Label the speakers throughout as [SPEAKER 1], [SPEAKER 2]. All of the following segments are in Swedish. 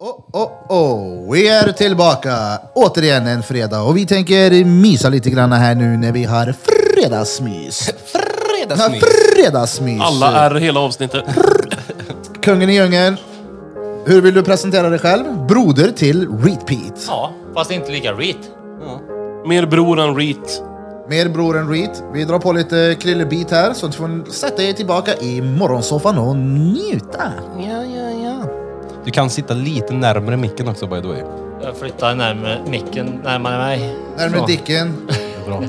[SPEAKER 1] Oh, oh, oh. Vi är tillbaka! Återigen en fredag och vi tänker mysa lite grann här nu när vi har fredagsmys.
[SPEAKER 2] Fredagsmys.
[SPEAKER 1] Ja, fredagsmys.
[SPEAKER 3] Alla är hela avsnittet.
[SPEAKER 1] Kungen i djungeln. Hur vill du presentera dig själv? Broder till Repeat.
[SPEAKER 2] Ja, fast inte lika reet.
[SPEAKER 3] Mer bror än Reet.
[SPEAKER 1] Mer bror än Reet. Vi drar på lite krillebit här så du får sätta er tillbaka i morgonsoffan och njuta.
[SPEAKER 2] Ja, ja, ja.
[SPEAKER 4] Du kan sitta lite närmare micken också by the way.
[SPEAKER 2] Jag flyttar närmare micken, närmare mig.
[SPEAKER 1] Närmare
[SPEAKER 2] Så.
[SPEAKER 1] Dicken.
[SPEAKER 4] Bra.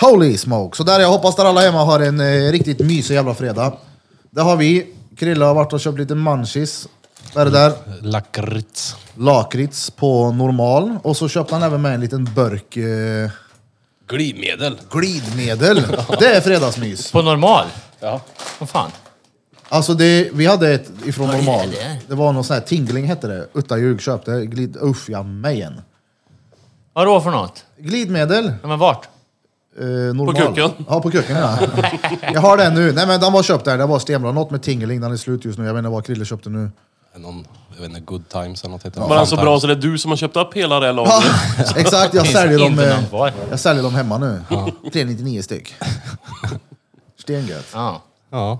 [SPEAKER 1] Holy smoke! Så där jag hoppas där alla hemma har en eh, riktigt mysig jävla fredag. Det har vi. Krilla har varit och köpt lite manchis. Vad är det där?
[SPEAKER 4] Lakrits.
[SPEAKER 1] Lakrits på normal. Och så köpte han även med en liten burk eh,
[SPEAKER 4] Glidmedel.
[SPEAKER 1] glidmedel. Det är fredagsmys.
[SPEAKER 2] På normal?
[SPEAKER 4] Ja.
[SPEAKER 2] Vad fan?
[SPEAKER 1] Alltså det, vi hade ett ifrån
[SPEAKER 2] Vad är
[SPEAKER 1] normal.
[SPEAKER 2] det?
[SPEAKER 1] Det var någon sån här tingling hette det. Utta ljug köpte. Glid, usch ja mejen.
[SPEAKER 2] Vadå för något?
[SPEAKER 1] Glidmedel.
[SPEAKER 2] Ja, men vart?
[SPEAKER 1] Eh, normal.
[SPEAKER 3] kuken?
[SPEAKER 1] Ja, på kuken ja. Jag har den nu. Nej men den var köpt där. Det var stenbra. Något med tingling. Den är slut just nu. Jag vet inte vad Krille köpte nu.
[SPEAKER 4] Någon, jag vet inte, good times eller något heter
[SPEAKER 3] Var han
[SPEAKER 2] alltså
[SPEAKER 3] så alltså bra så det är du som har köpt upp hela det här lagret.
[SPEAKER 1] Exakt, jag
[SPEAKER 2] Finns
[SPEAKER 1] säljer, dem,
[SPEAKER 2] inte
[SPEAKER 1] eh,
[SPEAKER 2] någon kvar.
[SPEAKER 1] jag säljer dem hemma nu. 399 styck. Stengött.
[SPEAKER 2] Ja.
[SPEAKER 4] Ja.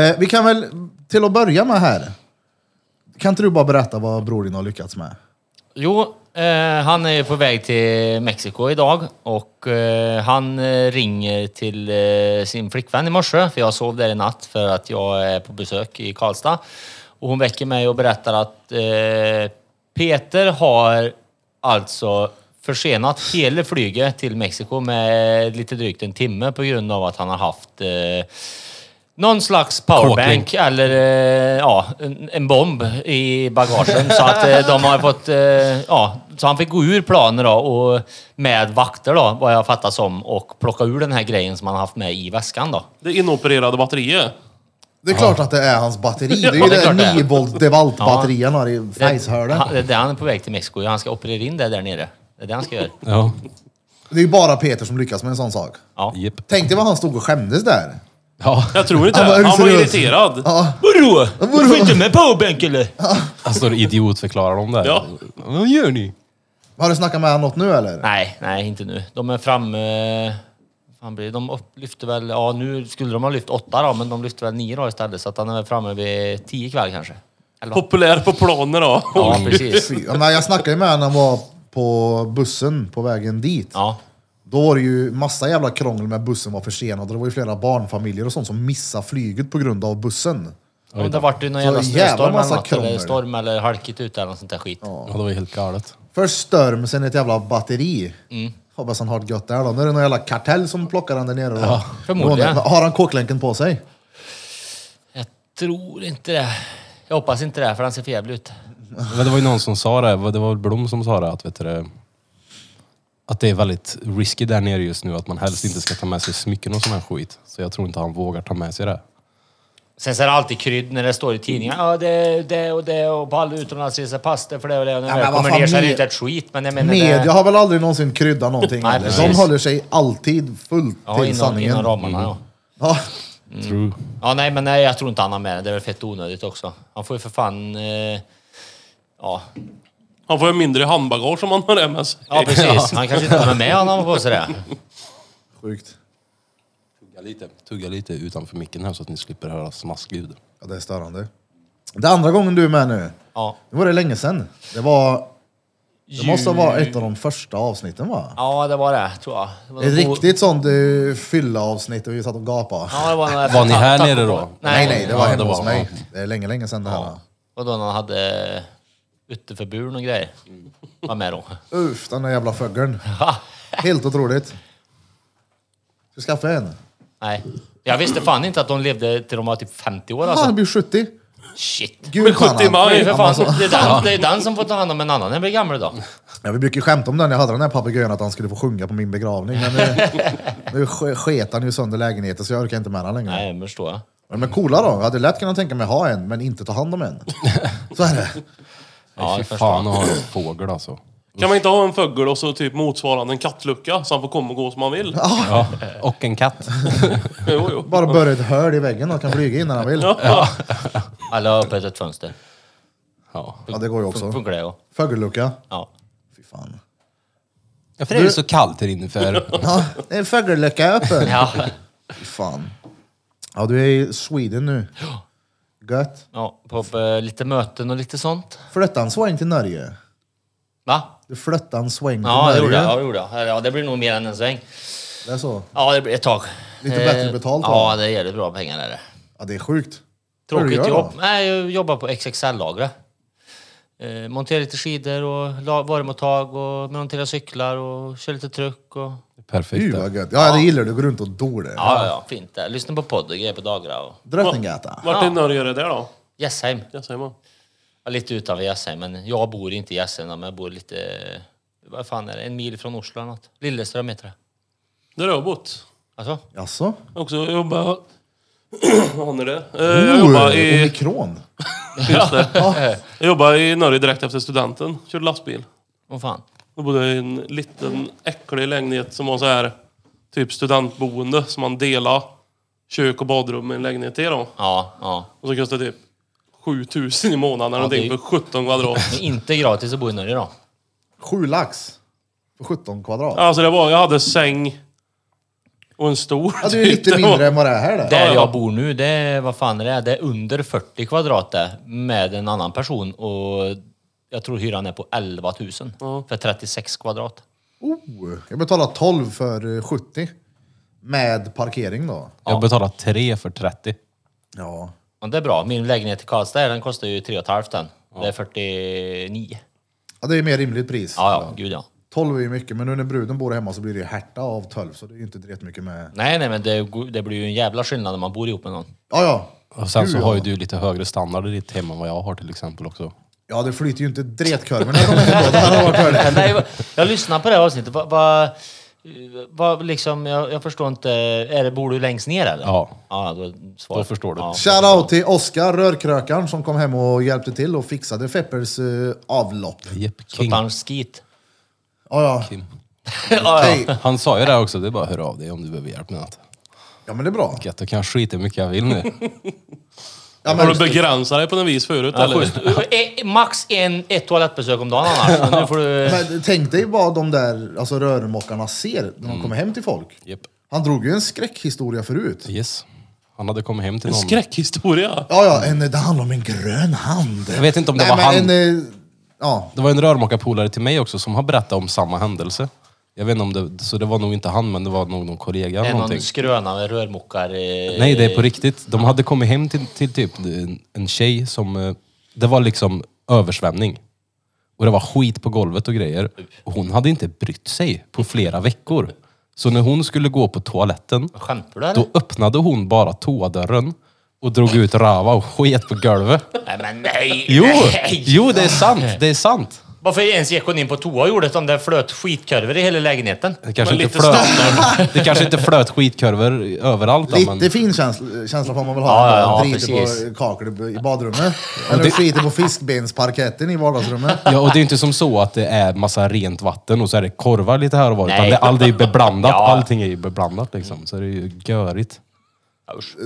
[SPEAKER 1] Eh, vi kan väl till att börja med här. Kan inte du bara berätta vad bror din har lyckats med?
[SPEAKER 2] Jo, eh, han är på väg till Mexiko idag och eh, han eh, ringer till eh, sin flickvän i morse för jag sov där i natt för att jag är på besök i Karlstad. Och hon väcker mig och berättar att eh, Peter har alltså försenat hela flyget till Mexiko med lite drygt en timme på grund av att han har haft eh, någon slags powerbank eller eh, ja, en, en bomb i bagagen. så att eh, de har fått... Eh, ja, så han fick gå ur planen då och med vakter då, vad jag fattar som, och plocka ur den här grejen som han haft med i väskan då.
[SPEAKER 3] Det inopererade batteriet.
[SPEAKER 1] Det är klart att det är hans batteri. Det är ju
[SPEAKER 2] Ja, det är
[SPEAKER 1] det
[SPEAKER 2] klart det är.
[SPEAKER 1] 9 volt devalt batteri han har i fejshörden.
[SPEAKER 2] Han- Det är det han är på väg till Mexiko. Han ska operera in det där nere. Det är det han ska göra.
[SPEAKER 4] Ja.
[SPEAKER 1] Det är ju bara Peter som lyckas med en sån sak.
[SPEAKER 2] Ja.
[SPEAKER 4] Jep.
[SPEAKER 1] Tänk dig vad han stod och skämdes där.
[SPEAKER 4] Ja.
[SPEAKER 3] Jag tror inte
[SPEAKER 1] Han bara, är
[SPEAKER 3] det.
[SPEAKER 1] du
[SPEAKER 3] Han var
[SPEAKER 1] seriös?
[SPEAKER 3] irriterad.
[SPEAKER 1] Ja,
[SPEAKER 2] Vadå? Du får inte med powerbank eller?
[SPEAKER 4] Han står och idiotförklarar dem där.
[SPEAKER 3] Ja.
[SPEAKER 4] Vad gör ni?
[SPEAKER 1] har du snackat med honom något nu eller?
[SPEAKER 2] Nej, nej inte nu. De är framme... eh, Fan blir det? De upp- lyfte väl... Ja, nu skulle de ha lyft åtta då, men de lyfte väl nio då istället. Så att han är väl framme vid tio ikväll kanske. Eller vad?
[SPEAKER 3] Populär på planer då.
[SPEAKER 2] Ja, precis.
[SPEAKER 1] Fy, ja, men Jag snackade ju med honom när han var på bussen på vägen dit.
[SPEAKER 2] Ja.
[SPEAKER 1] Då var det ju massa jävla krångel med bussen var försenad och det var ju flera barnfamiljer och sånt som missade flyget på grund av bussen.
[SPEAKER 2] Om det vart ju någon
[SPEAKER 1] Så jävla
[SPEAKER 2] jävla snöstorm eller
[SPEAKER 1] massa
[SPEAKER 2] något, eller
[SPEAKER 1] krångel.
[SPEAKER 2] storm eller halkigt ute eller något sånt där skit.
[SPEAKER 4] Ja, det var ju helt galet.
[SPEAKER 1] Först storm, sen ett jävla batteri.
[SPEAKER 2] Mm.
[SPEAKER 1] Hoppas han har det gött där då. Nu är det någon jävla kartell som plockar han där nere då.
[SPEAKER 2] förmodligen.
[SPEAKER 1] Någon- Har han kåklänken på sig?
[SPEAKER 2] Jag tror inte det. Jag hoppas inte det, för han ser för jävlig ut.
[SPEAKER 4] Men det var ju någon som sa det, det var väl Blom som sa det, att, vet du, det, att det är väldigt risky där nere just nu, att man helst inte ska ta med sig smycken och sån här skit. Så jag tror inte han vågar ta med sig det.
[SPEAKER 2] Sen så är det alltid krydd när det står i tidningen. Ja, det, det och det och på alla utomlandsresor passar för det och det. Och när
[SPEAKER 1] Ja, men
[SPEAKER 2] jag väl
[SPEAKER 1] vad
[SPEAKER 2] kommer
[SPEAKER 1] fan,
[SPEAKER 2] ner så är det
[SPEAKER 1] med-
[SPEAKER 2] inte ett skit, men jag menar... det-
[SPEAKER 1] Media har väl aldrig någonsin kryddat någonting?
[SPEAKER 2] Nej,
[SPEAKER 1] eller? De
[SPEAKER 2] precis.
[SPEAKER 1] håller sig alltid fullt
[SPEAKER 2] Ja,
[SPEAKER 1] till
[SPEAKER 2] inom,
[SPEAKER 1] sanningen.
[SPEAKER 2] inom ramarna ja.
[SPEAKER 1] Ja.
[SPEAKER 2] Mm.
[SPEAKER 4] True.
[SPEAKER 2] Ja, nej, men nej, jag tror inte han har med det. Det är väl fett onödigt också. Han får ju för fan... Eh, ja.
[SPEAKER 3] Han får ju mindre handbagage om han har det med sig.
[SPEAKER 2] ja, precis. Han kanske inte har med honom på sig det.
[SPEAKER 1] Sjukt.
[SPEAKER 4] Tugga lite, tugga lite utanför micken här så att ni slipper höra smaskljud.
[SPEAKER 1] Ja, det är störande. Det är andra gången du är med nu.
[SPEAKER 2] Ja.
[SPEAKER 1] Nu var det länge sedan. Det var... Det måste vara ett av de första avsnitten va?
[SPEAKER 2] Ja, det var det, tror jag. Det var
[SPEAKER 1] Ett
[SPEAKER 2] någon bo-
[SPEAKER 1] riktigt sånt uh, fylla-avsnitt och vi satt och gapade.
[SPEAKER 2] Ja, det var, någon-
[SPEAKER 4] Var ni här
[SPEAKER 2] tack-
[SPEAKER 4] nere då?
[SPEAKER 1] Nej, nej, det var
[SPEAKER 4] Ja,
[SPEAKER 1] hemma
[SPEAKER 4] det var-
[SPEAKER 1] hos mig. Det är länge, länge sedan det här.
[SPEAKER 2] Och då när han hade uteförbud och grejer. Var med då.
[SPEAKER 1] Uff, den där jävla fågeln. Helt otroligt. Ska vi skaffa en?
[SPEAKER 2] Nej. Jag visste fan inte att de levde till de var typ 50 år
[SPEAKER 1] Fan,
[SPEAKER 2] alltså.
[SPEAKER 1] han Ah, blir 70.
[SPEAKER 2] Shit.
[SPEAKER 1] Gud, alltså.
[SPEAKER 3] Men
[SPEAKER 1] fan,
[SPEAKER 3] 70
[SPEAKER 1] han-
[SPEAKER 3] man.
[SPEAKER 2] Det är, ju för fan,
[SPEAKER 1] Amazon.
[SPEAKER 2] det, är den, det är den som får ta hand om en annan när jag blir gammal då.
[SPEAKER 1] Ja, vi brukar ju skämta om den. Jag hade den här papegojan att han skulle få sjunga på min begravning. Men nu, nu sk- sket han ju sönder lägenheten så jag orkar inte med den längre.
[SPEAKER 2] Nej, men förstår jag.
[SPEAKER 1] Men coola då. Jag hade lätt kunnat tänka mig ha en, men inte ta hand om en. Så är det.
[SPEAKER 2] Ja,
[SPEAKER 4] Fy
[SPEAKER 2] jag förstår.
[SPEAKER 4] fan att ha en fågel alltså.
[SPEAKER 3] Kan man inte ha en fögel och så typ motsvarande en kattlucka så han får komma och gå som han vill?
[SPEAKER 4] Ja, Eh, och en katt.
[SPEAKER 3] Jo, jo.
[SPEAKER 1] Bara börja ett hål i väggen och kan flyga in när han vill. Ja,
[SPEAKER 3] Ja.
[SPEAKER 2] Alla har öppet ett fönster.
[SPEAKER 4] Ja.
[SPEAKER 1] det går ju
[SPEAKER 2] Fun-
[SPEAKER 1] också.
[SPEAKER 2] Funkar det? och-
[SPEAKER 1] Fågellucka.
[SPEAKER 2] Ja.
[SPEAKER 1] Fy fan.
[SPEAKER 4] Ja, för det är ju så kallt här inne för...
[SPEAKER 1] Ja, det är en fågellucka öppen.
[SPEAKER 2] Ja.
[SPEAKER 1] Fy fan. Ja, du är i Sweden nu. Gött.
[SPEAKER 2] ja. På eh, lite möten och lite sånt.
[SPEAKER 1] Flytta en sväng till Norge.
[SPEAKER 2] Va?
[SPEAKER 1] Du flyttar en sväng till
[SPEAKER 2] Ja, det
[SPEAKER 1] Norge.
[SPEAKER 2] gjorde jag. Ja, det, gjorde jag. Ja, det blir nog mer än en sväng.
[SPEAKER 1] Det är så.
[SPEAKER 2] Ja, det blir ett tag. Eh,
[SPEAKER 1] Lite bättre betalt, va?
[SPEAKER 2] Ja, det är jävligt bra pengar. Är det.
[SPEAKER 1] Ja, det är sjukt. Vad du
[SPEAKER 2] Tråkigt
[SPEAKER 1] gör då?
[SPEAKER 2] jobb. Nej, jag jobbar på XXL-lagret. Eh, monterar lite skidor och la- varumottag och monterar cyklar och kör lite truck. Och...
[SPEAKER 1] Fy
[SPEAKER 4] Perfekt.
[SPEAKER 1] vad gött. Ja, det gillar du. Går runt och doler.
[SPEAKER 2] Ja, ja, ja, fint där. Lyssnar på podd och grejer på dagarna. Och...
[SPEAKER 1] Drottninggatan.
[SPEAKER 3] Vart i Norge är det där då?
[SPEAKER 2] Gästheim.
[SPEAKER 3] Jag säger man.
[SPEAKER 2] Ja, lite utanför Gästheim, men jag bor inte i Gästheim, men jag bor lite... Vad fan är det? En mil från Oslo eller något. Lilleström heter det.
[SPEAKER 3] Där har jag bott.
[SPEAKER 2] Alltså?
[SPEAKER 1] Jaså?
[SPEAKER 3] Också jag jobbar... Vad har ni det? Eh, Jag
[SPEAKER 1] Oh,
[SPEAKER 3] jobbar i...
[SPEAKER 1] Omikron.
[SPEAKER 3] Just det. Jag jobbar i Norge direkt efter studenten. Körde lastbil.
[SPEAKER 2] Åh fan.
[SPEAKER 3] Då bodde jag i en liten äcklig lägenhet som var så här typ studentboende som man delade kök och badrum med en lägenhet till då.
[SPEAKER 2] Ja, ja.
[SPEAKER 3] Och så kostade det typ 7000 i månaden eller
[SPEAKER 2] Ja, det är
[SPEAKER 3] någonting
[SPEAKER 2] ju-
[SPEAKER 3] för 17 kvadrat.
[SPEAKER 2] Men inte gratis att bo i Norge då.
[SPEAKER 1] Sju lax. På 17 kvadrat. Ja.
[SPEAKER 3] Alltså det var, jag hade säng och en stor.
[SPEAKER 1] Alltså, det är ju
[SPEAKER 3] typ.
[SPEAKER 1] lite
[SPEAKER 3] Det var-
[SPEAKER 1] mindre än vad det är här. Där.
[SPEAKER 2] Där
[SPEAKER 3] ja.
[SPEAKER 2] jag bor nu, det är, vad fan är det? Det är under 40 kvadrat där, med en annan person och jag tror hyran är på 11 000 för 36 kvadrat.
[SPEAKER 1] Oh, jag betalar 12 för eh, 70. Med parkering då.
[SPEAKER 4] Jag betalar 3 för 30.
[SPEAKER 1] Ja.
[SPEAKER 2] Men det är bra. Min lägenhet i Karlstad den kostar ju 3 500 den. Det är 49.
[SPEAKER 1] ja det är ju mer rimligt pris.
[SPEAKER 2] Ja, ja, gud ja.
[SPEAKER 1] 12 är ju mycket, men nu när bruden bor hemma så blir det ju härta av 12. Så det är ju inte direkt mycket med...
[SPEAKER 2] Nej, nej, men det, go- det blir ju en jävla skillnad när man bor ihop med någon.
[SPEAKER 1] Ja, ja.
[SPEAKER 4] Och sen så
[SPEAKER 1] Gud,
[SPEAKER 4] har ju
[SPEAKER 1] ja.
[SPEAKER 4] du lite högre standard i ditt hem än vad jag har till exempel också.
[SPEAKER 1] Ja, det flyter ju inte dretkörven när jag kommer hem då. Det här har varit härligt.
[SPEAKER 2] nej, vad- jag lyssnade på det här avsnittet. Vad, vad, vad liksom, jag, jag förstår inte. Är det, bor du längst ner eller?
[SPEAKER 4] Ja.
[SPEAKER 2] Ja, då, svar.
[SPEAKER 4] Då förstår du.
[SPEAKER 2] Ja.
[SPEAKER 1] Shoutout till Oskar, rörkrökaren, som kom hem och hjälpte till och fixade Feppers eh, avlopp.
[SPEAKER 4] Jepp,
[SPEAKER 2] Så
[SPEAKER 4] King.
[SPEAKER 2] tar han skit.
[SPEAKER 1] Ja, ja.
[SPEAKER 4] Kim.
[SPEAKER 2] ja, ja.
[SPEAKER 1] Hej.
[SPEAKER 4] Han sa ju det också, det är bara hör av dig om du behöver hjälp med något.
[SPEAKER 1] Ja, men det är bra.
[SPEAKER 4] Gött, då kan jag skita hur mycket jag vill nu.
[SPEAKER 1] Ja,
[SPEAKER 3] Har
[SPEAKER 1] men,
[SPEAKER 3] du begränsat dig på något vis förut
[SPEAKER 2] Ja,
[SPEAKER 3] eller?
[SPEAKER 2] schysst. Eh, Max en, ett toalettbesök om dagen annars. Men nu får du...
[SPEAKER 1] men tänk dig vad de där alltså, rörmokarna ser när de kommer hem till folk.
[SPEAKER 4] Jepp.
[SPEAKER 1] Han drog ju en skräckhistoria förut.
[SPEAKER 4] Yes. Han hade kommit hem till
[SPEAKER 3] En
[SPEAKER 4] någon.
[SPEAKER 3] skräckhistoria.
[SPEAKER 1] Ja, ja, en, det handlar om en grön hand.
[SPEAKER 4] Jag vet inte om det
[SPEAKER 1] Nej,
[SPEAKER 4] var han.
[SPEAKER 1] men En, eh, ja,
[SPEAKER 4] Det var en rörmokarpolare till mig också som har berättat om samma händelse. Jag vet inte om det, så det var nog inte han men det var nog någon kollega
[SPEAKER 2] Det
[SPEAKER 4] eller
[SPEAKER 2] är någon
[SPEAKER 4] någonting.
[SPEAKER 2] skröna med rörmokar... eh,
[SPEAKER 4] Nej, det är på riktigt. De hade kommit hem till, till typ en, en tjej som... eh, Det var liksom översvämning. Och det var skit på golvet och grejer. Och hon hade inte brytt sig på flera veckor. Så när hon skulle gå på toaletten,
[SPEAKER 2] Skämtar du eller?
[SPEAKER 4] då öppnade hon bara toadörren och drog ut rava och sket på golvet.
[SPEAKER 2] Nej men nej!
[SPEAKER 4] Jo,
[SPEAKER 2] nej.
[SPEAKER 4] jo det är sant. Det är sant.
[SPEAKER 2] Varför ens gick hon in på toa och gjorde sån där flöt skitkorvar i hela lägenheten?
[SPEAKER 4] Det kanske,
[SPEAKER 3] Men
[SPEAKER 4] inte
[SPEAKER 3] lite
[SPEAKER 4] flöt, det kanske inte flöt skitkurvor överallt. då,
[SPEAKER 1] lite
[SPEAKER 4] Men
[SPEAKER 1] fin känsla, känsla får man väl
[SPEAKER 2] Ja,
[SPEAKER 1] ha.
[SPEAKER 2] ja, ja,
[SPEAKER 1] driter på
[SPEAKER 2] precis.
[SPEAKER 1] kakor i badrummet. Eller skiter på fiskbensparketten i vardagsrummet.
[SPEAKER 4] ja, och det är inte som så att det är massa rent vatten och så är det korvar lite här och var. Utan
[SPEAKER 2] Nej.
[SPEAKER 4] det, all, det är beblandat.
[SPEAKER 2] Ja.
[SPEAKER 4] Allting är ju beblandat liksom. Så det är ju görigt.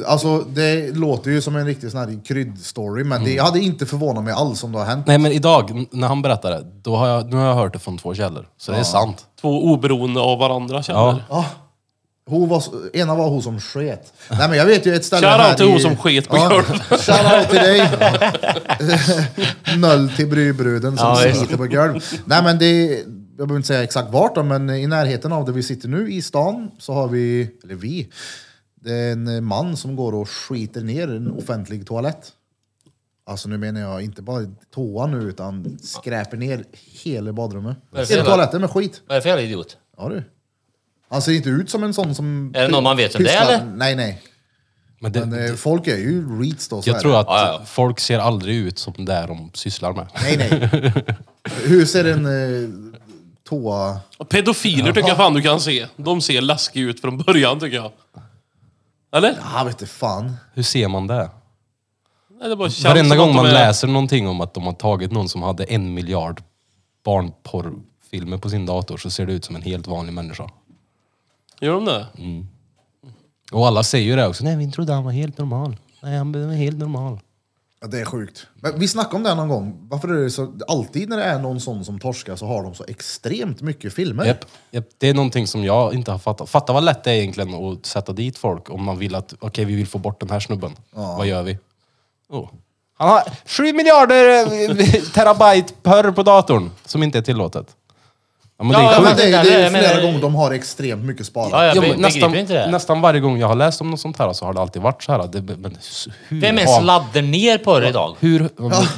[SPEAKER 1] Alltså det låter ju som en riktig sån här kryddstory, men det
[SPEAKER 4] Mm.
[SPEAKER 1] hade inte förvånat mig alls om det har hänt.
[SPEAKER 4] Nej men idag, n- när han berättade, då har jag, nu har jag hört det från två källor. Så det är sant.
[SPEAKER 3] Två oberoende av varandra
[SPEAKER 4] Ja.
[SPEAKER 3] känner.
[SPEAKER 1] Ja. Hon var, ena var hon som sket. Nej men jag vet ju ett ställe
[SPEAKER 3] Shoutout
[SPEAKER 1] här
[SPEAKER 3] till
[SPEAKER 1] i-
[SPEAKER 3] hon som sket på golvet.
[SPEAKER 1] Shoutout till dig. Noll till brybruden som
[SPEAKER 2] Ja, visst.
[SPEAKER 1] skiter på golv. Nej men det, jag behöver inte säga exakt vart då, men i närheten av där vi sitter nu i stan så har vi, eller vi, det är en man som går och skiter ner en offentlig toalett. Alltså nu menar jag inte bara toan nu utan skräper ner hela badrummet.
[SPEAKER 2] Varför
[SPEAKER 1] Hela
[SPEAKER 2] jävla-
[SPEAKER 1] toaletten med skit.
[SPEAKER 2] Vad är det för jävla idiot?
[SPEAKER 1] Ja du. Han ser inte ut som en sån som...
[SPEAKER 2] Är det någon man vet om det,
[SPEAKER 1] pysslar-
[SPEAKER 2] eller?
[SPEAKER 1] Nej nej.
[SPEAKER 4] Men det,
[SPEAKER 1] Men eh, folk är ju reeds då. så är
[SPEAKER 4] jag
[SPEAKER 1] det.
[SPEAKER 4] tror att
[SPEAKER 2] Ja,
[SPEAKER 4] folk ser aldrig ut som det är de sysslar med.
[SPEAKER 1] Nej, nej. Hur ser en eh, toa...
[SPEAKER 3] Pedofiler tycker jag fan du kan se. De ser läskiga ut från början tycker jag. Eller?
[SPEAKER 1] Ah, vet du fan.
[SPEAKER 4] Hur ser man det?
[SPEAKER 3] Nej, det bara känns
[SPEAKER 4] Varenda
[SPEAKER 3] som att de
[SPEAKER 4] gång man
[SPEAKER 3] är-
[SPEAKER 4] läser någonting om att de har tagit någon som hade en miljard barnporrfilmer skräckfilmer på sin dator så ser det ut som en helt vanlig människa.
[SPEAKER 3] Gör de det?
[SPEAKER 4] Och alla säger ju det också. Nej, vi trodde han var helt normal. Nej, han var helt normal.
[SPEAKER 1] Ja, det är sjukt. Men vi snackade om det här någon gång. Varför är det så? Alltid när det är någon sån som torskar så har de så extremt mycket filmer.
[SPEAKER 4] Japp, japp. Det är någonting som jag inte har fattat. Fatta vad lätt det är egentligen att sätta dit folk om man vill att, okej vi vill få bort den här snubben. Vad gör vi? Oh. Han har 7 miljarder eh, terabyte per på datorn som inte är tillåtet. Ja, men det är
[SPEAKER 2] Ja,
[SPEAKER 4] sjukt.
[SPEAKER 1] Ja, men det, det är ju
[SPEAKER 2] Jag menar-
[SPEAKER 1] flera gånger de har extremt mycket sparat.
[SPEAKER 2] Ja, jag
[SPEAKER 4] Ja,
[SPEAKER 2] be-
[SPEAKER 4] men nästan,
[SPEAKER 2] begriper inte det.
[SPEAKER 4] nästan varje gång jag har läst om något sånt här så har det alltid varit så här. Det, men hur
[SPEAKER 2] Vem ens
[SPEAKER 4] har-
[SPEAKER 2] laddar ner på det idag?
[SPEAKER 4] Hur,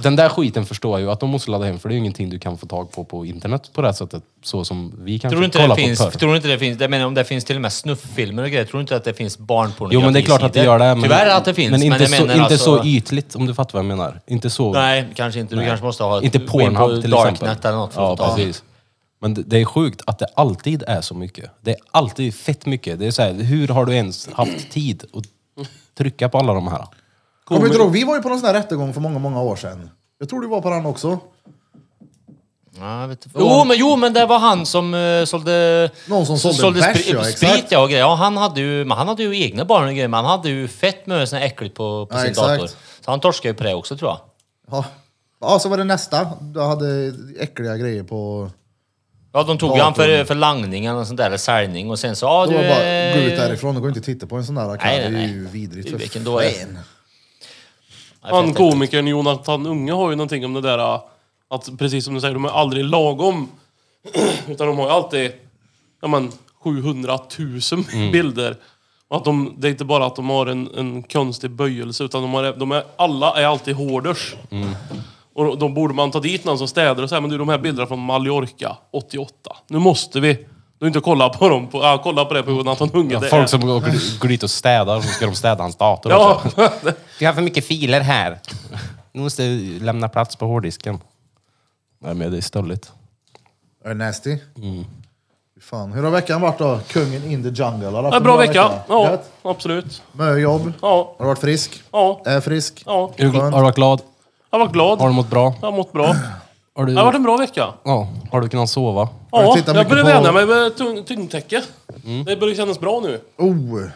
[SPEAKER 4] Den där skiten förstår jag ju att de måste ladda hem för det är ju ingenting du kan få tag på på internet på det här sättet. Så som vi kan
[SPEAKER 2] Tror du inte
[SPEAKER 4] kolla
[SPEAKER 2] det
[SPEAKER 4] på
[SPEAKER 2] finns,
[SPEAKER 4] förr.
[SPEAKER 2] tror du inte det finns, jag menar om det finns till och med snufffilmer och grejer, tror du inte att det finns barnpornografi?
[SPEAKER 4] Jo men det är klart att det
[SPEAKER 2] sidor?
[SPEAKER 4] gör det. Men,
[SPEAKER 2] Tyvärr att det finns,
[SPEAKER 4] Men
[SPEAKER 2] men,
[SPEAKER 4] inte,
[SPEAKER 2] jag
[SPEAKER 4] så,
[SPEAKER 2] menar
[SPEAKER 4] inte
[SPEAKER 2] alltså,
[SPEAKER 4] så ytligt om du fattar vad jag menar. Inte så...
[SPEAKER 2] Nej, kanske inte. Du kanske måste ha
[SPEAKER 4] Inte
[SPEAKER 2] gå in på
[SPEAKER 4] Pornhub till
[SPEAKER 2] Darknet
[SPEAKER 4] exempel.
[SPEAKER 2] eller något för
[SPEAKER 4] ja,
[SPEAKER 2] att ta.
[SPEAKER 4] precis. Men det, det är sjukt att det alltid är så mycket. Det är alltid fett mycket. Det är så här, hur har du ens haft tid att trycka på alla de här?
[SPEAKER 1] Kommer du inte ihåg? Vi var ju på någon sån här rättegång för många, många år sedan. Jag tror du var på den också.
[SPEAKER 2] Ja, jag vet inte. jo, men, jo, men det var han som uh, sålde...
[SPEAKER 1] Någon som sålde bärs,
[SPEAKER 2] spri-
[SPEAKER 1] ja,
[SPEAKER 2] sprit
[SPEAKER 1] exakt.
[SPEAKER 2] ja, och grejer. Ja, han, hade ju, men han hade ju egna barn och grejer, men han hade ju fett mycket sån här äckligt på, på
[SPEAKER 1] Ja,
[SPEAKER 2] sin
[SPEAKER 1] exakt.
[SPEAKER 2] dator. Så han torskade ju på det också tror jag.
[SPEAKER 1] Ja. ja, så var det nästa. Du hade äckliga grejer på...
[SPEAKER 2] Ja, de tog ju
[SPEAKER 1] Datorn.
[SPEAKER 2] han för, för langning eller sånt där, eller säljning och sen så... Ja,
[SPEAKER 1] Då
[SPEAKER 2] du...
[SPEAKER 1] var det bara,
[SPEAKER 2] är-
[SPEAKER 1] gå ut därifrån. Det går inte att titta på en sån där.
[SPEAKER 2] Nej,
[SPEAKER 1] Nej, det är
[SPEAKER 2] nej,
[SPEAKER 1] ju vidrigt. för
[SPEAKER 2] Vilken dålig-
[SPEAKER 1] fan.
[SPEAKER 2] Ja, jag
[SPEAKER 3] Han
[SPEAKER 2] vet inte.
[SPEAKER 3] komikern Jonathan Unge har ju någonting om det där äh, att precis som du säger, de är aldrig lagom. Utan de har ju alltid ja, men, 700 000 bilder. Och att de, det är inte bara att de har en, en konstig böjelse utan de har, de är, alla är alltid hoarders. Och då borde man ta dit någon som städar och säga, men du de här bilderna från Mallorca 88. Nu måste vi. Du inte kolla på dem. På, ja, kolla på det på Jonathan Unge.
[SPEAKER 4] Ja,
[SPEAKER 3] det är-
[SPEAKER 4] folk som går, går dit och städar, så ska de städa hans dator
[SPEAKER 3] Ja,
[SPEAKER 4] också. Vi har för mycket filer här. Nu måste jag lämna plats på hårddisken. Nej men det är stöldigt.
[SPEAKER 1] Är det nasty?
[SPEAKER 2] Mm.
[SPEAKER 1] Fy Fan. Hur har veckan varit då? Kungen in the jungle. Har du haft
[SPEAKER 3] ja,
[SPEAKER 1] en
[SPEAKER 3] bra vecka. Ja,
[SPEAKER 1] Gött?
[SPEAKER 3] absolut.
[SPEAKER 1] Mycket jobb.
[SPEAKER 3] Ja,
[SPEAKER 1] Har du varit frisk?
[SPEAKER 3] ja,
[SPEAKER 1] Är frisk?
[SPEAKER 3] ja.
[SPEAKER 4] Är du gl-
[SPEAKER 1] Skönt.
[SPEAKER 4] Har du varit glad?
[SPEAKER 3] Jag var glad.
[SPEAKER 4] Har du mått bra?
[SPEAKER 3] Jag har mått bra.
[SPEAKER 4] Har du,
[SPEAKER 3] Det har varit en bra vecka.
[SPEAKER 4] ja, har du kunnat sova?
[SPEAKER 1] Har du
[SPEAKER 3] Ja,
[SPEAKER 1] tittat
[SPEAKER 3] jag
[SPEAKER 1] mycket
[SPEAKER 3] börjar
[SPEAKER 1] på- Mm.
[SPEAKER 3] vänja mig med tung, tyngdtäcke. Det börjar kännas bra nu.
[SPEAKER 1] Oh.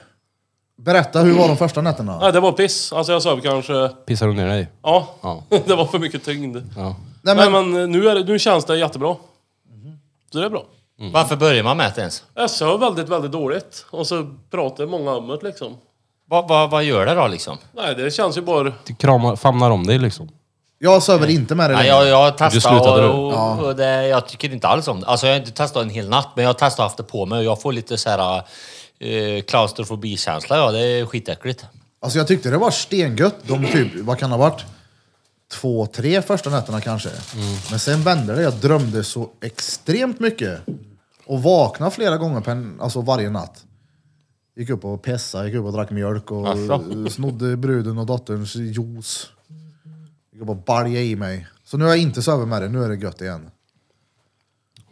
[SPEAKER 1] Berätta, hur var de första nätterna?
[SPEAKER 3] Nej, det var piss. Alltså jag sov kanske...
[SPEAKER 4] Pissar du ner dig?
[SPEAKER 3] Ja,
[SPEAKER 4] Ja.
[SPEAKER 3] det var för mycket tyngd.
[SPEAKER 4] ja.
[SPEAKER 1] Nej,
[SPEAKER 3] Nej,
[SPEAKER 1] men, Mhm.
[SPEAKER 3] men eh, nu, är det, nu känns det jättebra. Så det är bra.
[SPEAKER 2] Varför börjar man med det ens?
[SPEAKER 3] Jag sov väldigt, väldigt dåligt. Och så pratar många om det liksom.
[SPEAKER 2] Vad, vad, vad gör det då liksom?
[SPEAKER 3] Nej, det känns ju bara...
[SPEAKER 4] Du kramar, famnar om dig liksom.
[SPEAKER 1] jag söver inte med det
[SPEAKER 2] Nej,
[SPEAKER 1] längre.
[SPEAKER 2] jag, jag har
[SPEAKER 4] Du
[SPEAKER 2] testat
[SPEAKER 4] slutade
[SPEAKER 2] och, och, och det, jag tycker inte alls om det. Alltså jag har inte testat en hel natt, men jag har testat och haft det på mig och jag får lite så här eh, klaustrofobikänsla. Ja, det är skitäckligt.
[SPEAKER 1] Alltså jag tyckte det var stengött. De typ, vad kan det ha varit? Två, tre första nätterna kanske.
[SPEAKER 4] Mm.
[SPEAKER 1] Men sen vände det. Jag drömde så extremt mycket. Och vaknade flera gånger per, alltså varje natt. Gick upp och pessade, gick upp och drack mjölk och
[SPEAKER 4] Alltså.
[SPEAKER 2] Asså.
[SPEAKER 1] snodde bruden och dotterns juice. Gick upp och baljade i mig. Så nu har jag inte sovit med det. Nu är det gött igen.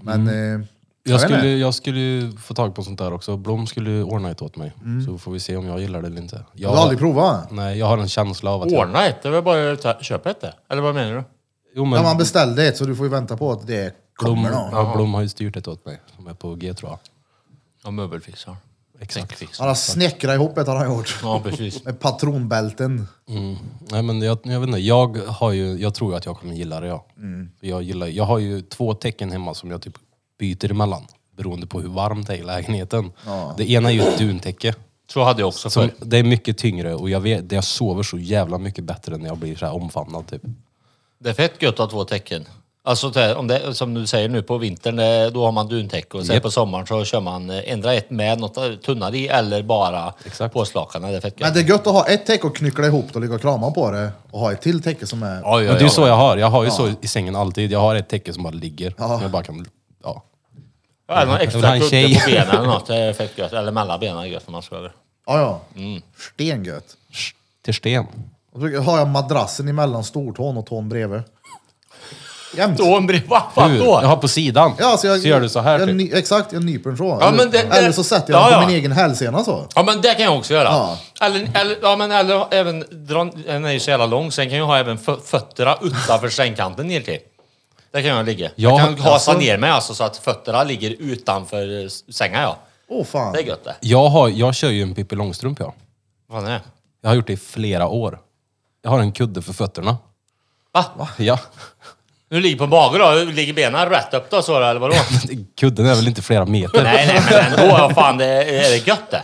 [SPEAKER 1] Men... Eh,
[SPEAKER 4] Mm. Jag
[SPEAKER 1] vet inte.
[SPEAKER 4] skulle, jag skulle ju få tag på sånt där också. Blom skulle ju ordna ett åt mig. Så får vi se om jag gillar det eller inte. Jag,
[SPEAKER 1] Mm. Du har aldrig provat?
[SPEAKER 4] Nej, jag har en känsla av att jag...
[SPEAKER 2] Ordna ett, det är väl bara att ta- köpa ett det? Eller vad menar du?
[SPEAKER 4] Jo, men
[SPEAKER 1] Ja, man beställde ett så du får ju vänta på att det
[SPEAKER 4] Blom,
[SPEAKER 1] kommer någon.
[SPEAKER 4] ja, Blom har ju styrt ett åt mig. Som är på G tror jag.
[SPEAKER 2] Ja, möbelfixar.
[SPEAKER 4] Exakt.
[SPEAKER 2] Säckfixar.
[SPEAKER 1] Han har snickrat ihop ett har han gjort.
[SPEAKER 2] Ja, precis.
[SPEAKER 1] Med patronbälten.
[SPEAKER 4] Nej, men jag, jag vet inte. Jag, har ju, jag tror ju att jag kommer gilla det, ja.
[SPEAKER 1] Mm.
[SPEAKER 4] Jag, gillar, jag har ju två tecken hemma som jag typ byter emellan. Beroende på hur varmt det är i lägenheten. Det ena är ju ett duntäcke.
[SPEAKER 2] Så hade jag också
[SPEAKER 4] Som,
[SPEAKER 2] förr.
[SPEAKER 4] Alltså, det är mycket tyngre och jag, vet, jag sover så jävla mycket bättre när jag blir så här omfamnad typ.
[SPEAKER 2] Det är fett gött att ha två tecken. Alltså det här, om det, som du säger nu på vintern, eh, då har man duntäcke och sen
[SPEAKER 4] Japp.
[SPEAKER 2] på sommaren så kör man eh, ändra ett med något tunnare i eller bara
[SPEAKER 4] Exakt.
[SPEAKER 2] påslakarna. Det är fett
[SPEAKER 1] Men
[SPEAKER 2] gött.
[SPEAKER 1] det är gött att ha ett täcke och knyckla ihop det och ligga och krama på det. Och ha ett till täcke som är...
[SPEAKER 2] Ja, ja,
[SPEAKER 4] Men det är
[SPEAKER 2] ja.
[SPEAKER 4] ju så jag har. Jag har ju så i sängen alltid. Jag har ett täcke som bara ligger.
[SPEAKER 1] Ja.
[SPEAKER 4] Jag bara kan, ja.
[SPEAKER 2] Ja, någon
[SPEAKER 4] vill ha
[SPEAKER 2] extra
[SPEAKER 4] en
[SPEAKER 2] kudde
[SPEAKER 4] tjej.
[SPEAKER 2] på benen eller något, det är fett gött. Eller mellan benen är gött om man sover.
[SPEAKER 1] Ja, ja.
[SPEAKER 2] Mm.
[SPEAKER 1] Stengött.
[SPEAKER 4] Sh- Till sten.
[SPEAKER 1] Och så har jag madrassen emellan stortån och tån bredvid. Jämt.
[SPEAKER 2] Då en breva,
[SPEAKER 4] Hur? Jag har på sidan.
[SPEAKER 1] så,
[SPEAKER 4] så gör du så här
[SPEAKER 1] jag,
[SPEAKER 4] typ.
[SPEAKER 1] ny- Exakt, jag nyper den så.
[SPEAKER 2] Ja, men det-
[SPEAKER 1] eller, eller så sätter jag
[SPEAKER 2] Ja,
[SPEAKER 1] den på
[SPEAKER 2] ja.
[SPEAKER 1] min egen hälsena så.
[SPEAKER 2] Ja men det kan jag också göra.
[SPEAKER 1] Ja.
[SPEAKER 2] Eller, eller, ja, men, eller även, dra, den är ju så jävla lång, sen kan jag ha även fö- fötterna utanför sängkanten ner till. Där kan jag ligga.
[SPEAKER 4] Ja,
[SPEAKER 2] jag kan hasa
[SPEAKER 4] alltså-
[SPEAKER 2] ner mig alltså, så att fötterna ligger utanför eh, sängen. Ja.
[SPEAKER 1] Åh fan.
[SPEAKER 2] Det är gött det.
[SPEAKER 4] Jag, har, jag kör ju en Pippi Långstrump jag.
[SPEAKER 2] Vad fan är det?
[SPEAKER 4] Jag har gjort det i flera år. Jag har en kudde för fötterna.
[SPEAKER 2] Va?
[SPEAKER 4] Ja.
[SPEAKER 2] Nu ligger på magen då? Ligger benen rätt upp då så eller vadå?
[SPEAKER 4] Kudden är väl inte flera meter?
[SPEAKER 2] nej, nej, men ändå. ja, Fan, det är det gött det?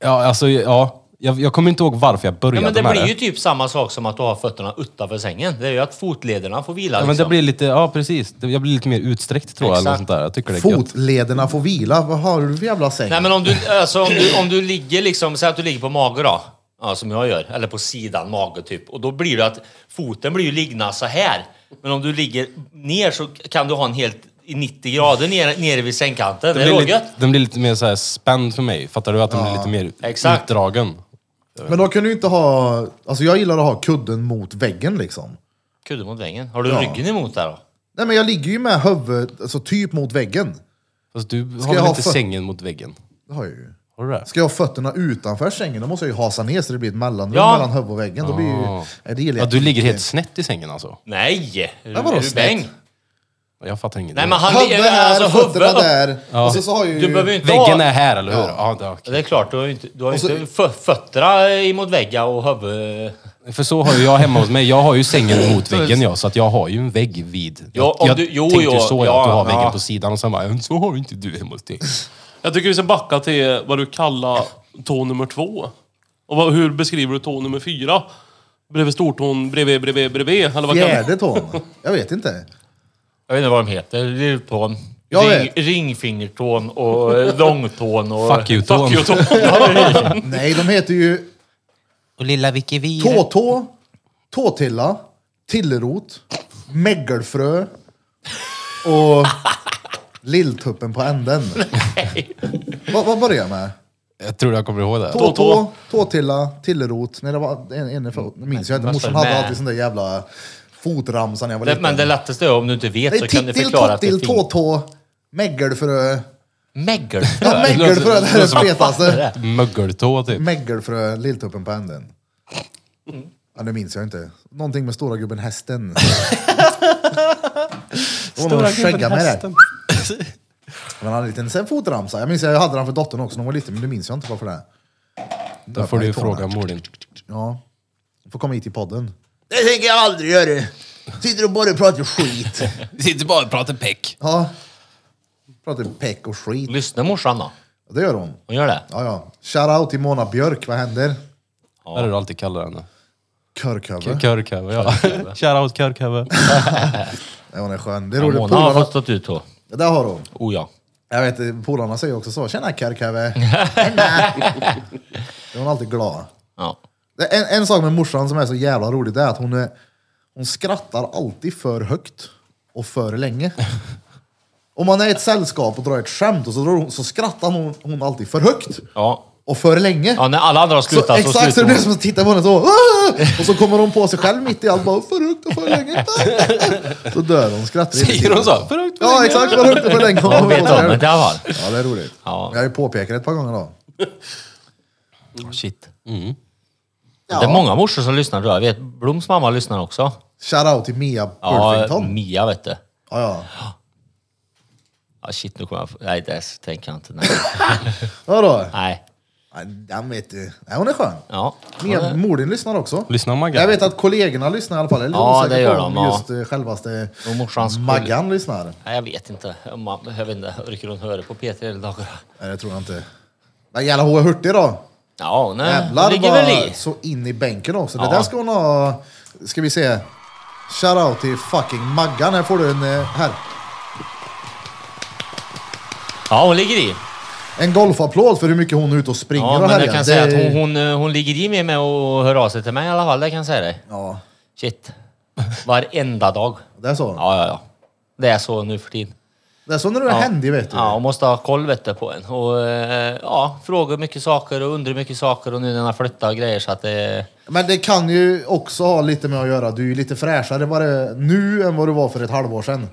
[SPEAKER 4] Ja, alltså, ja. Jag, jag kommer inte ihåg varför jag
[SPEAKER 2] Ja,
[SPEAKER 4] började
[SPEAKER 2] men det
[SPEAKER 4] med
[SPEAKER 2] blir
[SPEAKER 4] det.
[SPEAKER 2] ju typ samma sak som att du har fötterna utanför sängen. Det är ju att fotlederna får vila.
[SPEAKER 4] Ja,
[SPEAKER 2] Liksom.
[SPEAKER 4] men det blir lite, ja precis. Det- Jag blir lite mer utsträckt tror jag. Eller
[SPEAKER 2] Exakt.
[SPEAKER 4] något sånt där. Jag tycker det är gött.
[SPEAKER 1] Fotlederna får vila. Vad har du för jävla säng?
[SPEAKER 2] Nej, men om du, alltså, om du, om du ligger liksom, säg att du ligger på mage då. Ja, som jag gör. Eller på sidan mage typ. Och då blir det att foten blir ju liggna så här. Men om du ligger ner så kan du ha en helt i 90 grader ner, nere vid sängkanten. Det är
[SPEAKER 4] Den blir,
[SPEAKER 2] rågött.
[SPEAKER 4] lite, den blir lite mer så här spänd för mig. Fattar du? Att den blir lite mer
[SPEAKER 2] Exakt.
[SPEAKER 4] utdragen.
[SPEAKER 1] Men då kan du inte ha... Alltså jag gillar att ha kudden mot väggen liksom.
[SPEAKER 2] Kudde mot väggen. Har du
[SPEAKER 1] Ja.
[SPEAKER 2] ryggen emot där då?
[SPEAKER 1] Nej men jag ligger ju med huvudet, alltså typ mot väggen.
[SPEAKER 4] Fast Alltså, du
[SPEAKER 1] Ska jag
[SPEAKER 4] har väl
[SPEAKER 1] ha
[SPEAKER 4] inte
[SPEAKER 1] för-
[SPEAKER 4] sängen mot väggen?
[SPEAKER 1] Det har jag ju.
[SPEAKER 4] Har du det?
[SPEAKER 1] Ska jag ha fötterna utanför sängen, då måste jag ju hasa ner så det blir ett mellanrum
[SPEAKER 2] Ja.
[SPEAKER 1] mellan huvudet och väggen. Då blir ju...
[SPEAKER 4] Ah.
[SPEAKER 1] Nej, det gillar
[SPEAKER 4] Ja,
[SPEAKER 1] jag
[SPEAKER 4] du
[SPEAKER 1] inte.
[SPEAKER 4] ligger helt snett i sängen alltså?
[SPEAKER 2] Nej! Är du-
[SPEAKER 1] Ja, vadå
[SPEAKER 2] är du
[SPEAKER 1] snett?
[SPEAKER 2] bäng?
[SPEAKER 4] Jag fattar ingenting.
[SPEAKER 2] Nej men han
[SPEAKER 1] Huvudet
[SPEAKER 2] ligger...
[SPEAKER 1] här,
[SPEAKER 2] Alltså
[SPEAKER 1] fötterna
[SPEAKER 2] huvudet upp.
[SPEAKER 1] där. Och så, så har ju...
[SPEAKER 2] Du behöver ju inte
[SPEAKER 4] Väggen
[SPEAKER 2] ha...
[SPEAKER 4] är här, eller hur? Ja. det är
[SPEAKER 2] Ja,
[SPEAKER 4] okej.
[SPEAKER 2] Det är klart, du har ju inte, du har ju
[SPEAKER 1] Och så-
[SPEAKER 2] inte fö- fötterna emot väggen och huvudet...
[SPEAKER 4] För så har ju jag hemma hos mig. Jag har ju sängen mot väggen jag, så att jag har ju en vägg vid.
[SPEAKER 2] Ja, om
[SPEAKER 4] jag
[SPEAKER 2] du- jo,
[SPEAKER 4] tänkte ju
[SPEAKER 2] jo,
[SPEAKER 4] så, ja,
[SPEAKER 2] ja,
[SPEAKER 4] att du har
[SPEAKER 2] ja.
[SPEAKER 4] väggen på sidan och sen bara, så har inte du hemma hos dig.
[SPEAKER 3] Jag tycker vi ska backa till vad du kallar tå nummer två. Och vad, hur beskriver du tå nummer fyra? Bredvid stortån, bredvid, bredvid, bredvid. Eller vad kan...
[SPEAKER 1] Fjärde tån? Jag vet inte.
[SPEAKER 2] Jag vet inte vad de heter. Lilltån,
[SPEAKER 1] Jag
[SPEAKER 2] ring,
[SPEAKER 1] vet.
[SPEAKER 2] ringfingertån och eh, långtån och...
[SPEAKER 4] Fuck you-tån.
[SPEAKER 3] Fuck you, tå.
[SPEAKER 1] Nej, de heter ju
[SPEAKER 4] Och lilla Vicky vi.
[SPEAKER 1] tåtå, tåtilla, tillerot, mägelfrö och lilltuppen på änden. Vad, vad börjar jag med?
[SPEAKER 4] Jag tror jag kommer ihåg det.
[SPEAKER 1] Tåtå, tåtilla, tillerot. Nej, det var en, en, fot.
[SPEAKER 2] Mm.
[SPEAKER 1] Nu minns jag inte.
[SPEAKER 2] Men-
[SPEAKER 1] Morsan hade
[SPEAKER 2] men-
[SPEAKER 1] alltid sån där jävla fotramsa när jag var
[SPEAKER 2] Det,
[SPEAKER 1] liten.
[SPEAKER 2] men det lättaste är om du inte vet
[SPEAKER 1] Nej,
[SPEAKER 2] så kan du
[SPEAKER 1] tittil,
[SPEAKER 2] förklara att det är
[SPEAKER 1] tottil,
[SPEAKER 2] fint.
[SPEAKER 1] tåtå, mägelfrö.
[SPEAKER 2] Megger.
[SPEAKER 1] Ja, mägelfrö, det här är det fetaste.
[SPEAKER 4] Mögeltå typ.
[SPEAKER 1] Mägelfrö, lilltuppen på änden. Ja, det minns jag inte. Någonting med stora gubben hästen. Det var någon skägga med det. Men han hade en liten sen fotramsa. Jag minns jag hade den för dottern också när hon var liten, men det minns jag inte varför det. är.
[SPEAKER 2] Mm.
[SPEAKER 4] Då får du ju
[SPEAKER 1] Nötna i tårna.
[SPEAKER 4] fråga mor din.
[SPEAKER 1] Ja. Du får komma hit i podden. Det tänker jag aldrig göra. Sitter och bara pratar skit.
[SPEAKER 4] Sitter bara och pratar peck.
[SPEAKER 1] Ja. Pratar peck och skit.
[SPEAKER 2] Lyssna morsan då.
[SPEAKER 1] Det gör hon.
[SPEAKER 2] Hon gör det.
[SPEAKER 1] Ja, ja. Shoutout till Mona Björk, vad händer?
[SPEAKER 4] Ja. Där du alltid kallar henne.
[SPEAKER 1] Körköver.
[SPEAKER 4] Körköve, ja. Shoutout Körköve.
[SPEAKER 1] Ja, hon är skön. Det är
[SPEAKER 2] Ja,
[SPEAKER 1] roligt.
[SPEAKER 2] Mona har
[SPEAKER 1] Polarna...
[SPEAKER 2] fått stått ut då.
[SPEAKER 1] Det där har hon.
[SPEAKER 2] Oh ja.
[SPEAKER 1] Jag vet, polarna säger också så. Tjena Kärkäve! Hon är alltid glad.
[SPEAKER 2] ja.
[SPEAKER 1] Det är En, en sak med morsan som är så jävla rolig, det är att hon, är, hon skrattar alltid för högt och för länge. Om man är i ett sällskap och drar ett skämt och så, drar hon, så skrattar hon, hon alltid för högt
[SPEAKER 2] Ja.
[SPEAKER 1] och för länge.
[SPEAKER 2] ja, när alla andra har
[SPEAKER 1] Så,
[SPEAKER 2] slutat så,
[SPEAKER 1] exakt, så det
[SPEAKER 2] slutar
[SPEAKER 1] blir
[SPEAKER 2] hon.
[SPEAKER 1] som att titta på henne så. "Åh!" Och så kommer hon på sig själv mitt i allt. Bara, för högt och för länge. Så dör hon. Skrattar hela
[SPEAKER 4] Säger
[SPEAKER 1] tiden.
[SPEAKER 4] hon så? För högt, för
[SPEAKER 1] Ja,
[SPEAKER 4] länge.
[SPEAKER 1] exakt. För högt och för länge.
[SPEAKER 2] Hon vet om det i alla fall.
[SPEAKER 1] Ja, det är roligt.
[SPEAKER 2] Ja.
[SPEAKER 1] Jag har ju påpekat det ett par gånger då.
[SPEAKER 2] Shit.
[SPEAKER 1] Ja.
[SPEAKER 2] Det är många morsor som lyssnar tror jag. Jag vet, Bloms mamma lyssnar också.
[SPEAKER 1] Shoutout till Mia
[SPEAKER 2] Ja,
[SPEAKER 1] Burfington.
[SPEAKER 2] Mia vet du.
[SPEAKER 1] Ja, ja.
[SPEAKER 2] Ja, shit, nu kommer jag... Nej, det tänker jag inte. Nej.
[SPEAKER 1] Ja, då.
[SPEAKER 2] Nej.
[SPEAKER 1] Ja, Den vet du. Nej, hon är skön.
[SPEAKER 2] Ja.
[SPEAKER 1] Mia, mor din lyssnar också.
[SPEAKER 4] Lyssnar Maggan?
[SPEAKER 1] Jag vet att kollegorna lyssnar i alla fall. Jag är lite
[SPEAKER 2] Ja,
[SPEAKER 1] osäker
[SPEAKER 2] det gör
[SPEAKER 1] på
[SPEAKER 2] de,
[SPEAKER 1] om
[SPEAKER 2] ja.
[SPEAKER 1] Just eh, självaste
[SPEAKER 2] Och morsans
[SPEAKER 1] Maggan lyssnar.
[SPEAKER 2] Nej, jag vet inte. Om man- Jag vet inte. Rycker hon höra på P3 hela dagarna?
[SPEAKER 1] Nej, det tror jag inte. Men jävla H.A. Hurtig då.
[SPEAKER 2] Ja, nej.
[SPEAKER 1] Jävlar
[SPEAKER 2] Jävlar ligger väl i.
[SPEAKER 1] vad så in i bänken också. Det
[SPEAKER 2] Ja.
[SPEAKER 1] där ska hon ha... Ska vi se. Shoutout till fucking Maggan. Här får du en... eh, Här.
[SPEAKER 2] Ja, hon ligger i.
[SPEAKER 1] En golfapplåd för hur mycket hon är ute och springer
[SPEAKER 2] Ja,
[SPEAKER 1] och
[SPEAKER 2] men jag
[SPEAKER 1] härjar.
[SPEAKER 2] kan säga att
[SPEAKER 1] Det-
[SPEAKER 2] hon, hon, eh, hon ligger i med mig och hör av sig till mig i alla fall. Det kan jag säga dig.
[SPEAKER 1] Ja,
[SPEAKER 2] Shit. Varenda dag.
[SPEAKER 1] det är så.
[SPEAKER 2] Ja, ja, ja. Det är så nu för tiden.
[SPEAKER 1] Det är så när du är
[SPEAKER 2] Ja.
[SPEAKER 1] händig vet du.
[SPEAKER 2] Ja, hon måste ha koll vet du, på en. Och eh, ja, frågar mycket saker och undrar mycket saker och nu när han flyttar och grejer så att det...
[SPEAKER 1] Men det kan ju också ha lite med att göra. Du är ju lite fräschare var det nu än vad du var för ett halvår sedan.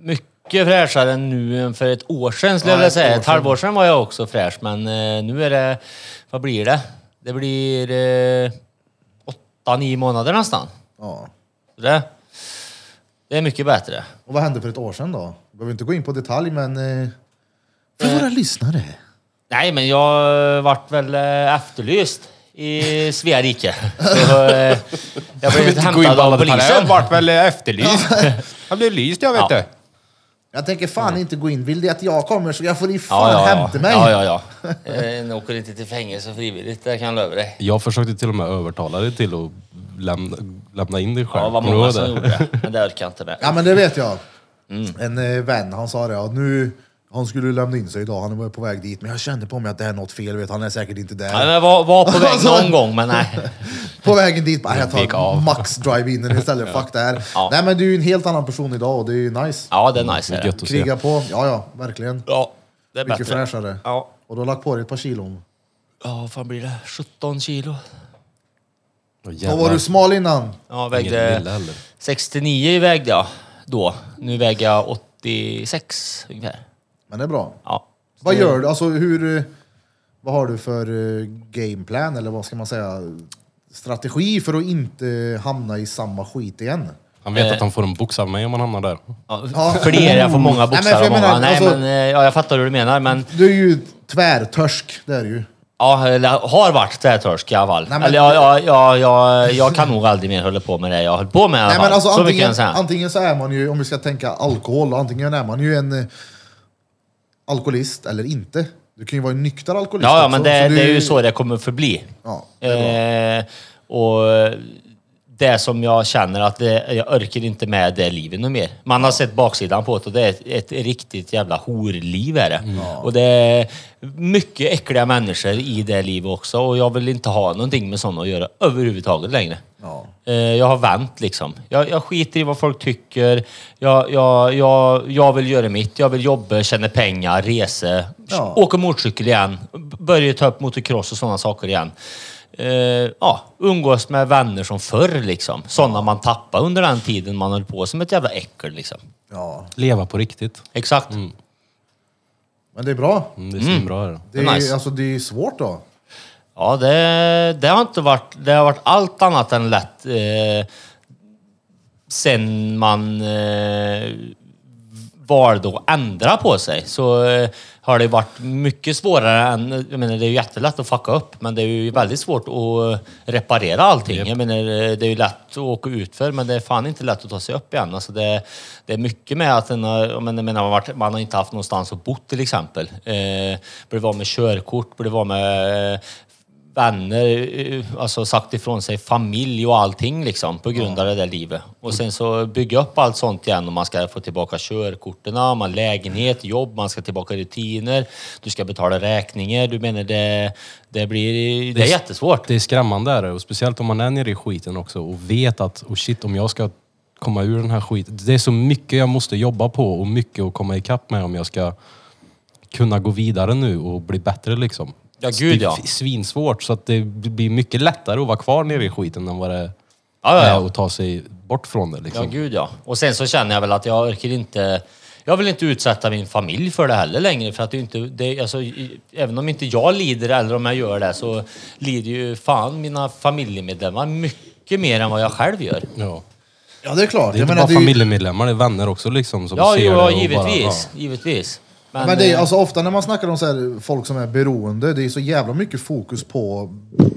[SPEAKER 2] Mycket fräschare nu än för ett år sedan skulle
[SPEAKER 1] Ja,
[SPEAKER 2] jag vilja
[SPEAKER 1] ett år
[SPEAKER 2] säga. Ett
[SPEAKER 1] sedan.
[SPEAKER 2] halvår sedan var jag också fräsch, men eh, nu är det... Vad blir det? Det blir eh, åtta, nio månader nästan.
[SPEAKER 1] Ja.
[SPEAKER 2] Det, det Det är mycket bättre.
[SPEAKER 1] Och vad hände för ett år sedan då? Vi behöver inte gå in på detalj, men eh, för
[SPEAKER 2] Eh.
[SPEAKER 1] våra lyssnare.
[SPEAKER 2] Nej, men jag eh, vart väl eh, efterlyst i Svea rike. Så, eh, Jag blev
[SPEAKER 4] inte gå in
[SPEAKER 2] hämtad
[SPEAKER 4] på alla
[SPEAKER 2] av
[SPEAKER 4] detaljer. Jag
[SPEAKER 2] polisen.
[SPEAKER 4] vart väl efterlyst. Jag blev lyst jag vet
[SPEAKER 2] Ja.
[SPEAKER 4] du.
[SPEAKER 1] Jag tänker fan inte gå in. Vill det att jag kommer så jag får i fan
[SPEAKER 2] Ja, ja, ja.
[SPEAKER 1] hämta mig.
[SPEAKER 2] Ja, ja, ja. Eh, Nu åker inte till fängelse frivilligt, det kan jag lova dig.
[SPEAKER 4] Jag försökte till och med övertala dig till att lämna, lämna in dig själv.
[SPEAKER 2] Ja, det var
[SPEAKER 4] Kommer du
[SPEAKER 2] många
[SPEAKER 4] ihåg
[SPEAKER 2] som
[SPEAKER 4] det?
[SPEAKER 2] gjorde det, men det orkar jag inte med.
[SPEAKER 1] Ja, men det vet jag.
[SPEAKER 2] Mm.
[SPEAKER 1] En eh, vän, han sa det, ja, nu, han skulle lämna in sig idag, han var på väg dit, men jag kände på mig att det här är något fel, vet, han är säkert inte där.
[SPEAKER 2] Ja, men jag var, var på väg någon gång, men nej.
[SPEAKER 1] På vägen dit, bara, jag
[SPEAKER 4] Gick
[SPEAKER 1] tar
[SPEAKER 4] av.
[SPEAKER 1] max drive-in istället, fuck det här.
[SPEAKER 2] Ja.
[SPEAKER 1] Nej men du är ju en helt annan person idag och det är ju nice.
[SPEAKER 2] Ja, det är nice.
[SPEAKER 4] Det
[SPEAKER 2] är
[SPEAKER 4] är
[SPEAKER 2] det.
[SPEAKER 4] gött att se.
[SPEAKER 1] Kriga på, ja ja, verkligen.
[SPEAKER 2] Ja, det är
[SPEAKER 1] Mycket
[SPEAKER 2] bättre.
[SPEAKER 1] fräschare.
[SPEAKER 2] Ja.
[SPEAKER 1] Och du har lagt på dig ett par kilon.
[SPEAKER 2] Ja, vad fan blir det? 17 kilo.
[SPEAKER 1] Då
[SPEAKER 4] Åh, jävlar.
[SPEAKER 1] var du smal innan.
[SPEAKER 2] Ja,
[SPEAKER 4] Ingen lilla
[SPEAKER 2] vägde
[SPEAKER 4] heller.
[SPEAKER 2] 69 vägde jag då. Nu väger jag 86 ungefär.
[SPEAKER 1] Men det är bra.
[SPEAKER 2] Ja.
[SPEAKER 1] Vad gör du? Alltså hur... eh, Vad har du för eh, gameplan eller vad ska man säga? Strategi för att inte hamna i samma skit igen?
[SPEAKER 4] Han vet
[SPEAKER 2] Eh.
[SPEAKER 4] att han får en box av mig om han hamnar där.
[SPEAKER 2] Ja, fler, jag får många
[SPEAKER 1] Nej, men för
[SPEAKER 2] boxar och
[SPEAKER 1] jag
[SPEAKER 2] många...
[SPEAKER 1] menar,
[SPEAKER 2] Nej,
[SPEAKER 1] alltså-
[SPEAKER 2] men eh, ja, jag fattar hur du menar, men...
[SPEAKER 1] Du är ju tvärtörsk, det är du ju.
[SPEAKER 2] Ja, eller har varit tvärtörsk i alla fall.
[SPEAKER 1] Nej, men-
[SPEAKER 2] eller jag, jag, jag, jag, jag kan nog aldrig mer hålla på med det jag höll på med i alla
[SPEAKER 1] Nej,
[SPEAKER 2] fall.
[SPEAKER 1] men alltså,
[SPEAKER 2] så mycket kan
[SPEAKER 1] antingen,
[SPEAKER 2] jag säga.
[SPEAKER 1] antingen så är man ju, om vi ska tänka alkohol, då, antingen är man ju en eh, alkoholist eller inte. Du kan ju vara en nykter alkoholist
[SPEAKER 2] Ja, ja,
[SPEAKER 1] också,
[SPEAKER 2] men det,
[SPEAKER 1] så
[SPEAKER 2] det är ju så det kommer förbli.
[SPEAKER 1] Ja, det är bra.
[SPEAKER 2] Eh, och det som jag känner att det, jag orkar inte med det livet nu mer. Man har sett baksidan på det och det är ett, ett riktigt jävla horliv är det. Och det är mycket äckliga människor i det livet också och jag vill inte ha någonting med sådana att göra överhuvudtaget längre.
[SPEAKER 1] Ja.
[SPEAKER 2] Eh, Jag har vänt liksom. Jag, jag skiter i vad folk tycker. Jag, jag, jag, jag vill göra mitt. Jag vill jobba, tjäna pengar, resa,
[SPEAKER 1] Ja.
[SPEAKER 2] åka motorcykel igen. B- Börja ta upp motocross och sådana saker igen. Eh, ja, umgås med vänner som förr liksom. Sådana man tappade under den tiden man höll på som ett jävla äckel liksom.
[SPEAKER 1] ja,
[SPEAKER 4] Leva på riktigt.
[SPEAKER 2] Exakt.
[SPEAKER 1] men det är bra.
[SPEAKER 4] Mm, Det är svinbra. Mm.
[SPEAKER 1] Det är,
[SPEAKER 2] Nice.
[SPEAKER 1] alltså, det är ju svårt då.
[SPEAKER 2] Ja, det, det har inte varit... Det har varit allt annat än lätt eh, sen man eh, valde att ändra på sig. Så eh, har det varit mycket svårare än... Jag menar, det är ju jättelätt att fucka upp, men det är ju väldigt svårt att eh, reparera allting. Jag menar, eh, det är ju lätt att åka ut för men det är fan inte lätt att ta sig upp igen. Alltså det, det är mycket med att en har, jag menar, jag menar, man, har varit, man har inte haft någonstans att bo till exempel. Eh, blev av med körkort, blev av med eh, vänner, eh, alltså sagt ifrån sig familj och allting liksom på grund av det där livet. Och sen så bygga upp allt sånt igen och man ska få tillbaka körkorten, man har lägenhet, jobb, man ska tillbaka rutiner, du ska betala räkningar. Du menar det, det blir, det är jättesvårt.
[SPEAKER 4] Det är skrämmande är det. Och speciellt om man är nere i skiten också och vet att oh shit, om jag ska komma ur den här skiten. Det är så mycket jag måste jobba på och mycket att komma ikapp med om jag ska kunna gå vidare nu och bli bättre liksom.
[SPEAKER 2] Ja, gud,
[SPEAKER 4] det är
[SPEAKER 2] ja.
[SPEAKER 4] f- svinsvårt så att det blir mycket lättare att vara kvar nere i skiten än vad det
[SPEAKER 2] Ja, ja, ja.
[SPEAKER 4] är att ta sig bort från det
[SPEAKER 2] Ja,
[SPEAKER 4] liksom.
[SPEAKER 2] gud ja. Och sen så känner jag väl att jag orkar inte... Jag vill inte utsätta min familj för det heller längre. För att det är inte, det, alltså, i- även om inte jag lider eller om jag gör det så lider ju fan mina familjemedlemmar mycket mer än vad jag själv gör.
[SPEAKER 4] Ja.
[SPEAKER 1] Ja, det är klart.
[SPEAKER 4] Det är
[SPEAKER 1] Jag
[SPEAKER 4] inte
[SPEAKER 1] menar,
[SPEAKER 4] bara
[SPEAKER 1] det är ju-
[SPEAKER 4] familjemedlemmar, det är vänner också liksom som
[SPEAKER 2] Ja,
[SPEAKER 4] ser
[SPEAKER 2] jo,
[SPEAKER 4] det och
[SPEAKER 2] ja,
[SPEAKER 4] Bara,
[SPEAKER 2] givetvis.
[SPEAKER 4] ja.
[SPEAKER 2] Givetvis. Men,
[SPEAKER 1] Men det är,
[SPEAKER 2] eh,
[SPEAKER 1] alltså, ofta när man snackar om så här, folk som är beroende, det är så jävla mycket fokus på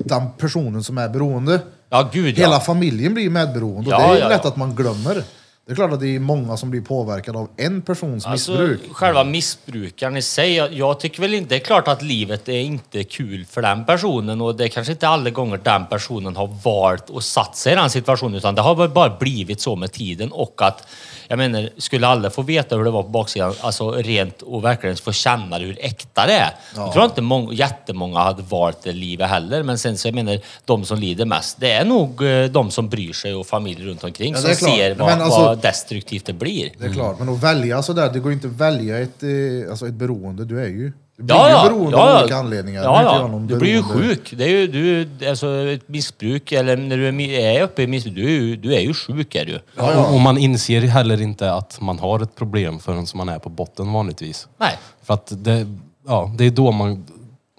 [SPEAKER 1] den personen som är beroende.
[SPEAKER 2] ja, gud
[SPEAKER 1] Hela
[SPEAKER 2] ja.
[SPEAKER 1] familjen blir ju medberoende och
[SPEAKER 2] Ja,
[SPEAKER 1] det är ju
[SPEAKER 2] ja,
[SPEAKER 1] lätt
[SPEAKER 2] ja.
[SPEAKER 1] att man glömmer. Det är klart att det är många som blir påverkade av en persons
[SPEAKER 2] Alltså,
[SPEAKER 1] missbruk.
[SPEAKER 2] Själva missbrukaren i sig. Jag, jag tycker väl inte... Det är klart att livet är inte kul för den personen och det är kanske inte alla gånger den personen har valt och satt sig i den situationen utan det har väl bara blivit så med tiden och att... Jag menar, skulle alla få veta hur det var på baksidan, alltså rent och verkligen få känna det, hur äkta det är. Jag tror inte många, jättemånga hade valt det livet heller, men sen så jag menar, de som lider mest, det är nog eh, de som bryr sig och familjer runt omkring
[SPEAKER 1] Ja, det
[SPEAKER 2] som
[SPEAKER 1] är klart.
[SPEAKER 2] ser vad,
[SPEAKER 1] Men alltså-
[SPEAKER 2] vad destruktivt det blir.
[SPEAKER 1] Det är klart, men att välja sådär, det går ju inte att välja ett, eh, alltså ett beroende. Du är ju, du blir ju beroende av olika anledningar. Nu är
[SPEAKER 2] Ja,
[SPEAKER 1] inte
[SPEAKER 2] ja.
[SPEAKER 1] jag någon
[SPEAKER 2] Du blir ju
[SPEAKER 1] beroende.
[SPEAKER 2] sjuk. Det är ju, du, alltså, ett missbruk, eller när du är, mi- är uppe i missbruk, du är ju, du är ju sjuk. Är du.
[SPEAKER 4] Och, och man inser heller inte att man har ett problem förrän man är på botten vanligtvis.
[SPEAKER 2] Nej.
[SPEAKER 4] För att det, ja, det är då man...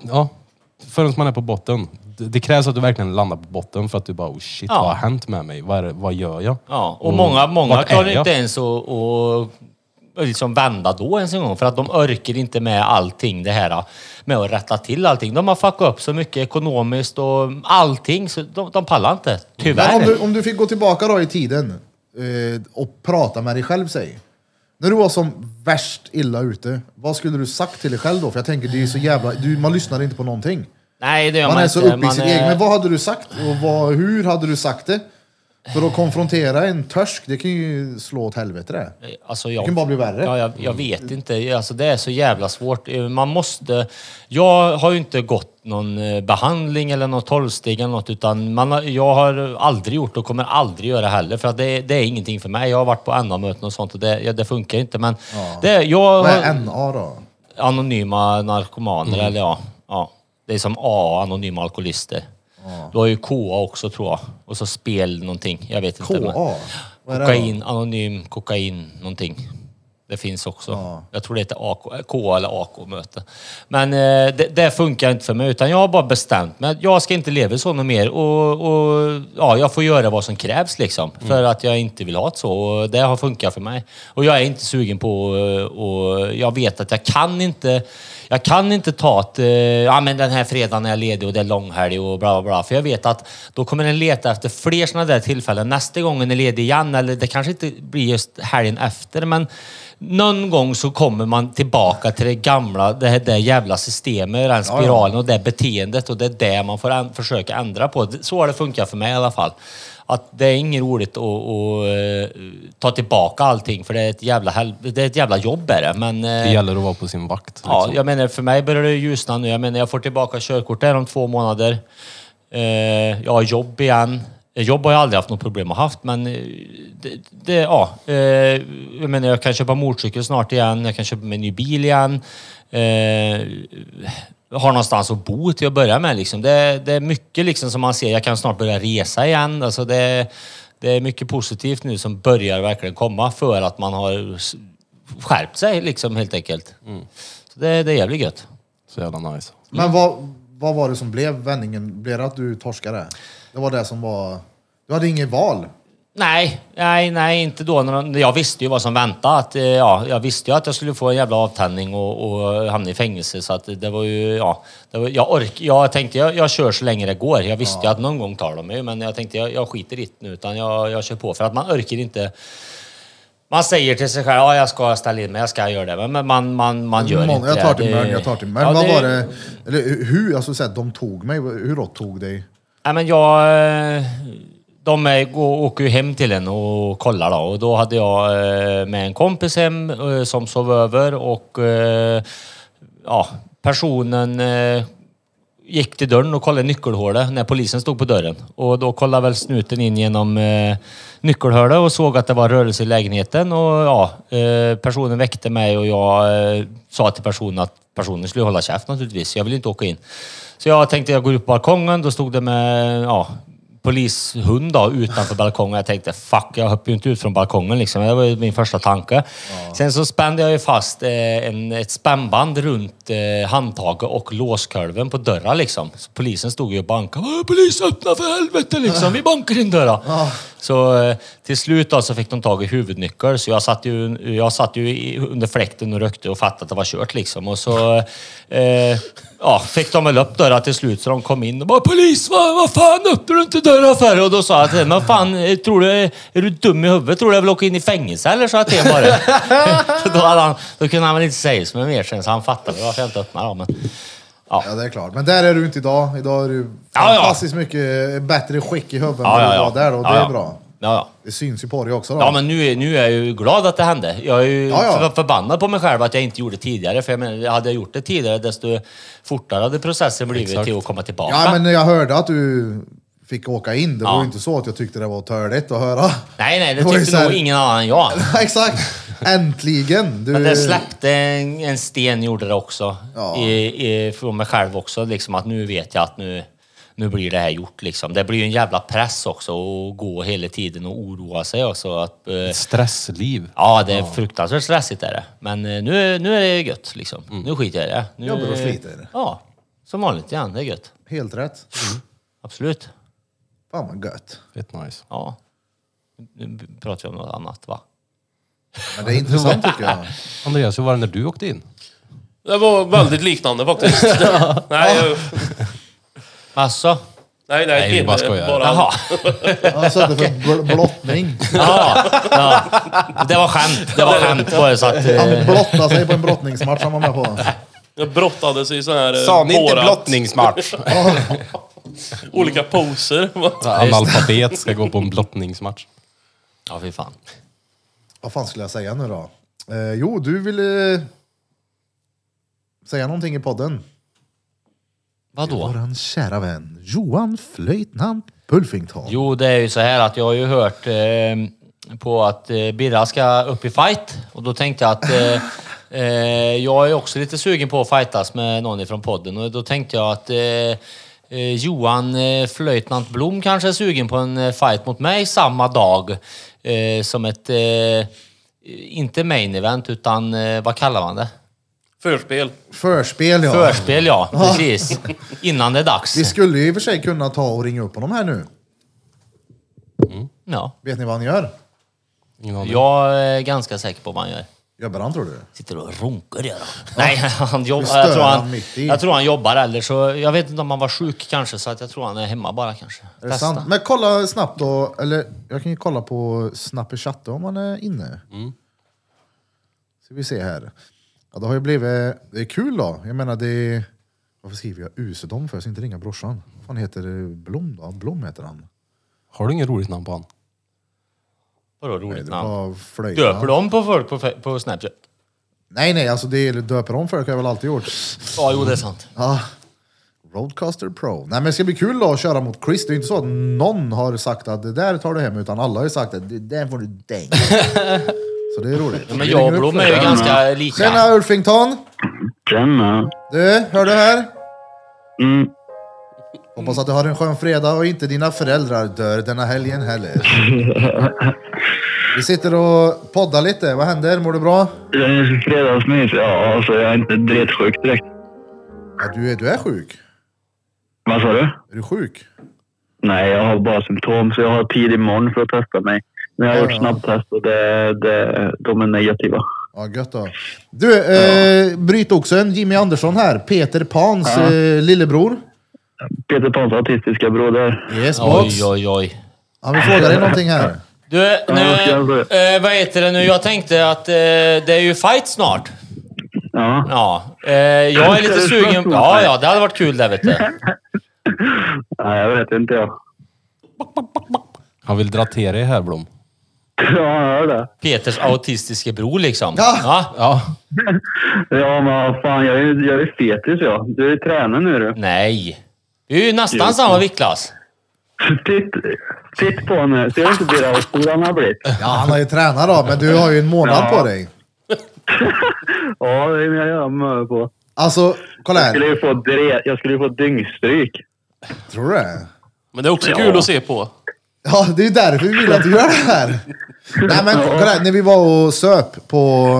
[SPEAKER 4] Ja, förrän man är på botten. det krävs att du verkligen landar på botten för att du bara oh shit,
[SPEAKER 2] Ja.
[SPEAKER 4] vad har hänt med mig? Vad, är, det- vad gör jag?
[SPEAKER 2] Ja, och många, många
[SPEAKER 4] vart är
[SPEAKER 2] klarar
[SPEAKER 4] jag?
[SPEAKER 2] inte ens att att liksom vända då ens en gång för att de orkar inte med allting det här med att rätta till allting. De har fuckat upp så mycket ekonomiskt och allting så de, de pallar inte. Tyvärr.
[SPEAKER 1] Men om, du, om du fick gå tillbaka då i tiden eh, och prata med dig själv, säg. När du var som värst illa ute, vad skulle du sagt till dig själv då? För jag tänker, det är så jävla... Du, man lyssnar inte på någonting.
[SPEAKER 2] Nej, det gör man,
[SPEAKER 1] Man är så
[SPEAKER 2] inte.
[SPEAKER 1] uppe i sitt
[SPEAKER 2] är-
[SPEAKER 1] eget. Men vad hade du sagt? Och vad, hur hade du sagt det? För att konfrontera en törsk, det kan ju slå åt helvete det.
[SPEAKER 2] Alltså jag,
[SPEAKER 1] Det kan bara bli värre.
[SPEAKER 2] Ja, jag, jag vet inte. Alltså, det är så jävla svårt. Eh, Man måste... Jag har ju inte gått någon eh, behandling eller något tolvsteg eller något utan man har, jag har aldrig gjort och kommer aldrig göra heller för att det, det är ingenting för mig. Jag har varit på NA-möten och sånt och det, ja, det funkar inte men... Det, jag,
[SPEAKER 1] Vad är NA då?
[SPEAKER 2] anonyma narkomaner eller ja, ja. Det är som AA, anonyma alkoholister. Du har ju KA också tror jag. Och så spel någonting. Jag vet inte. men-
[SPEAKER 1] KA? Vad är det då?
[SPEAKER 2] Kokain, anonym kokain någonting. Det finns också.
[SPEAKER 1] Ja.
[SPEAKER 2] Jag tror det heter AK, KA eller AK-möte. Men eh, det, det funkar inte för mig utan jag har bara bestämt mig att jag ska inte leva så något mer och, och ja, jag får göra vad som krävs liksom. För att jag inte vill ha det så och det har funkat för mig. Och jag är inte sugen på eh, och jag vet att jag kan inte jag kan inte ta att eh, ja, men den här fredagen är jag ledig och det är långhelg och bla bla bla. För jag vet att då kommer den leta efter fler sådana där tillfällen. Nästa gång den är ledig igen eller det kanske inte blir just helgen efter men någon gång så kommer man tillbaka till det gamla, det här det jävla systemet, den spiralen och det beteendet och det är det man får an- försöka ändra på. Så har det funkat för mig i alla fall. Att det är inget roligt att, att eh, ta tillbaka allting för det är ett jävla, hel- det är ett jävla jobb är det. Men, eh,
[SPEAKER 4] Det gäller att vara på sin vakt.
[SPEAKER 2] Ja,
[SPEAKER 4] liksom.
[SPEAKER 2] jag menar för mig börjar det ljusna nu. Jag menar jag får tillbaka körkort där om två månader. Eh, jag har jobb igen. Eh, Jobb har jag aldrig haft något problem att haft men eh, det, det, ja. Eh, jag menar jag kan köpa motorcykel snart igen. Jag kan köpa mig en ny bil igen. Eh, har någonstans att bo till att börja med liksom. Det, det är mycket liksom som man ser. Jag kan snart börja resa igen. Alltså det, det är mycket positivt nu som börjar verkligen komma för att man har s- skärpt sig liksom helt enkelt. Så det, det är jävligt gött.
[SPEAKER 4] Så jävla nice.
[SPEAKER 1] Men vad, vad var det som blev vändningen? Blev det att du torskade? Det var det som var... Du hade inget val.
[SPEAKER 2] Nej, nej, nej, inte då. När de, jag visste ju vad som väntade. Att, eh, ja, jag visste ju att jag skulle få en jävla avtändning och, och hamna i fängelse. Så att det var ju, ja. Det var, jag, ork, jag tänkte, jag, jag kör så länge det går. Jag visste ju att någon gång tar de mig. Men jag tänkte, jag, jag skiter i det nu. Utan jag, jag kör på. För att man orkar inte. Man säger till sig själv, ja jag ska ställa in mig, jag ska göra det. Men- Men man, man, man gör
[SPEAKER 1] Mån-
[SPEAKER 2] inte
[SPEAKER 1] jag
[SPEAKER 2] det.
[SPEAKER 1] tar till
[SPEAKER 2] Det-
[SPEAKER 1] mörn, jag tar till mörn.
[SPEAKER 2] Ja,
[SPEAKER 1] vad
[SPEAKER 2] det-
[SPEAKER 1] var det? Eller hur? Alltså så här, de tog mig. Hur då tog dig?
[SPEAKER 2] Nej men jag... eh, De är, går, åker ju hem till en och kollar då och då hade jag eh, med en kompis hem eh, som sov över och eh, ja, personen eh, gick till dörren och kollade nyckelhålet när polisen stod på dörren. Och då kollade väl snuten in genom eh, nyckelhålet och såg att det var rörelse i lägenheten och ja, eh, personen väckte mig och jag eh, sa till personen att personen skulle hålla käft naturligtvis. Jag vill inte åka in. Så jag tänkte jag går upp på balkongen. Då stod det med ja, polishund då, utanför balkongen. Jag tänkte fuck, jag hoppar ju inte ut från balkongen liksom. Det var ju min första tanke. Sen så spände jag ju fast eh, en, ett spännband runt eh, handtaget och låskurven på dörren liksom. Så polisen stod ju och bankade. "Åh, Polis öppna för helvete liksom, vi bankar in dörren. Så eh, till slut då, så fick de tag i huvudnyckeln. Så jag satt ju, jag satt ju i, under fläkten och rökte och fattade att det var kört liksom. Och så eh, ja, fick de väl upp dörren till slut så de kom in och bara Polis, vad, vad fan öppnar du inte dörren för? Och då sa jag till dem, "Men fan, eh, tror du, är du dum i huvudet? Tror du jag vill åka in i fängelse eller? Sa jag till honom bara. så då, hade han, då kunde han väl inte säga så mycket mer sen så han fattade väl varför jag inte öppnade. då, Men, ja.
[SPEAKER 1] Ja, det är klart. Men där är du inte idag. Idag är du
[SPEAKER 2] Ja, ja.
[SPEAKER 1] fantastiskt mycket bättre skick i huvudet
[SPEAKER 2] Ja,
[SPEAKER 1] än
[SPEAKER 2] ja,
[SPEAKER 1] vad du var där
[SPEAKER 2] ja.
[SPEAKER 1] då. Det
[SPEAKER 2] Ja, ja.
[SPEAKER 1] är bra.
[SPEAKER 2] Ja, ja.
[SPEAKER 1] Det syns ju på dig också då.
[SPEAKER 2] Ja, men nu, är- nu är jag ju glad att det hände. Jag är ju
[SPEAKER 1] Ja, ja.
[SPEAKER 2] för- förbannad på mig själv att jag inte gjorde det tidigare. För jag menar, hade jag gjort det tidigare, desto fortare hade processen blivit
[SPEAKER 4] Exakt.
[SPEAKER 2] till att komma tillbaka.
[SPEAKER 1] Ja, men när jag hörde att du fick åka in, det
[SPEAKER 2] Ja.
[SPEAKER 1] var ju inte så att jag tyckte det var törligt att höra.
[SPEAKER 2] Nej, nej, det
[SPEAKER 1] Det var ju
[SPEAKER 2] tyckte
[SPEAKER 1] så här-
[SPEAKER 2] nog ingen annan än jag.
[SPEAKER 1] Exakt! Äntligen! Du...
[SPEAKER 2] Men det släppte en, en sten, gjorde det också.
[SPEAKER 1] Eh. Ja.
[SPEAKER 2] I, i, från mig själv också, liksom att nu vet jag att nu, nu blir det här gjort. Liksom. Det blir ju en jävla press också att gå hela tiden och oroa sig. Också, att, eh,
[SPEAKER 4] Stressliv.
[SPEAKER 2] Ja, det är fruktansvärt stressigt är det. Men eh, nu, nu är det gött
[SPEAKER 1] Mm.
[SPEAKER 2] liksom. Nu skiter jag i det. Nu,
[SPEAKER 1] Jobbar och sliter.
[SPEAKER 2] Ja, som vanligt igen. Det är gött.
[SPEAKER 1] Helt rätt.
[SPEAKER 2] Absolut.
[SPEAKER 1] Fan vad gött.
[SPEAKER 4] Fett nice.
[SPEAKER 2] Ja. Nu pratar vi om något annat va?
[SPEAKER 1] Men det är intressant tycker jag.
[SPEAKER 4] Andreas, hur var det när du åkte in?
[SPEAKER 2] Eh,
[SPEAKER 3] Det var väldigt liknande faktiskt. nej, jag,
[SPEAKER 2] Alltså?
[SPEAKER 3] nej, nej,
[SPEAKER 4] Nej, vi bara skojar.
[SPEAKER 2] Jaha.
[SPEAKER 1] Han satte för bl- blottning.
[SPEAKER 2] Ja, ja. Det var skämt. Det var skämt bara så att... eh,
[SPEAKER 1] Han blottade sig på en brottningsmatch han var med på.
[SPEAKER 3] Jag brottades i sån här... eh,
[SPEAKER 4] Sa ni inte
[SPEAKER 3] Borat.
[SPEAKER 4] blottningsmatch?
[SPEAKER 3] Olika poser.
[SPEAKER 4] Analfabet ska gå på en blottningsmatch.
[SPEAKER 2] Ja, fy fan.
[SPEAKER 1] Vad fan skulle jag säga nu då? Eh, jo, du ville eh, säga någonting i podden.
[SPEAKER 2] Vadå?
[SPEAKER 1] Våran kära vän Johan Flöjtnant Pulfington.
[SPEAKER 2] Jo, det är ju så här att jag har ju hört eh, på att eh, Birra ska upp i fight och då tänkte jag att eh, eh, jag är också lite sugen på att fightas med någon ifrån podden och då tänkte jag att eh, Eh, Johan eh, Flöjtnant Blom kanske är sugen på en eh, fight mot mig samma dag eh, som ett, eh, inte main event utan eh, vad kallar man det?
[SPEAKER 3] Förspel.
[SPEAKER 1] Förspel ja.
[SPEAKER 2] Förspel ja, precis. Innan det är dags.
[SPEAKER 1] Vi skulle ju i och för sig kunna ta och ringa upp honom här nu.
[SPEAKER 2] Ja.
[SPEAKER 1] Vet ni vad han gör?
[SPEAKER 4] Ingen aning.
[SPEAKER 2] Jag är ganska säker på vad han gör.
[SPEAKER 1] Jobbar han tror du?
[SPEAKER 2] Sitter och runkar där. Nej, han jobbar.
[SPEAKER 1] stör
[SPEAKER 2] Jag, tror
[SPEAKER 1] han
[SPEAKER 2] han,
[SPEAKER 1] mitt i.
[SPEAKER 2] jag tror han jobbar eller så... Jag vet inte om han var sjuk kanske, så att jag tror han är hemma bara kanske.
[SPEAKER 1] Är det sant? Men kolla snabbt då, eller jag kan ju kolla på Snapchat om han är inne.
[SPEAKER 2] Mm.
[SPEAKER 1] Ska vi se här. Ja, det har ju blivit, det är kul då. Jag menar det, varför skriver jag usedom för? Jag ska inte ringa brorsan. Vad fan heter det? Blom då? Blom heter han.
[SPEAKER 4] Har du inget roligt namn på han?
[SPEAKER 2] Vadå roligt namn?
[SPEAKER 1] Ja, flöjtnant.
[SPEAKER 2] Döper de på folk på, fe- på Snapchat?
[SPEAKER 1] Nej, nej, alltså det är, döper om folk har jag väl alltid gjort.
[SPEAKER 2] Ja, jo det är sant.
[SPEAKER 1] Ja. Roadcaster Pro. Nej men det ska bli kul då att köra mot Chris. Det är ju inte så att någon har sagt att det där tar du hem, utan alla har ju sagt att det där får du däng. så det är roligt.
[SPEAKER 2] Men jag och Blom är ju ganska lika.
[SPEAKER 1] Tjena Ulfington!
[SPEAKER 5] Tjena.
[SPEAKER 1] Du, hör du här?
[SPEAKER 5] Mm.
[SPEAKER 1] Hoppas att du har en skön fredag och inte dina föräldrar dör denna helgen heller. Vi sitter och poddar lite. Vad händer? Mår du bra?
[SPEAKER 5] Det är Fredagsmys? Ja, alltså jag är inte dretsjuk direkt.
[SPEAKER 1] Ja, du, är, du är sjuk.
[SPEAKER 5] Vad sa du?
[SPEAKER 1] Är du sjuk?
[SPEAKER 5] Nej, jag har bara symptom så jag har tid imorgon för att testa mig. Men jag har
[SPEAKER 1] Ja,
[SPEAKER 5] gjort
[SPEAKER 1] ja.
[SPEAKER 5] snabbtest och det, det, de är negativa.
[SPEAKER 1] Ja, gött då. Du, eh, Brytoxen, Jimmy Andersson här. Peter Pans
[SPEAKER 5] Ja.
[SPEAKER 1] eh, lillebror.
[SPEAKER 5] Peter Pans autistiska broder.
[SPEAKER 1] Yes, box.
[SPEAKER 2] Oj, oj, oj.
[SPEAKER 1] Han vill fråga dig någonting här.
[SPEAKER 2] Du, nu,
[SPEAKER 5] Ja, tjena.
[SPEAKER 2] eh, vad heter det nu? Jag tänkte att eh, det är ju fight snart.
[SPEAKER 5] Ja.
[SPEAKER 2] Ja, eh, jag är
[SPEAKER 5] Ska
[SPEAKER 2] lite
[SPEAKER 5] du slåss
[SPEAKER 2] sugen.
[SPEAKER 5] mot
[SPEAKER 2] Ja,
[SPEAKER 5] mig?
[SPEAKER 2] ja, det hade varit kul det vet du.
[SPEAKER 5] Nej, jag vet inte jag.
[SPEAKER 4] Han vill dra till dig här Blom.
[SPEAKER 5] Ja, jag hör det.
[SPEAKER 2] Peters autistiske bror liksom.
[SPEAKER 1] Ja.
[SPEAKER 4] Ja,
[SPEAKER 5] Ja, men vad fan, jag är ju jag är fetis jag. Du är ju tränare nu du.
[SPEAKER 2] Nej. Vi är ju nästan
[SPEAKER 5] Jo.
[SPEAKER 2] samma viktklass.
[SPEAKER 5] Titt, titt på nu. Ser du inte Birra hur stor han har blivit?
[SPEAKER 1] Ja, han har ju tränat då, men du har ju en månad
[SPEAKER 5] Ja.
[SPEAKER 1] på dig.
[SPEAKER 5] Ja, det är jag gör mö på.
[SPEAKER 1] Alltså, kolla
[SPEAKER 5] Jag skulle
[SPEAKER 1] här.
[SPEAKER 5] ju få, dre, jag skulle ju få dyngstryk.
[SPEAKER 1] Tror du det?
[SPEAKER 3] Men det är också
[SPEAKER 5] Ja.
[SPEAKER 3] kul att se på.
[SPEAKER 1] Ja, det är ju därför vi vill att du gör det här. Nej men kolla här, när vi var och söp på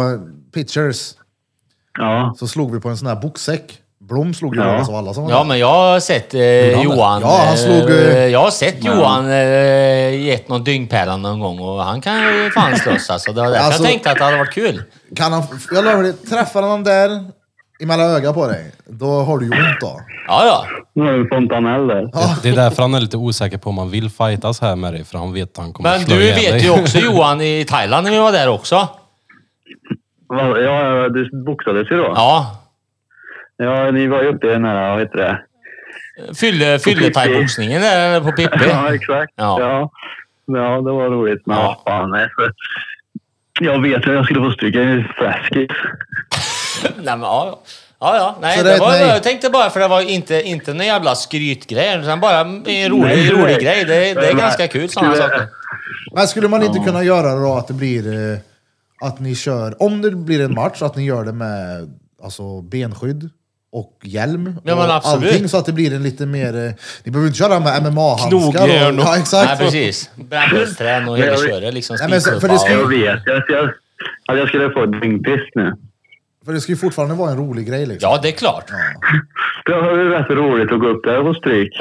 [SPEAKER 1] Pitchers
[SPEAKER 5] Ja.
[SPEAKER 1] så slog vi på en sån här boksäck. Blom slog ju
[SPEAKER 5] Ja.
[SPEAKER 1] ja. av alla som var
[SPEAKER 2] Ja,
[SPEAKER 1] där.
[SPEAKER 2] men jag har sett eh, Johan.
[SPEAKER 1] Ja, han
[SPEAKER 2] eh,
[SPEAKER 1] slog, eh,
[SPEAKER 2] jag har sett Johan eh, gett någon dyngpärla någon gång och han kan ju fan slåss alltså. Det var därför
[SPEAKER 1] Alltså-
[SPEAKER 2] jag tänkte att det hade varit kul.
[SPEAKER 1] Kan han, jag lovar dig, träffar han där emellan ögat på dig, då har du ju ont då.
[SPEAKER 2] Ja, ja.
[SPEAKER 5] Nu har vi en fontanell där.
[SPEAKER 4] det, det är därför han är lite osäker på om han vill fightas här med dig. För han vet att han kommer
[SPEAKER 2] Men
[SPEAKER 4] slå
[SPEAKER 2] du
[SPEAKER 4] ihjäl
[SPEAKER 2] vet
[SPEAKER 4] dig.
[SPEAKER 2] ju också Johan i Thailand när vi var där också.
[SPEAKER 5] Va- Ja, ja, du boxades ju då. Ja.
[SPEAKER 2] Ja.
[SPEAKER 5] ni var ju uppe i den här, vad heter det?
[SPEAKER 2] Fylle, fylle thaiboxningen där eh, på Pippi.
[SPEAKER 5] Ja, exakt.
[SPEAKER 2] Ja.
[SPEAKER 5] Ja. Ja. det var roligt. Men vad fan, nej, för jag vet hur jag skulle få stryk. Jag är ju fläskig.
[SPEAKER 2] Nej, men, ja. Ja, ja. Nej,
[SPEAKER 1] Så
[SPEAKER 2] det
[SPEAKER 1] det är ett
[SPEAKER 2] var,
[SPEAKER 1] nej.
[SPEAKER 2] jag tänkte bara för det var inte, inte någon jävla skrytgrej utan bara en rolig, rolig grej. Det, det är ganska kul sådana saker.
[SPEAKER 1] Men skulle man inte kunna göra det då att det blir eh, att ni kör, om det blir en match, att ni gör det med alltså, benskydd och hjälm
[SPEAKER 2] Ja,
[SPEAKER 1] och
[SPEAKER 2] men absolut.
[SPEAKER 1] allting så att det blir en lite mer, eh, ni behöver inte köra med MMA-handskar.
[SPEAKER 3] Knogjärn
[SPEAKER 1] och-
[SPEAKER 3] och-
[SPEAKER 1] Ja,
[SPEAKER 2] Nej,
[SPEAKER 1] exakt.
[SPEAKER 2] precis. Brännbollsträn och hela köret liksom.
[SPEAKER 1] Nej, men så- för det
[SPEAKER 2] spikklubba
[SPEAKER 1] ska ju-
[SPEAKER 5] Jag vet jag, jag, att jag skulle få dyngpiss nu.
[SPEAKER 1] För det ska ju fortfarande vara en rolig grej liksom.
[SPEAKER 2] Ja, det är klart.
[SPEAKER 5] Det var ju rätt roligt att gå upp där och få stryk.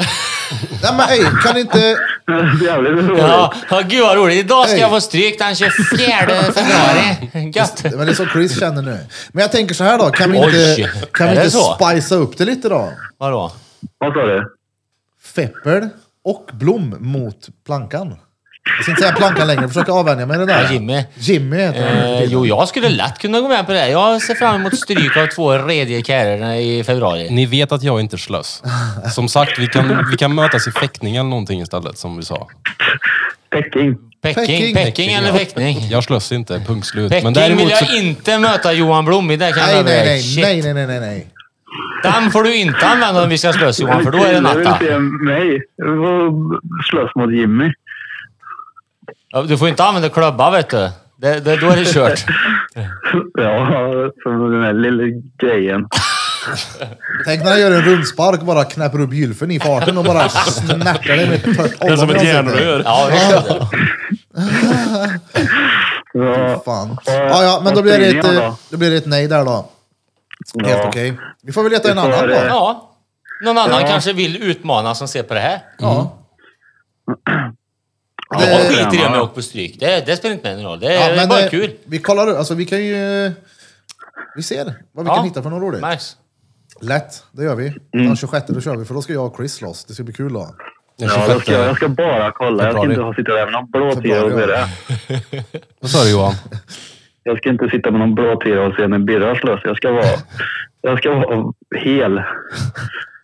[SPEAKER 1] Nej men ej, kan inte...
[SPEAKER 5] Jävligt roligt.
[SPEAKER 2] Ja, ja, gud vad roligt. Idag ska jag få stryk den 24 februari. Gött!
[SPEAKER 1] Det var det som Chris känner nu. Men jag tänker så här då, kan vi inte,
[SPEAKER 2] Oj,
[SPEAKER 1] kan vi
[SPEAKER 2] är det
[SPEAKER 1] inte
[SPEAKER 2] så?
[SPEAKER 1] spicea upp det lite då?
[SPEAKER 2] Vadå?
[SPEAKER 5] Vad sa du?
[SPEAKER 1] Feppel och Blom mot plankan. Jag ska inte säga plankan längre, jag försöker avvänja mig det där.
[SPEAKER 2] Ja, Jimmy.
[SPEAKER 1] Jimmy heter han.
[SPEAKER 2] Eh, jo, jag skulle lätt kunna gå med på det. Jag ser fram emot stryk av två rediga karlar i februari.
[SPEAKER 4] Ni vet att jag inte slös. Som sagt, vi kan, vi kan mötas i fäktning eller någonting istället, som vi sa.
[SPEAKER 5] Peking.
[SPEAKER 2] Peking,
[SPEAKER 1] Peking.
[SPEAKER 2] Peking, eller fäktning?
[SPEAKER 4] Jag slös inte, punkt slut.
[SPEAKER 2] Peking
[SPEAKER 4] Men däremot
[SPEAKER 2] vill jag
[SPEAKER 4] så...
[SPEAKER 2] inte möta Johan Blom i. Det kan
[SPEAKER 1] Nej,
[SPEAKER 2] jag
[SPEAKER 1] nej,
[SPEAKER 2] nej,
[SPEAKER 1] nej,
[SPEAKER 2] Shit.
[SPEAKER 1] nej, nej, nej, nej, nej.
[SPEAKER 2] Den får du inte använda om vi ska slösa Johan, för då är det
[SPEAKER 5] Jag vill
[SPEAKER 2] natta.
[SPEAKER 5] se mig. Jag får slåss mot Jimmy.
[SPEAKER 2] Ja, Du får inte använda klubba, vet du. Det, det, då är det kört.
[SPEAKER 5] Ja, som den här lilla grejen.
[SPEAKER 1] Tänk när han gör en rundspark och bara knäpper upp gylfen i farten och bara snärtar dig med ett tört
[SPEAKER 3] Det är som
[SPEAKER 1] ollon i
[SPEAKER 3] ett
[SPEAKER 1] ansiktet.
[SPEAKER 3] järnrör.
[SPEAKER 2] Ja, det är det.
[SPEAKER 5] Ja,
[SPEAKER 1] Fan. Ja, ja, men då
[SPEAKER 5] vad
[SPEAKER 1] blir, det
[SPEAKER 5] säger
[SPEAKER 1] ett,
[SPEAKER 5] jag
[SPEAKER 1] eh,
[SPEAKER 5] då?
[SPEAKER 1] då blir det ett nej där då. Mm, Helt
[SPEAKER 5] Ja.
[SPEAKER 1] okej. Vi får väl leta en
[SPEAKER 5] Vi får
[SPEAKER 1] annan
[SPEAKER 5] det.
[SPEAKER 1] då.
[SPEAKER 2] ja. Någon annan
[SPEAKER 5] Ja.
[SPEAKER 2] kanske vill utmana som ser på det här.
[SPEAKER 1] Ja.
[SPEAKER 5] Ja,
[SPEAKER 1] Det-
[SPEAKER 2] Jag skiter i om
[SPEAKER 5] ja.
[SPEAKER 2] jag åker på stryk. Det, det spelar inte med någon roll. Det,
[SPEAKER 1] Ja,
[SPEAKER 2] är
[SPEAKER 1] men
[SPEAKER 2] bara
[SPEAKER 1] det-
[SPEAKER 2] kul.
[SPEAKER 1] Vi kollar, alltså vi kan ju... Vi ser vad vi
[SPEAKER 2] Ja.
[SPEAKER 1] kan hitta för något roligt.
[SPEAKER 2] Max.
[SPEAKER 1] Lätt, det gör vi. Den 26 då kör vi, för då ska jag och Chris slåss. Det ska bli kul då.
[SPEAKER 4] Den
[SPEAKER 5] Ja, då ska
[SPEAKER 4] 26.
[SPEAKER 5] jag, jag ska bara kolla. Jag ska
[SPEAKER 4] Februari.
[SPEAKER 5] inte ha- sitta där med någon blå
[SPEAKER 1] Februari,
[SPEAKER 5] tira och se
[SPEAKER 1] ja.
[SPEAKER 5] det.
[SPEAKER 4] Vad sa du Johan?
[SPEAKER 5] Jag ska inte sitta med någon blå tira och se när Birra slåss. Jag ska vara... Jag ska vara hel.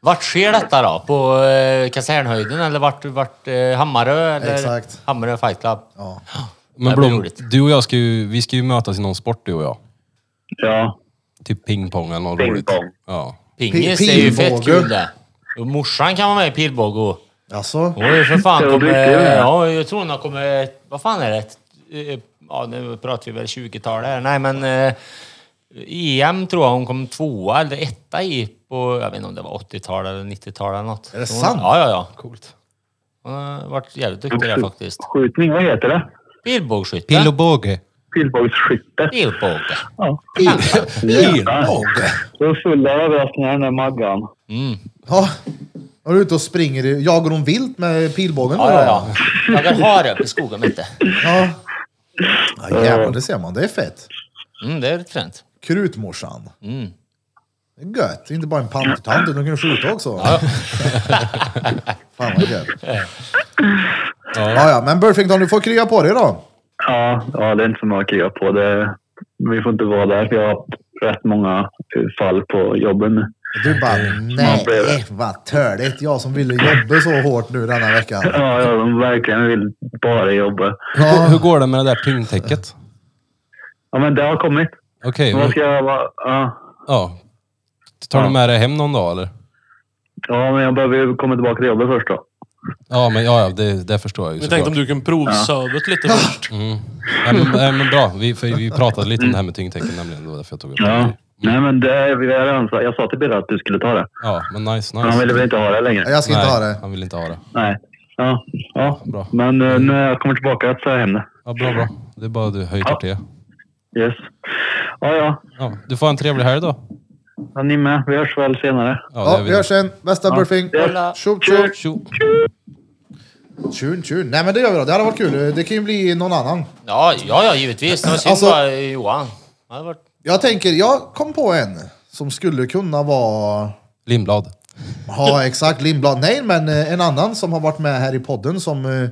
[SPEAKER 2] Vart sker detta då? På eh, kasernhöjden eller vart, vart eh, Hammarö? Eller
[SPEAKER 1] Exakt.
[SPEAKER 2] Hammarö Fight Club?
[SPEAKER 1] Ja.
[SPEAKER 4] Men
[SPEAKER 2] Det blir
[SPEAKER 4] Blom,
[SPEAKER 2] roligt.
[SPEAKER 4] du och jag ska ju, vi ska ju mötas i någon sport du och jag.
[SPEAKER 5] Ja.
[SPEAKER 4] Typ pingpong eller något
[SPEAKER 5] Pingpong.
[SPEAKER 4] roligt. Ja.
[SPEAKER 2] Pingis,
[SPEAKER 1] Pi-
[SPEAKER 2] det är ju fett
[SPEAKER 1] pilbåge.
[SPEAKER 2] kul det. Och morsan kan vara med i pilbåge.
[SPEAKER 1] Alltså,
[SPEAKER 2] Hon är ju för fan
[SPEAKER 5] Ja, det
[SPEAKER 2] kommer...
[SPEAKER 5] är kul, ja.
[SPEAKER 2] Ja, jag tror hon kommer... Vad fan är det? Eh, Ja, nu pratar vi väl 20-tal här. Nej, men... Eh, EM tror jag hon kom tvåa eller etta i på... Jag vet inte om det var 80-tal eller 90-tal eller något.
[SPEAKER 1] Är det
[SPEAKER 2] hon,
[SPEAKER 1] sant?
[SPEAKER 2] Ja, ja, ja.
[SPEAKER 4] Coolt.
[SPEAKER 2] Hon har varit jävligt duktig där faktiskt.
[SPEAKER 5] Skjutning, vad heter det?
[SPEAKER 2] Pilbågsskytte.
[SPEAKER 4] Pill och båge.
[SPEAKER 5] Pilbågsskytte.
[SPEAKER 2] Pilbåge.
[SPEAKER 5] Pilbåge. Du är full av överraskningar den där Maggan.
[SPEAKER 2] Mm.
[SPEAKER 1] ja. Var du ute och springer, i- jagar hon vilt med pilbågen?
[SPEAKER 2] Ja,
[SPEAKER 1] då?
[SPEAKER 2] ja, ja. Jag kan ha det uppe i skogen, vet du.
[SPEAKER 1] ja. ja jävlar, det ser man. Det är fett.
[SPEAKER 2] Mm, det är lite fränt.
[SPEAKER 1] Krutmorsan.
[SPEAKER 2] Mm.
[SPEAKER 1] Det är gött. Inte bara en pantertant, utan hon kan skjuta också. Fan vad gött. Ja, ja, men Burfington, du får krya på dig då.
[SPEAKER 5] Ja, ja, det är inte så mycket att göra på. Det, vi får inte vara där. för Jag har haft rätt många fall på jobben nu.
[SPEAKER 1] Du bara, nej eh, vad törligt. Jag som ville jobba så hårt nu denna veckan.
[SPEAKER 5] Ja, ja, de verkligen vill bara jobba.
[SPEAKER 1] Ja.
[SPEAKER 4] Hur, hur går det med det där pingtäcket?
[SPEAKER 5] Ja, men det har kommit.
[SPEAKER 4] Okej,
[SPEAKER 5] Vad
[SPEAKER 4] men-
[SPEAKER 5] ska jag vara? Ja.
[SPEAKER 4] ja. Tar du
[SPEAKER 5] Ja.
[SPEAKER 4] med dig hem någon dag eller?
[SPEAKER 5] ja, men jag behöver ju komma tillbaka till jobbet först då.
[SPEAKER 4] Ja, men ja, ja, det, det förstår jag ju
[SPEAKER 3] Jag tänkte om
[SPEAKER 4] såklart.
[SPEAKER 3] du kan provsöva det lite först.
[SPEAKER 4] Nej, men, nej, men bra. Vi, för vi pratade lite om det här med tyngdtecken nämligen. Det var därför jag tog upp
[SPEAKER 5] Ja.
[SPEAKER 4] det.
[SPEAKER 5] Mm. Nej, men det, vi har redan, sa- jag sa till Birra att du skulle ta det.
[SPEAKER 4] Ja, men nice,
[SPEAKER 5] Men han ville
[SPEAKER 4] nice.
[SPEAKER 5] väl inte ha det längre?
[SPEAKER 1] Jag ska
[SPEAKER 4] Nej,
[SPEAKER 1] inte ha det.
[SPEAKER 4] han vill inte ha det.
[SPEAKER 5] Nej. Ja, ja.
[SPEAKER 4] Bra.
[SPEAKER 5] men eh, när jag kommer tillbaka så är jag hem det.
[SPEAKER 4] Ja, bra, bra. Det är bara du höjer
[SPEAKER 5] Ja.
[SPEAKER 4] till.
[SPEAKER 5] Yes. Ja, ja.
[SPEAKER 4] Ja, du får ha en trevlig helg då.
[SPEAKER 5] Ja, Ni med. Vi hörs väl senare.
[SPEAKER 1] Ja,
[SPEAKER 4] det
[SPEAKER 1] vi hörs sen. Bästa Burfing.
[SPEAKER 2] Kolla.
[SPEAKER 1] Tjup, tjup.
[SPEAKER 4] Tjo.
[SPEAKER 1] Tjun, tjun. Nej men det gör vi då. Det hade varit kul. Det kan ju bli någon annan.
[SPEAKER 2] Ja, ja, ja givetvis. Det var synd
[SPEAKER 1] Alltså-
[SPEAKER 2] bara Johan. Det hade varit...
[SPEAKER 1] Jag tänker, jag kom på en som skulle kunna vara...
[SPEAKER 4] Lindblad.
[SPEAKER 1] Ja exakt, Lindblad. Nej men eh, en annan som har varit med här i podden som eh,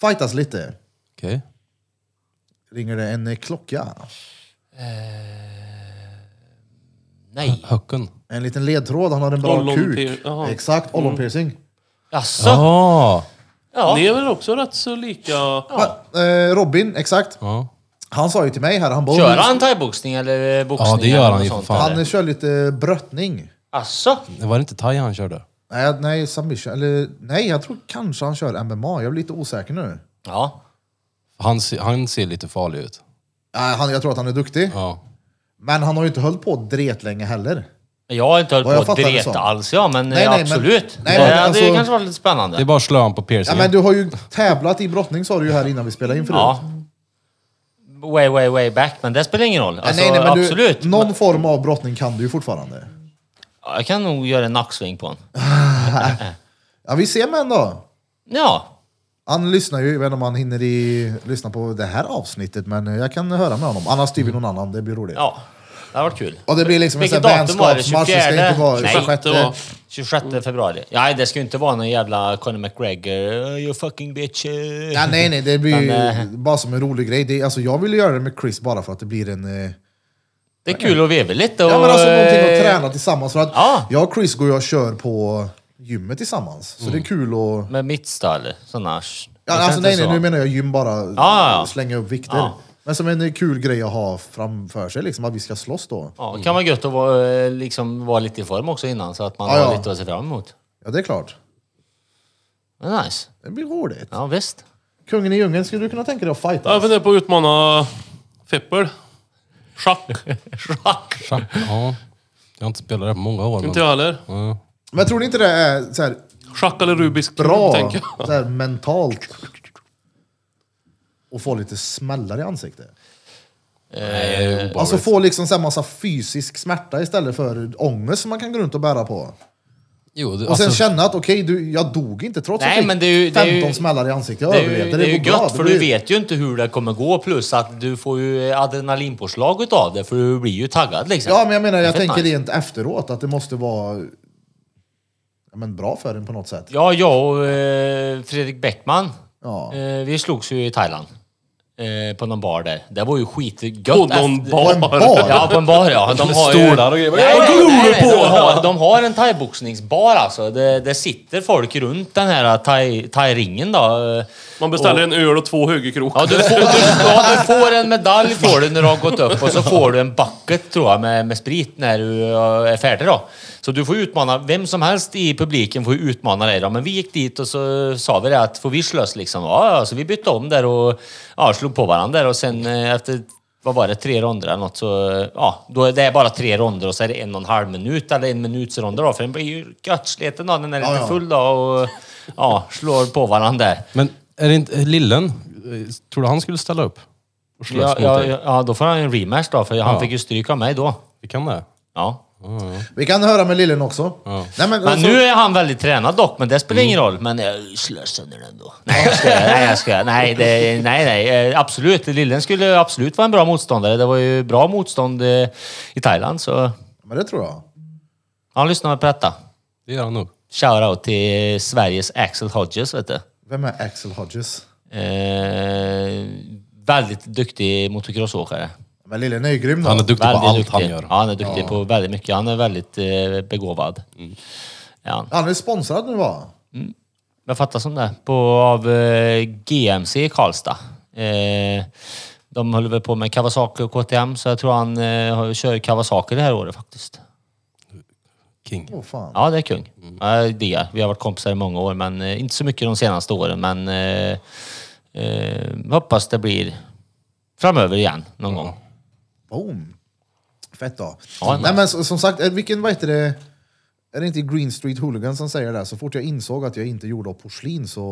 [SPEAKER 1] fightas lite.
[SPEAKER 4] Okej.
[SPEAKER 1] Ringer det en eh, klocka?
[SPEAKER 2] Nej.
[SPEAKER 4] Höcken.
[SPEAKER 1] En liten ledtråd, han har en bra
[SPEAKER 3] Ollon-
[SPEAKER 1] kuk.
[SPEAKER 3] pier- jaha. Mm.
[SPEAKER 1] Exakt, ollonpiercing.
[SPEAKER 2] Jaså? Ja.
[SPEAKER 4] Ja.
[SPEAKER 3] Ni är väl också rätt så lika?
[SPEAKER 1] Ja. Eh, Robin, exakt.
[SPEAKER 4] Ja.
[SPEAKER 1] Han sa ju till mig här, han bara...
[SPEAKER 2] Kör han thaiboxning eller eh, boxning?
[SPEAKER 4] Ja, det gör
[SPEAKER 2] eller
[SPEAKER 4] han
[SPEAKER 2] något
[SPEAKER 4] ju
[SPEAKER 2] sånt,
[SPEAKER 4] för fan.
[SPEAKER 1] Han
[SPEAKER 2] eller?
[SPEAKER 1] eh, kör lite bröttning.
[SPEAKER 2] Jaså?
[SPEAKER 4] Det var inte thai han körde?
[SPEAKER 1] Nej, nej, submission. Eller nej, jag tror kanske han kör MMA. Jag blir lite osäker nu.
[SPEAKER 2] Ja.
[SPEAKER 4] Han, se- han ser lite farlig ut.
[SPEAKER 1] Nej, han, jag tror att han är duktig.
[SPEAKER 4] Ja.
[SPEAKER 1] Men han har ju inte hållit på dret länge heller.
[SPEAKER 2] Men Jag har inte
[SPEAKER 1] Vad jag
[SPEAKER 2] hållit på att
[SPEAKER 1] fattar det
[SPEAKER 2] dreta
[SPEAKER 1] som.
[SPEAKER 2] alls, ja, men
[SPEAKER 1] Nej,
[SPEAKER 2] eh,
[SPEAKER 1] nej, men-
[SPEAKER 2] absolut.
[SPEAKER 1] nej,
[SPEAKER 2] det
[SPEAKER 1] men
[SPEAKER 2] hade
[SPEAKER 1] alltså-
[SPEAKER 2] kanske varit lite spännande.
[SPEAKER 4] Det är bara att slå han på
[SPEAKER 1] Ja,
[SPEAKER 4] piercingen.
[SPEAKER 1] men du har ju tävlat i brottning sa du ju här innan vi spelade in förut.
[SPEAKER 2] Ja. Way, way, way back, men det spelar ingen roll.
[SPEAKER 1] Nej,
[SPEAKER 2] Alltså,
[SPEAKER 1] nej, men
[SPEAKER 2] absolut.
[SPEAKER 1] Du, någon form av brottning kan du ju fortfarande.
[SPEAKER 2] Ja, Jag kan nog göra en nacksving på honom.
[SPEAKER 1] Ja, vi ser med då.
[SPEAKER 2] Ja,
[SPEAKER 1] Han lyssnar ju, jag vet inte om han hinner i, lyssna på det här avsnittet, men eh, jag kan höra med honom. Annars styr vi någon annan, det blir roligt.
[SPEAKER 2] Mm. ja. Det hade varit kul.
[SPEAKER 1] Och det blir liksom en
[SPEAKER 2] Vilket
[SPEAKER 1] sån här
[SPEAKER 2] datum var det?
[SPEAKER 1] vänskapsmatch, det ska inte vara
[SPEAKER 2] 24? Nej,
[SPEAKER 1] 26.
[SPEAKER 3] det var-
[SPEAKER 1] Mm.
[SPEAKER 2] 26 februari. Nej, det ska ju inte vara någon jävla Conor McGregor. "Oh, You fucking bitch. eh."
[SPEAKER 1] Ja, nej, nej, det blir ju
[SPEAKER 2] Men, eh,
[SPEAKER 1] bara som en rolig grej. Det, alltså, jag vill ju göra det med Chris bara för att det blir en... Eh,
[SPEAKER 2] Det är kul att veva lite. Och,
[SPEAKER 1] ja, men alltså någonting att
[SPEAKER 2] eh,
[SPEAKER 1] träna tillsammans. För att
[SPEAKER 2] Ja.
[SPEAKER 1] jag och Chris går ju och kör på gymmet tillsammans. Så
[SPEAKER 2] Mm.
[SPEAKER 1] det är kul att...
[SPEAKER 2] Med mittsta eller sådana.
[SPEAKER 1] Ja, alltså, nej, nej, nu menar jag gym bara.
[SPEAKER 2] ja, ja.
[SPEAKER 1] Slänga upp vikter.
[SPEAKER 2] Ja.
[SPEAKER 1] Men som en eh, kul grej att ha framför sig, liksom, att vi ska slåss då.
[SPEAKER 2] Ja, det kan vara gött att vara, eh, liksom, vara lite i form också innan så att man
[SPEAKER 1] Mm. Ja,
[SPEAKER 2] har
[SPEAKER 1] ja.
[SPEAKER 2] lite att se fram emot.
[SPEAKER 1] Ja, det är klart.
[SPEAKER 2] Men nice.
[SPEAKER 1] Det blir roligt.
[SPEAKER 2] Ja, visst.
[SPEAKER 1] Kungen i djungeln, skulle du kunna tänka dig att fighta?
[SPEAKER 3] Jag funderar på att utmana Feppel. Schack.
[SPEAKER 2] Schack.
[SPEAKER 4] Schack, ja. Jag har inte spelat det på många år.
[SPEAKER 3] Inte
[SPEAKER 4] Men,
[SPEAKER 3] jag heller.
[SPEAKER 4] ja.
[SPEAKER 1] Men tror ni inte det är så här,
[SPEAKER 3] Schack eller Rubiks kub,
[SPEAKER 1] bra
[SPEAKER 3] tänker jag.
[SPEAKER 1] så här, mentalt? Och få lite smällar i ansiktet.
[SPEAKER 2] Eh,
[SPEAKER 1] Alltså få liksom så här massa fysisk smärta istället för ångest som man kan gå runt och bära på.
[SPEAKER 4] Jo, det,
[SPEAKER 1] Och sen
[SPEAKER 4] alltså,
[SPEAKER 1] känna att okej, du, jag dog inte trots
[SPEAKER 2] Nej,
[SPEAKER 1] att jag fick
[SPEAKER 2] men det är ju- det är ju-
[SPEAKER 1] 15 smällar i ansiktet. Jag
[SPEAKER 2] det är
[SPEAKER 1] överlevde.
[SPEAKER 2] ju, det är ju
[SPEAKER 1] går bra.
[SPEAKER 2] gött
[SPEAKER 1] Det
[SPEAKER 2] för
[SPEAKER 1] blir-
[SPEAKER 2] du vet ju inte hur det kommer gå plus att du får ju adrenalinpåslag utav det för du blir ju taggad liksom.
[SPEAKER 1] Ja, men jag menar, jag
[SPEAKER 2] Det är fett
[SPEAKER 1] tänker
[SPEAKER 2] nice.
[SPEAKER 1] rent efteråt att det måste vara ja, men bra för en på något sätt.
[SPEAKER 2] Ja, jag och eh, Fredrik Bäckman,
[SPEAKER 1] Ja.
[SPEAKER 2] eh, vi slogs ju i Thailand. Eh, på någon bar där. Det var ju skitgött.
[SPEAKER 3] På någon
[SPEAKER 2] efter-
[SPEAKER 1] På en
[SPEAKER 3] bar.
[SPEAKER 1] bar?
[SPEAKER 2] Ja, på en bar ja. De har ju...
[SPEAKER 4] stolar och grejer.
[SPEAKER 2] Nej,
[SPEAKER 4] Vad
[SPEAKER 2] nej, nej, nej, de, har, de har en thaiboxningsbar alltså. Det, det sitter folk runt den här thai- thai-ringen då.
[SPEAKER 3] Man beställer en öl och två högerkrokar.
[SPEAKER 2] Ja du, får, du, ja, du får en medalj får du när du har gått upp och så får du en bucket tror jag med, med sprit när du eh, är färdig då. Så du får utmana, vem som helst i publiken får ju utmana dig då. Men vi gick dit och så sa vi det att får vi slåss liksom? Ja, ja, så vi bytte om där och ja, slog på varandra där och sen eh, efter vad var det, tre ronder eller något så, eh, ja, då är det bara tre ronder och så är det en och en halv minut eller en minuts ronder då, för den blir ju göttsleten då, den är
[SPEAKER 1] Ja,
[SPEAKER 2] lite
[SPEAKER 1] ja.
[SPEAKER 2] full då och ja, slår på varandra där.
[SPEAKER 4] men är det inte Lillen? eh, Tror du han skulle ställa upp? Och slåss
[SPEAKER 2] Ja,
[SPEAKER 4] mot
[SPEAKER 2] ja,
[SPEAKER 4] dig?
[SPEAKER 2] ja, ja, då får han ju en rematch då, för han
[SPEAKER 4] Ja.
[SPEAKER 2] fick ju stryk av mig då.
[SPEAKER 4] Vi kan det.
[SPEAKER 2] Ja.
[SPEAKER 1] Vi kan höra med Lillen också. Nej, men,
[SPEAKER 2] Men
[SPEAKER 1] alltså-
[SPEAKER 2] nu är han väldigt tränad dock, men det spelar ingen roll. Men jag slösar nu ändå. Nej, jag ska, nej, jag ska, nej, det, nej, nej, eh, absolut. Lillen skulle absolut vara en bra motståndare. Det var ju bra motstånd eh, i Thailand, så
[SPEAKER 1] men det tror jag.
[SPEAKER 2] han lyssnar på detta.
[SPEAKER 4] Det gör han nog.
[SPEAKER 2] Shoutout till Sveriges Axel Hodges, vet du.
[SPEAKER 1] Vem är Axel Hodges?
[SPEAKER 2] Eh, väldigt duktig motocrossåkare.
[SPEAKER 1] Men Lillen är ju grym då.
[SPEAKER 4] Han är duktig på
[SPEAKER 2] Väldigt
[SPEAKER 4] allt
[SPEAKER 2] duktig.
[SPEAKER 4] han gör.
[SPEAKER 2] Ja, han är duktig på väldigt mycket. Han är väldigt eh, begåvad.
[SPEAKER 4] Mm.
[SPEAKER 2] Ja, han.
[SPEAKER 1] Han är sponsrad nu va?
[SPEAKER 2] Jag fattar som det. På, av eh, GMC i Karlstad. Eh, de håller väl på med Kawasaki och KTM, så jag tror han eh, har- kör Kawasaki det här året faktiskt.
[SPEAKER 4] King.
[SPEAKER 1] Åh fan.
[SPEAKER 2] Ja, det är kung.
[SPEAKER 4] Mm.
[SPEAKER 2] Ja, det är. Vi har varit kompisar i många år, men eh, inte så mycket de senaste åren. Men eh, eh, hoppas det blir framöver igen någon gång.
[SPEAKER 1] Boom. Fett då.
[SPEAKER 2] Ja,
[SPEAKER 1] Nej men så- som sagt, är- vilken vad heter det? Är det inte Green Street Hooligan som säger det? Så fort jag insåg att jag inte gjorde av porslin så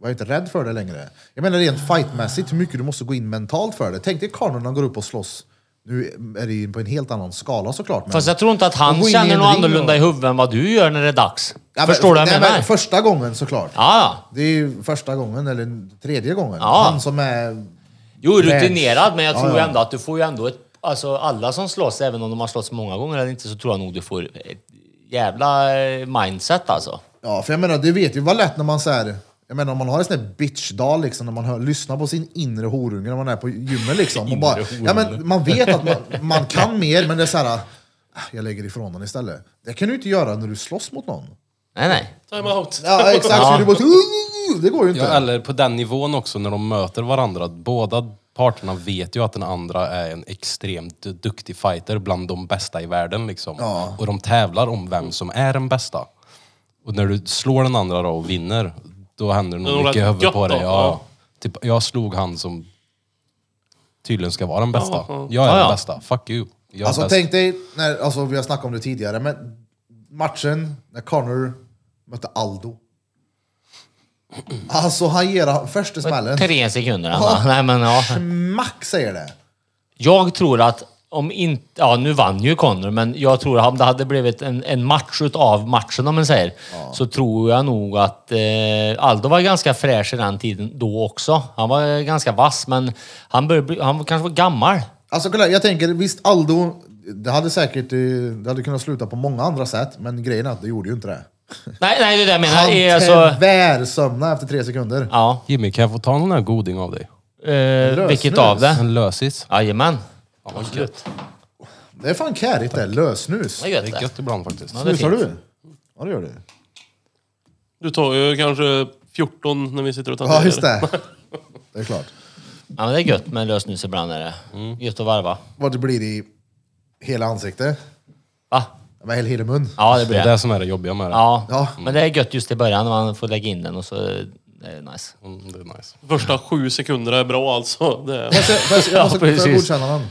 [SPEAKER 1] var jag inte rädd för det längre. Jag menar rent fightmässigt, hur mycket du måste gå in mentalt för det. Tänk dig karlarna går upp och slåss. Nu är det ju på en helt annan skala såklart. Men...
[SPEAKER 2] Fast jag tror inte att
[SPEAKER 1] Och
[SPEAKER 2] han
[SPEAKER 1] gå in i
[SPEAKER 2] känner
[SPEAKER 1] en
[SPEAKER 2] något
[SPEAKER 1] ring
[SPEAKER 2] annorlunda
[SPEAKER 1] och-
[SPEAKER 2] i huvudet än vad du gör när det är dags.
[SPEAKER 1] Ja, men-
[SPEAKER 2] Förstår du vad jag
[SPEAKER 1] nej,
[SPEAKER 2] menar?
[SPEAKER 1] men Första gången såklart.
[SPEAKER 2] Ja, ja.
[SPEAKER 1] Det är ju första gången, eller tredje gången.
[SPEAKER 2] Ja.
[SPEAKER 1] Han som är
[SPEAKER 2] Jo,
[SPEAKER 1] Nej.
[SPEAKER 2] rutinerad, men jag
[SPEAKER 1] Ja,
[SPEAKER 2] tror
[SPEAKER 1] ja.
[SPEAKER 2] ändå att du får ju ändå ett... Alltså alla som slåss, även om de har slåss många gånger eller inte, så tror jag nog du får ett jävla eh, mindset alltså.
[SPEAKER 1] Ja, för jag menar, det vet ju vad lätt när man så här, jag menar om man har en sån där bitchdag liksom, när man hör, lyssnar på sin inre horunge när man är på gymmet liksom. Och bara, ja, men man vet att man, man kan mer, men det är så här, "Ah, jag lägger ifrån den istället. Det kan du inte göra när du slåss mot någon.
[SPEAKER 2] Nej, nej.
[SPEAKER 3] Time out.
[SPEAKER 1] Ja, exakt. Så du bara, "Uh, det går ju inte.
[SPEAKER 4] Ja, eller på den nivån också när de möter varandra. Båda parterna vet ju att den andra är en extremt duktig fighter bland de bästa i världen. Liksom.
[SPEAKER 1] Ja.
[SPEAKER 4] Och de tävlar om vem som är den bästa. Och när du slår den andra då och vinner, då händer det
[SPEAKER 3] Det är
[SPEAKER 4] nog
[SPEAKER 3] nog
[SPEAKER 4] mycket i
[SPEAKER 3] rätt
[SPEAKER 4] huvudet på
[SPEAKER 3] gött då,
[SPEAKER 4] dig.
[SPEAKER 3] ja.
[SPEAKER 4] Ja. Typ, jag slog han som tydligen ska vara den bästa.
[SPEAKER 3] ja.
[SPEAKER 4] Jag är
[SPEAKER 2] Ja, ja.
[SPEAKER 4] den bästa. Fuck you. Jag är
[SPEAKER 1] Alltså
[SPEAKER 4] bäst.
[SPEAKER 1] tänk dig, när, alltså, vi har snackat om det tidigare, men matchen när Connor mötte Aldo. Alltså han ger han första smällen.
[SPEAKER 2] Tre sekunder.
[SPEAKER 1] Ja.
[SPEAKER 2] Ja. Nej, men, ja.
[SPEAKER 1] Smack säger det.
[SPEAKER 2] Jag tror att om inte... Ja, nu vann ju Connor, men jag tror att om det hade blivit en, en match utav matchen, om man säger, så tror jag nog att eh, Aldo var ganska fräsch i den tiden då också. Han var ganska vass, men han, började, bli- han kanske var gammal.
[SPEAKER 1] Alltså kolla, jag tänker visst Aldo, det hade säkert eh, det hade kunnat sluta på många andra sätt, men grejen är att det gjorde ju inte det.
[SPEAKER 2] Nej, nej, det är det jag menar.
[SPEAKER 1] Han
[SPEAKER 2] Det är alltså,
[SPEAKER 1] tvärsömnade efter tre sekunder.
[SPEAKER 2] ja,
[SPEAKER 4] Jimmy, kan jag få ta någon här goding av dig?
[SPEAKER 2] eh, vilket
[SPEAKER 1] Lösnus.
[SPEAKER 2] av det?
[SPEAKER 4] En lösis?
[SPEAKER 2] Jajamän.
[SPEAKER 4] Ja, vad gött.
[SPEAKER 1] Det är fan kärigt det, lösnus.
[SPEAKER 2] Vad
[SPEAKER 4] Det
[SPEAKER 2] gött
[SPEAKER 4] är gött ibland faktiskt.
[SPEAKER 2] Ja, det är
[SPEAKER 1] Snusar
[SPEAKER 2] fint.
[SPEAKER 1] du? Ja det gör du.
[SPEAKER 3] Du tar ju kanske 14 när vi sitter och tatuerar.
[SPEAKER 1] Ja just det. Det är klart.
[SPEAKER 2] Ja, men det är gött med lösnus ibland. Är det.
[SPEAKER 4] Mm.
[SPEAKER 2] Gött att varva.
[SPEAKER 1] Vad det blir i hela ansiktet.
[SPEAKER 2] Va?
[SPEAKER 1] Med hela, hela mun.
[SPEAKER 2] Ja, det
[SPEAKER 4] Det
[SPEAKER 2] blir
[SPEAKER 4] är
[SPEAKER 2] det.
[SPEAKER 4] det som är det jobbiga med det.
[SPEAKER 2] Ja.
[SPEAKER 1] Ja.
[SPEAKER 2] men det är gött just i början när man får lägga in den och så är det nice.
[SPEAKER 4] Mm, det är nice.
[SPEAKER 3] Första sju sekunderna är bra alltså. Det är...
[SPEAKER 1] Fast jag- fast Jag
[SPEAKER 2] Ja,
[SPEAKER 1] måste
[SPEAKER 2] precis.
[SPEAKER 1] ja, godkänna den.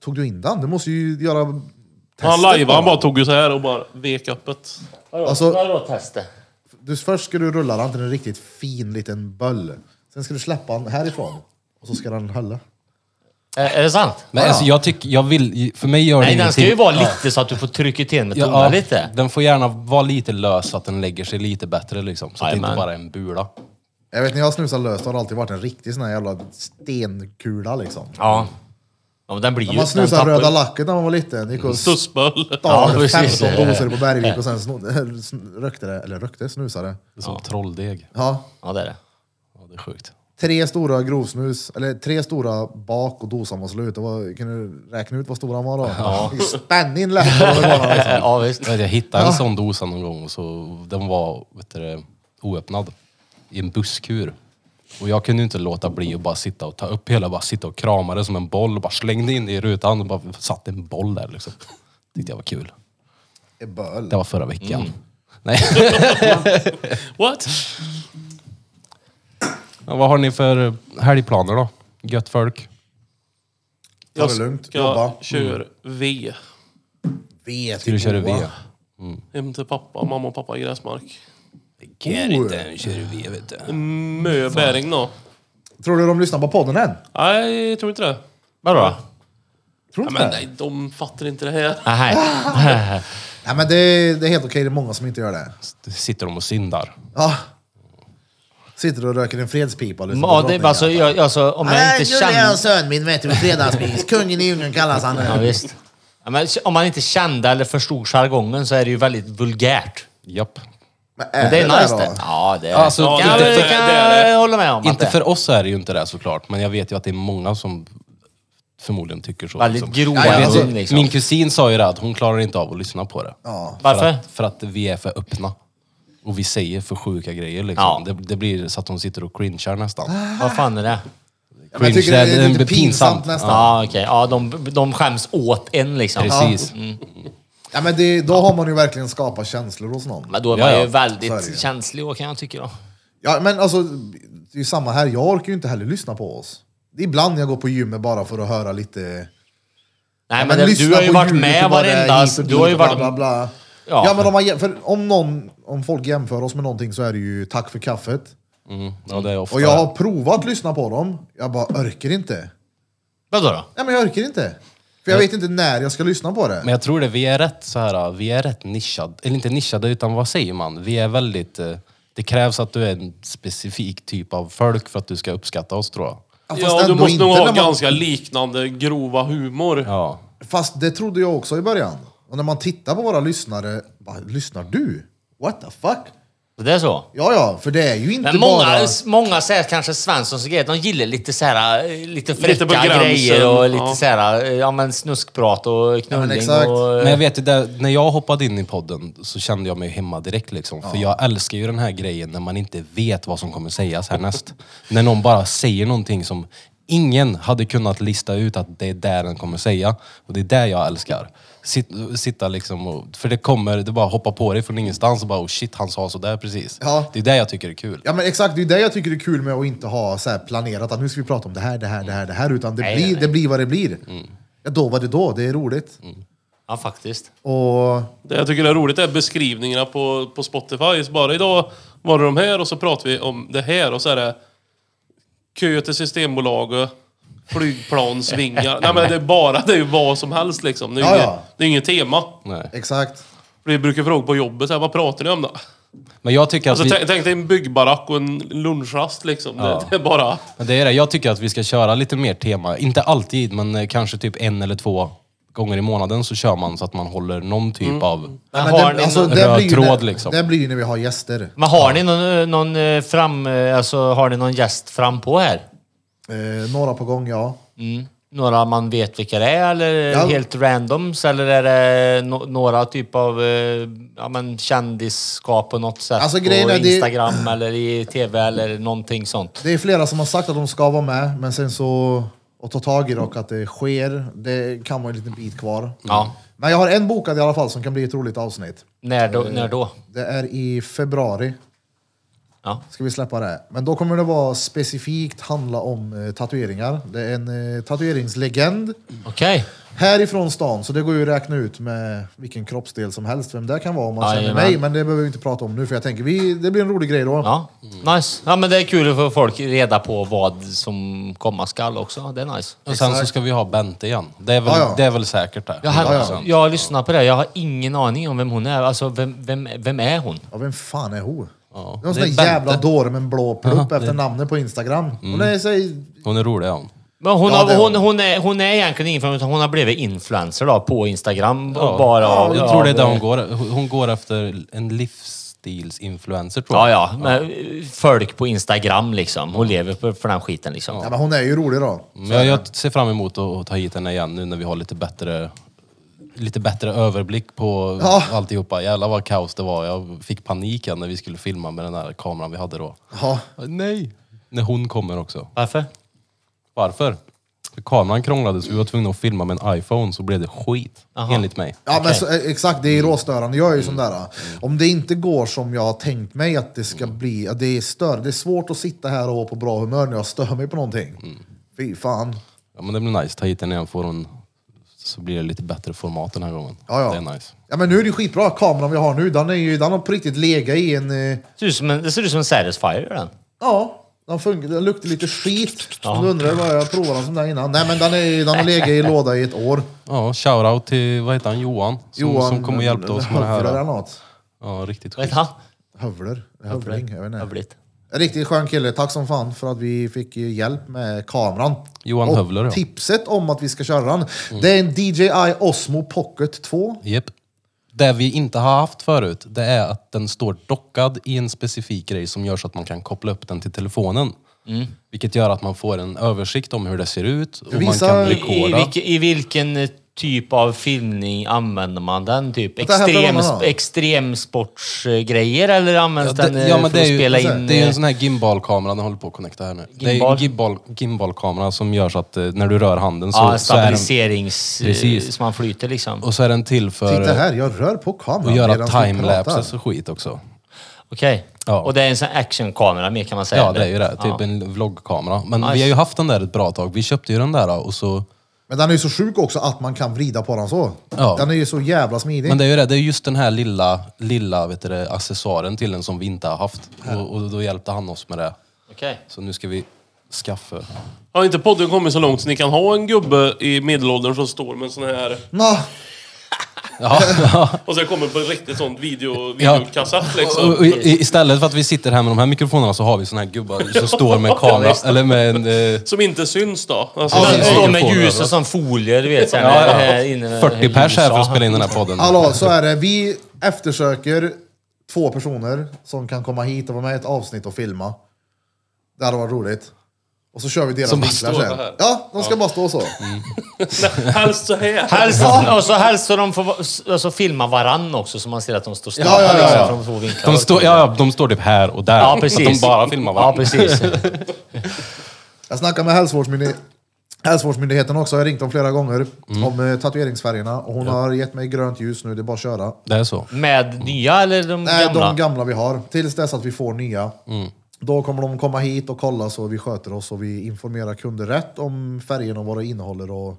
[SPEAKER 1] Tog du in den? Du måste ju göra testet.
[SPEAKER 3] Han lajvade, han bara tog ju så här och bara vek öppet.
[SPEAKER 1] Alltså-
[SPEAKER 2] Vadå testet?
[SPEAKER 1] Du, först ska du rulla den till en riktigt fin liten böll. Sen ska du släppa den härifrån. Och så ska den hålla.
[SPEAKER 2] Är, är det sant?
[SPEAKER 4] Men alltså, jag tycker, jag vill, för mig gör det
[SPEAKER 2] Nej, den ska
[SPEAKER 4] ingenting.
[SPEAKER 2] ju vara lite så att du får trycka till med tonen
[SPEAKER 4] Ja,
[SPEAKER 2] lite.
[SPEAKER 4] Den får gärna vara lite lös så att den lägger sig lite bättre liksom. Så att det inte
[SPEAKER 2] Jajamän.
[SPEAKER 4] bara är en bula.
[SPEAKER 1] Jag vet när jag snusar löst har det alltid varit en riktig sån här jävla stenkula liksom.
[SPEAKER 2] Ja. ja men den blir
[SPEAKER 1] När
[SPEAKER 2] ju...
[SPEAKER 1] man
[SPEAKER 2] Den
[SPEAKER 1] snusade
[SPEAKER 2] tappar-
[SPEAKER 1] röda lacket när man var liten. Gick och
[SPEAKER 3] Stussböll.
[SPEAKER 2] Ja,
[SPEAKER 1] stal
[SPEAKER 2] precis.
[SPEAKER 1] 15 doser på Bergvik och sen snodde, sn- rökte det. Eller rökte? Snusade.
[SPEAKER 4] Det är som trolldeg.
[SPEAKER 1] Ja.
[SPEAKER 2] Ja, det är det.
[SPEAKER 4] Ja, det är sjukt.
[SPEAKER 1] Tre stora grovsnus, eller tre stora bak och dosan var slut. Det var, kan du räkna ut vad stora han var då? Ja. Spänn in läppen. Liksom.
[SPEAKER 2] Ja, visst.
[SPEAKER 4] Jag hittade en sån dosa någon gång och så, den var vet du, det, oöppnad i en busskur. Och jag kunde ju inte låta bli att bara sitta och ta upp hela, bara sitta och krama det som en boll och bara slängde in det i rutan och bara satt en boll där liksom. Tyckte jag var kul.
[SPEAKER 1] Är Böl.
[SPEAKER 4] Det var förra veckan. Nej,
[SPEAKER 3] What?
[SPEAKER 4] Ja, vad har ni för helgplaner då? Gött folk?
[SPEAKER 1] Ta det lugnt, jobba.
[SPEAKER 3] kör V.
[SPEAKER 1] Vet
[SPEAKER 4] Ska du köra V?
[SPEAKER 3] Hem till pappa, mamma och pappa i gräsmark.
[SPEAKER 4] Gör inte, nu kör du V vet du.
[SPEAKER 3] Möbäring då?
[SPEAKER 1] Tror du de lyssnar på podden än?
[SPEAKER 3] Nej, jag tror inte det.
[SPEAKER 2] Vadå?
[SPEAKER 1] Tror
[SPEAKER 3] Ja,
[SPEAKER 1] du
[SPEAKER 3] men
[SPEAKER 1] det?
[SPEAKER 3] nej, de fattar inte det här.
[SPEAKER 2] Nej.
[SPEAKER 1] Nej, men det, det är helt okej, det är många som inte gör det.
[SPEAKER 4] Sitter de och syndar?
[SPEAKER 1] Ja. Sitter och röker en fredspipa och lyssnar på
[SPEAKER 2] Ja, det,
[SPEAKER 1] drottningen.
[SPEAKER 2] alltså, jag, alltså, om jag
[SPEAKER 1] Nej,
[SPEAKER 2] inte
[SPEAKER 1] nu är
[SPEAKER 2] känner...
[SPEAKER 1] en sön min vet du, fredagsmys. Kungen i djungeln kallas han.
[SPEAKER 2] Ja, visst. Ja, men om man inte kände eller förstod jargongen så är det ju väldigt vulgärt.
[SPEAKER 4] Japp.
[SPEAKER 1] Men äh,
[SPEAKER 2] Men det är nice
[SPEAKER 1] då?
[SPEAKER 2] det. Ja, det är
[SPEAKER 4] Alltså,
[SPEAKER 2] kan
[SPEAKER 3] inte
[SPEAKER 2] jag-
[SPEAKER 3] för-
[SPEAKER 2] kan
[SPEAKER 3] det är
[SPEAKER 2] jag hålla med om. att
[SPEAKER 4] Inte
[SPEAKER 2] det är
[SPEAKER 4] för oss är det ju inte det såklart, men jag vet ju att det är många som förmodligen tycker så.
[SPEAKER 2] Väldigt grova
[SPEAKER 1] Ja, jag vet inte.
[SPEAKER 2] ja, liksom.
[SPEAKER 4] Alltså, Min kusin sa ju det att hon klarar inte av att lyssna på det.
[SPEAKER 1] Ja.
[SPEAKER 4] För
[SPEAKER 2] Varför?
[SPEAKER 4] att, för att vi är för öppna. Och vi säger för sjuka grejer liksom.
[SPEAKER 2] Ja.
[SPEAKER 4] Det, det blir så att hon sitter och cringear nästan.
[SPEAKER 2] Vad fan är det?
[SPEAKER 1] Men jag tycker det är lite pinsamt, nästan. Ja.
[SPEAKER 2] Ja, okej. Ja, de, de skäms åt en liksom.
[SPEAKER 4] Precis.
[SPEAKER 1] men det, då har man ju verkligen skapat känslor hos någon.
[SPEAKER 2] Men då är man
[SPEAKER 4] Ja, ja.
[SPEAKER 2] ju väldigt
[SPEAKER 1] Så är det ju.
[SPEAKER 2] känslig och kan jag tycka då.
[SPEAKER 1] Ja, men alltså, det är ju samma här. Jag orkar ju inte heller lyssna på oss. Det är ibland jag går på gymmet bara för att höra lite...
[SPEAKER 2] Nej,
[SPEAKER 1] Ja,
[SPEAKER 2] men, det, du
[SPEAKER 1] lyssna
[SPEAKER 2] har ju
[SPEAKER 1] på
[SPEAKER 2] varit
[SPEAKER 1] ljudet
[SPEAKER 2] med
[SPEAKER 1] och vad det är
[SPEAKER 2] varenda...
[SPEAKER 1] hit och
[SPEAKER 2] Du har ju
[SPEAKER 1] dit och
[SPEAKER 2] varit...
[SPEAKER 1] Bla, bla, bla.
[SPEAKER 2] Ja.
[SPEAKER 1] Ja. men om, man, jä- för om, någon, om folk jämför oss med någonting så är det ju tack för kaffet.
[SPEAKER 4] Mm. Ja, det är ofta.
[SPEAKER 1] Och jag har provat att lyssna på dem. Jag bara orkar inte.
[SPEAKER 2] Vadå då?
[SPEAKER 1] Nej, men jag orkar inte. För jag vet inte när jag ska lyssna på det.
[SPEAKER 4] Men jag tror det, vi är rätt så här, vi är rätt nischade. Eller inte nischade, utan vad säger man? Vi är väldigt... eh, Det krävs att du är en specifik typ av folk för att du ska uppskatta oss tror jag.
[SPEAKER 1] Ja, fast
[SPEAKER 3] Ja, du
[SPEAKER 1] ändå
[SPEAKER 3] måste
[SPEAKER 1] inte
[SPEAKER 3] nog ha
[SPEAKER 1] när man-
[SPEAKER 3] ganska liknande grova humor.
[SPEAKER 4] Ja.
[SPEAKER 1] Fast det trodde jag också i början. Och när man tittar på våra lyssnare, bara, lyssnar du? What the fuck?
[SPEAKER 2] Det är så?
[SPEAKER 1] Ja, ja, för det är ju inte
[SPEAKER 2] Men många,
[SPEAKER 1] bara...
[SPEAKER 2] många säger kanske Svensson och grejer, de gillar lite så här, eh, lite fräcka
[SPEAKER 3] på gränsen,
[SPEAKER 2] grejer och lite
[SPEAKER 3] ja.
[SPEAKER 2] så här, eh, ja men snuskprat och knulling
[SPEAKER 1] exakt.
[SPEAKER 2] och...
[SPEAKER 4] Men jag vet ju, där, när jag hoppade in i podden så kände jag mig hemma direkt liksom. För jag älskar ju den här grejen när man inte vet vad som kommer sägas härnäst. när någon bara säger någonting som ingen hade kunnat lista ut att det är där den kommer säga. Och det är där jag älskar. Sitt, sitta liksom och, För det kommer, det bara hoppar på dig från ingenstans och bara oh shit, han sa sådär precis.
[SPEAKER 1] Ja.
[SPEAKER 4] Det är där jag tycker det är kul.
[SPEAKER 1] Ja men exakt, det är det jag tycker det är kul med att inte ha så här planerat att nu ska vi prata om det här, det här, det här, det här. Utan det,
[SPEAKER 2] Nej,
[SPEAKER 1] blir,
[SPEAKER 2] nej, Mm. nej.
[SPEAKER 1] det blir vad det blir. Ja, då var det då, det är roligt.
[SPEAKER 2] Ja, faktiskt.
[SPEAKER 1] Och
[SPEAKER 3] Det jag tycker är roligt är beskrivningarna på, på Spotify. Så bara idag var det de här och så pratar vi om det här och så är det kö till Systembolaget. flygplansvingar. Nej men det är bara, det är ju vad som helst liksom. Det är ju
[SPEAKER 1] Ja,
[SPEAKER 3] inget,
[SPEAKER 1] ja.
[SPEAKER 3] det är inget tema.
[SPEAKER 4] Nej.
[SPEAKER 1] Exakt.
[SPEAKER 3] För det brukar fråga på jobbet, så här, vad pratar ni om då?
[SPEAKER 4] Men jag tycker att
[SPEAKER 3] Alltså,
[SPEAKER 4] vi...
[SPEAKER 3] tänk, tänk dig en byggbarack och en lunchrast liksom. Det, det är bara...
[SPEAKER 4] Men det är det. Jag tycker att vi ska köra lite mer tema. Inte alltid, men eh, kanske typ en eller två gånger i månaden så kör man så att man håller någon typ
[SPEAKER 1] Mm.
[SPEAKER 4] av...
[SPEAKER 1] Men
[SPEAKER 2] har ni
[SPEAKER 1] det, alltså,
[SPEAKER 2] någon
[SPEAKER 4] röd
[SPEAKER 1] det, blir ju
[SPEAKER 4] tråd,
[SPEAKER 1] när,
[SPEAKER 4] liksom?
[SPEAKER 1] det blir ju när vi har gäster.
[SPEAKER 2] Men har ni någon, eh, någon eh, fram... eh, Alltså har ni någon gäst fram på här?
[SPEAKER 1] Eh, några på gång, ja.
[SPEAKER 2] Mm. Några man vet vilka det är eller
[SPEAKER 1] Ja.
[SPEAKER 2] helt randoms? Eller är det no några typ av eh, ja, men kändisskap på något sätt?
[SPEAKER 1] Alltså,
[SPEAKER 2] på
[SPEAKER 1] grejen är det-
[SPEAKER 2] Instagram eller i TV eller någonting sånt?
[SPEAKER 1] Det är flera som har sagt att de ska vara med, men sen så... Att ta tag i det och att det sker, det kan vara en liten bit kvar.
[SPEAKER 2] Ja.
[SPEAKER 1] Men jag har en bokad i alla fall som kan bli ett roligt avsnitt.
[SPEAKER 2] När då? När då?
[SPEAKER 1] Det är i februari.
[SPEAKER 2] Ja.
[SPEAKER 1] Ska vi släppa det. Men då kommer det vara specifikt handla om eh, tatueringar. Det är en eh, tatueringslegend
[SPEAKER 2] Okej.
[SPEAKER 1] härifrån stan, så det går ju att räkna ut med vilken kroppsdel som helst, vem det kan vara om man känner
[SPEAKER 2] Jajamän.
[SPEAKER 1] mig. Men det behöver vi inte prata om nu, för jag tänker vi, det blir en rolig grej då.
[SPEAKER 2] Ja,
[SPEAKER 1] Mm.
[SPEAKER 2] nice. Ja, men det är kul att få folk reda på vad som komma skall också. Det är nice.
[SPEAKER 4] Och sen så ska vi ha Bente igen. Det är väl,
[SPEAKER 1] Ja, ja.
[SPEAKER 4] Det är väl säkert det.
[SPEAKER 2] Jag, har,
[SPEAKER 1] Ja, ja.
[SPEAKER 2] jag har lyssnat på det. Jag har ingen aning om vem hon är. Alltså, vem, vem, vem är hon?
[SPEAKER 1] Ja, vem fan är hon?
[SPEAKER 4] Ja,
[SPEAKER 1] Någon
[SPEAKER 4] det
[SPEAKER 1] sån
[SPEAKER 4] är
[SPEAKER 1] där jävla
[SPEAKER 4] Bente.
[SPEAKER 1] dåre med en blå plupp efter namnet på Instagram. Hon
[SPEAKER 4] Mm.
[SPEAKER 1] är så,
[SPEAKER 4] Hon är rolig, ja. hon.
[SPEAKER 2] Men hon,
[SPEAKER 1] Ja, det
[SPEAKER 2] har,
[SPEAKER 1] är
[SPEAKER 2] hon,
[SPEAKER 1] hon.
[SPEAKER 2] hon, är, hon är egentligen ingen från utan hon har blivit influencer då, på Instagram. och Bara av,
[SPEAKER 4] Jag tror det är där
[SPEAKER 2] av-
[SPEAKER 4] hon går. Hon går efter en livsstilsinfluencer, tror jag.
[SPEAKER 2] Ja, ja. Men eh, folk på Instagram liksom. Hon lever för, för den skiten liksom.
[SPEAKER 1] ja, men hon är ju rolig då.
[SPEAKER 4] Men jag, jag ser fram emot att, att ta hit henne igen nu när vi har lite bättre, lite bättre överblick på
[SPEAKER 1] Ja.
[SPEAKER 4] alltihopa. Jävlar vad kaos det var. Jag fick paniken när vi skulle filma med den där kameran vi hade då.
[SPEAKER 1] Ja,
[SPEAKER 4] Nej! När hon kommer också.
[SPEAKER 2] Varför?
[SPEAKER 4] Varför? För Kameran krånglades, vi var tvungna att filma med en iPhone så blev det skit. Enligt mig.
[SPEAKER 1] ja men så, eh, exakt, det är
[SPEAKER 4] Mm.
[SPEAKER 1] råstörande. Jag är ju sån där. ah. Om det inte går som jag har tänkt mig att det
[SPEAKER 4] Mm.
[SPEAKER 1] ska bli, att det är stör. Det är svårt att sitta här och vara på bra humör när jag stör mig på någonting.
[SPEAKER 4] Mm.
[SPEAKER 1] Fy fan.
[SPEAKER 4] Ja, men det blir nice, ta hit henne igen får hon, så blir det lite bättre format den här gången.
[SPEAKER 1] Ja, ja.
[SPEAKER 4] Det är nice.
[SPEAKER 1] Ja men nu är det ju skitbra, kameran vi har nu, den, är ju, den har på riktigt legat i en... eh,
[SPEAKER 2] Det ser ut som en, det ser ut som en Satisfyer den.
[SPEAKER 1] Ja, den, funkar, den luktar lite skit. Om du undrar vad jag provade den som där innan. Nej men den, är, den har legat i låda i ett år.
[SPEAKER 4] Ja, shoutout till, vad heter han, Johan? Som, som kommer och hjälpte oss med det
[SPEAKER 1] Hövler eller
[SPEAKER 4] här.
[SPEAKER 1] något.
[SPEAKER 4] Ja, riktigt
[SPEAKER 2] Vad
[SPEAKER 4] skit.
[SPEAKER 2] heter han?
[SPEAKER 1] Hövler? Hövling? Jag vet inte.
[SPEAKER 2] Hövligt.
[SPEAKER 1] En riktigt skön kille. Tack som fan för att vi fick eh, hjälp med kameran.
[SPEAKER 4] Johan
[SPEAKER 1] och
[SPEAKER 4] Hövler, ja.
[SPEAKER 1] tipset om att vi ska köra den, det är en DJI Osmo Pocket 2.
[SPEAKER 4] Jep. Det vi inte har haft förut, det är att den står dockad i en specifik grej som gör så att man kan koppla upp den till telefonen.
[SPEAKER 2] Mm.
[SPEAKER 4] Vilket gör att man får en översikt om hur det ser ut och man
[SPEAKER 1] Visa-
[SPEAKER 4] kan
[SPEAKER 2] I, i,
[SPEAKER 4] rekorda.
[SPEAKER 2] vilken, I vilken eh, typ av filmning använder man den? Typ
[SPEAKER 1] Det här
[SPEAKER 2] extrem,
[SPEAKER 1] får man ha.
[SPEAKER 2] extremsportsgrejer eller används
[SPEAKER 4] Ja,
[SPEAKER 2] den eh,
[SPEAKER 4] det, ja, men
[SPEAKER 2] för
[SPEAKER 4] det, är
[SPEAKER 2] att
[SPEAKER 4] ju, alltså,
[SPEAKER 2] spela in?
[SPEAKER 4] det är ju
[SPEAKER 2] eh,
[SPEAKER 4] en sån här gimbalkamera, den håller på att connecta här nu. Det är ju
[SPEAKER 2] Gimbal?
[SPEAKER 4] en gimbal, gimbalkamera som gör så att eh, när du rör handen så,
[SPEAKER 2] ja, en
[SPEAKER 4] så, är den,
[SPEAKER 2] stabiliserings... eh,
[SPEAKER 4] Precis.
[SPEAKER 2] Så man flyter liksom. Okej.
[SPEAKER 4] och så är den till för
[SPEAKER 1] Titta
[SPEAKER 4] eh,
[SPEAKER 1] här, jag rör på kameran
[SPEAKER 4] att göra
[SPEAKER 1] medan vi
[SPEAKER 4] timelapses
[SPEAKER 1] pratar.
[SPEAKER 4] och skit också. Ja.
[SPEAKER 2] Och det är en sån actionkamera mer kan man säga?
[SPEAKER 4] Ja, det är
[SPEAKER 2] eller?
[SPEAKER 4] ju det. Typ
[SPEAKER 2] Ja.
[SPEAKER 4] en vloggkamera. Men
[SPEAKER 2] Nice.
[SPEAKER 4] vi har ju haft den där ett bra tag. Vi köpte ju den där och så
[SPEAKER 1] Men den är ju så sjuk också att man kan vrida på den så.
[SPEAKER 4] Ja.
[SPEAKER 1] Den är ju så jävla smidig.
[SPEAKER 4] Men det är ju det, det är just den här lilla, lilla vet du, det, accessoaren till den som vi inte har haft. Och, och då hjälpte han oss med det.
[SPEAKER 2] Okej.
[SPEAKER 4] Så nu ska vi skaffa.
[SPEAKER 3] Har inte podden kommit så långt så ni kan ha en gubbe i medelåldern som står med en sån här...
[SPEAKER 1] Nå,
[SPEAKER 4] Ja,
[SPEAKER 3] Och sen kommer på en riktigt sån video,
[SPEAKER 4] Ja.
[SPEAKER 3] videokassett
[SPEAKER 4] och, och,
[SPEAKER 3] liksom.
[SPEAKER 4] i- istället för att vi sitter här med de här mikrofonerna så har vi såna här gubbar som står med kamera, eller med en... Eh,
[SPEAKER 3] Som inte syns då. Alltså,
[SPEAKER 4] Ja,
[SPEAKER 3] den-
[SPEAKER 4] precis.
[SPEAKER 2] Står med
[SPEAKER 4] Mikrofoner,
[SPEAKER 2] ljus
[SPEAKER 4] va?
[SPEAKER 2] och som folier, du vet. Så här,
[SPEAKER 4] ja,
[SPEAKER 2] här
[SPEAKER 4] ja.
[SPEAKER 2] inne med-
[SPEAKER 4] 40 pers här för att
[SPEAKER 2] Ja.
[SPEAKER 4] spela in den här podden.
[SPEAKER 1] Hallå, så är det. Vi eftersöker två personer som kan komma hit och vara med i ett avsnitt och filma. Det hade varit roligt. Och så kör vi deras
[SPEAKER 4] Som bara
[SPEAKER 1] vinklar
[SPEAKER 3] står
[SPEAKER 1] sen.
[SPEAKER 3] så här.
[SPEAKER 1] Ja, de ska bara stå så.
[SPEAKER 3] Helst så här.
[SPEAKER 2] Helst, och så helst så de får va- s- alltså, filma varann också så man ser att de står stilla
[SPEAKER 1] Ja, ja, ja,
[SPEAKER 2] liksom,
[SPEAKER 1] ja.
[SPEAKER 2] från två vinklar.
[SPEAKER 4] De, står, ja, ja, de står typ här och där.
[SPEAKER 2] Ja, precis.
[SPEAKER 4] Så att de bara filmar
[SPEAKER 2] Ja,
[SPEAKER 4] varandra.
[SPEAKER 2] precis.
[SPEAKER 1] Jag snackade med hälsovårdsmyndigheten. Hälsovårdsmyndigheten också, jag har ringt dem flera gånger
[SPEAKER 2] Mm.
[SPEAKER 1] om eh, tatueringsfärgerna och hon har gett mig grönt ljus nu, det är bara att köra.
[SPEAKER 4] Det är så.
[SPEAKER 2] Med nya eller de
[SPEAKER 1] Nej,
[SPEAKER 2] gamla? Mm.
[SPEAKER 1] de gamla vi har. Tills dess att vi får nya. Då kommer de komma hit och kolla så vi sköter oss och vi informerar kunder rätt om färgerna och vad det innehåller. Och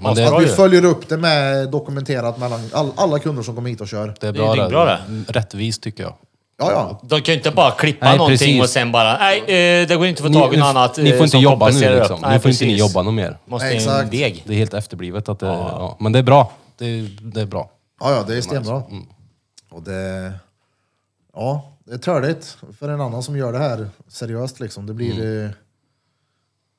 [SPEAKER 4] Men det,
[SPEAKER 2] Bra
[SPEAKER 1] att vi
[SPEAKER 2] ju.
[SPEAKER 1] följer upp det med dokumenterat mellan all, alla kunder som kommer hit och kör.
[SPEAKER 4] det är
[SPEAKER 2] det är
[SPEAKER 4] bra
[SPEAKER 2] bra det.
[SPEAKER 4] Rättvist tycker jag.
[SPEAKER 1] Ja, ja.
[SPEAKER 2] De kan ju inte bara klippa
[SPEAKER 4] Nej,
[SPEAKER 2] någonting
[SPEAKER 4] precis.
[SPEAKER 2] och sen bara, nej, eh, det går inte att få tag i något annat
[SPEAKER 4] ni
[SPEAKER 2] eh,
[SPEAKER 4] får inte
[SPEAKER 2] som
[SPEAKER 4] jobba nu
[SPEAKER 2] kompenserar
[SPEAKER 4] liksom.
[SPEAKER 2] upp."
[SPEAKER 4] Nu
[SPEAKER 2] Nej,
[SPEAKER 4] får inte ni
[SPEAKER 2] precis.
[SPEAKER 4] jobba något mer.
[SPEAKER 2] Måste
[SPEAKER 1] Nej,
[SPEAKER 2] in
[SPEAKER 1] exakt.
[SPEAKER 2] deg.
[SPEAKER 4] Det är helt efterblivet att det, ja. Men det är bra. Det, är- det är bra.
[SPEAKER 1] Ja, ja, det är stenbra. Och det... Ja, det är törligt för en annan som gör det här seriöst liksom. Det blir... eh,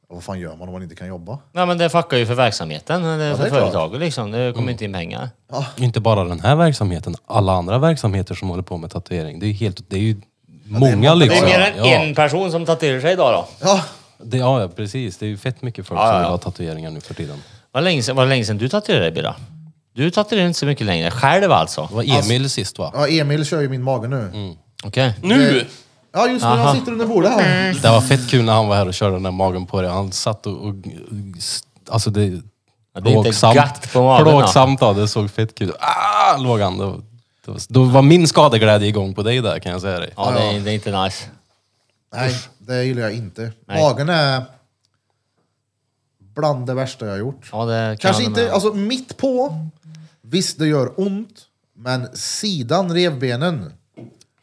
[SPEAKER 1] Ja, vad fan gör man om man inte kan jobba?
[SPEAKER 2] Nej, men det fuckar ju för verksamheten, eller
[SPEAKER 1] det
[SPEAKER 2] för
[SPEAKER 1] är klart.
[SPEAKER 2] företaget liksom. Det kommer inte in pengar.
[SPEAKER 4] Inte bara den här verksamheten, alla andra verksamheter som håller på med tatuering. Det är ju, helt, det är ju många
[SPEAKER 2] Det är
[SPEAKER 4] liksom.
[SPEAKER 2] mer än
[SPEAKER 4] ja.
[SPEAKER 2] en person som tatuerar sig idag då.
[SPEAKER 1] Ja,
[SPEAKER 4] Det, ja, ja, precis. Det är ju fett mycket folk
[SPEAKER 2] Ja,
[SPEAKER 4] som
[SPEAKER 2] ja.
[SPEAKER 4] vill ha tatueringar nu för tiden.
[SPEAKER 2] Vad länge sedan, vad länge sedan du tatuerade dig Birra? Du tatuerar inte så mycket längre, själv alltså?
[SPEAKER 4] Det var Emil sist va?
[SPEAKER 1] ja Emil kör ju min mage nu.
[SPEAKER 2] Okej.
[SPEAKER 3] Nu!
[SPEAKER 1] Ja, just nu. Han sitter under bordet här.
[SPEAKER 4] Det var fett kul när han var här och körde den där magen på dig. Han satt och... och alltså det...
[SPEAKER 2] Ja, det är inte gatt på magen,
[SPEAKER 4] Plågsamt ja. Det såg fett kul ut. Ah, låg han. Då, då, då var min skadeglädje igång på dig där kan jag säga dig.
[SPEAKER 2] Ja, det är, det är inte nice.
[SPEAKER 1] Nej, det gillar jag inte.
[SPEAKER 2] Nej.
[SPEAKER 1] Magen är bland det värsta jag har gjort.
[SPEAKER 2] Ja, det kan
[SPEAKER 1] Kanske
[SPEAKER 2] jag
[SPEAKER 1] inte,
[SPEAKER 2] med.
[SPEAKER 1] alltså mitt på. Visst, det gör ont. Men sidan revbenen.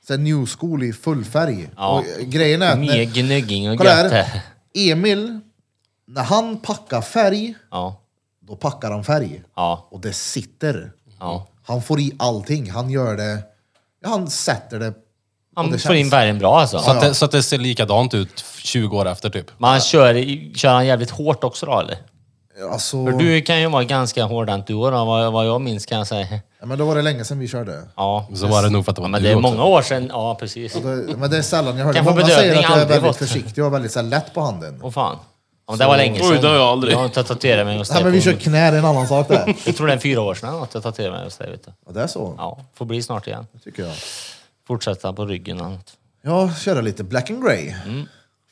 [SPEAKER 1] Sen new school i full färg.
[SPEAKER 2] Ja.
[SPEAKER 1] Och grejen är att
[SPEAKER 2] Mer
[SPEAKER 1] när,
[SPEAKER 2] gnugging och
[SPEAKER 1] Kolla
[SPEAKER 2] gött.
[SPEAKER 1] här.
[SPEAKER 2] det.
[SPEAKER 1] Emil, när han packar färg,
[SPEAKER 2] Ja.
[SPEAKER 1] då packar han färg.
[SPEAKER 2] Ja.
[SPEAKER 1] Och det sitter.
[SPEAKER 2] Ja.
[SPEAKER 1] Han får i allting. Han gör det. ja, Han sätter det. och
[SPEAKER 2] Han
[SPEAKER 1] det
[SPEAKER 2] får in
[SPEAKER 1] känns.
[SPEAKER 2] färgen bra alltså.
[SPEAKER 4] Så, att det, så att det ser likadant ut 20 år efter typ.
[SPEAKER 2] Men han kör, i- kör han jävligt hårt också då eller?
[SPEAKER 1] Alltså,
[SPEAKER 2] För du kan ju vara ganska hårdhänt du och då, vad, vad jag minns kan jag säga.
[SPEAKER 1] ja, men då var det länge sedan vi körde.
[SPEAKER 2] Ja.
[SPEAKER 4] Så var det nog för att det
[SPEAKER 2] Ja,
[SPEAKER 4] var
[SPEAKER 2] men
[SPEAKER 4] du
[SPEAKER 2] det är
[SPEAKER 4] också.
[SPEAKER 2] många år sedan. Ja, precis.
[SPEAKER 1] Det, men det är sällan jag hör det.
[SPEAKER 2] Kan få
[SPEAKER 1] Många säger
[SPEAKER 2] bedövning,
[SPEAKER 1] att jag är
[SPEAKER 2] aldrig
[SPEAKER 1] väldigt
[SPEAKER 2] fått.
[SPEAKER 1] försiktig och väldigt så här, lätt på handen.
[SPEAKER 2] Åh fan. Ja, men det var länge
[SPEAKER 3] Oj,
[SPEAKER 2] sedan.
[SPEAKER 3] det har jag aldrig.
[SPEAKER 2] Jag har inte tatuerat mig hos
[SPEAKER 1] Nej, men vi
[SPEAKER 2] dig.
[SPEAKER 1] kör
[SPEAKER 2] på-
[SPEAKER 1] knä, det är en annan sak där.
[SPEAKER 2] Jag tror det är fyra år sedan eller något jag tatuerade mig hos dig. Vet du.
[SPEAKER 1] Ja, det är så,
[SPEAKER 2] Ja, får bli snart igen.
[SPEAKER 1] tycker jag.
[SPEAKER 2] Fortsätta på ryggen och annat.
[SPEAKER 1] Jag köra lite black and grey.
[SPEAKER 2] Mm. Jag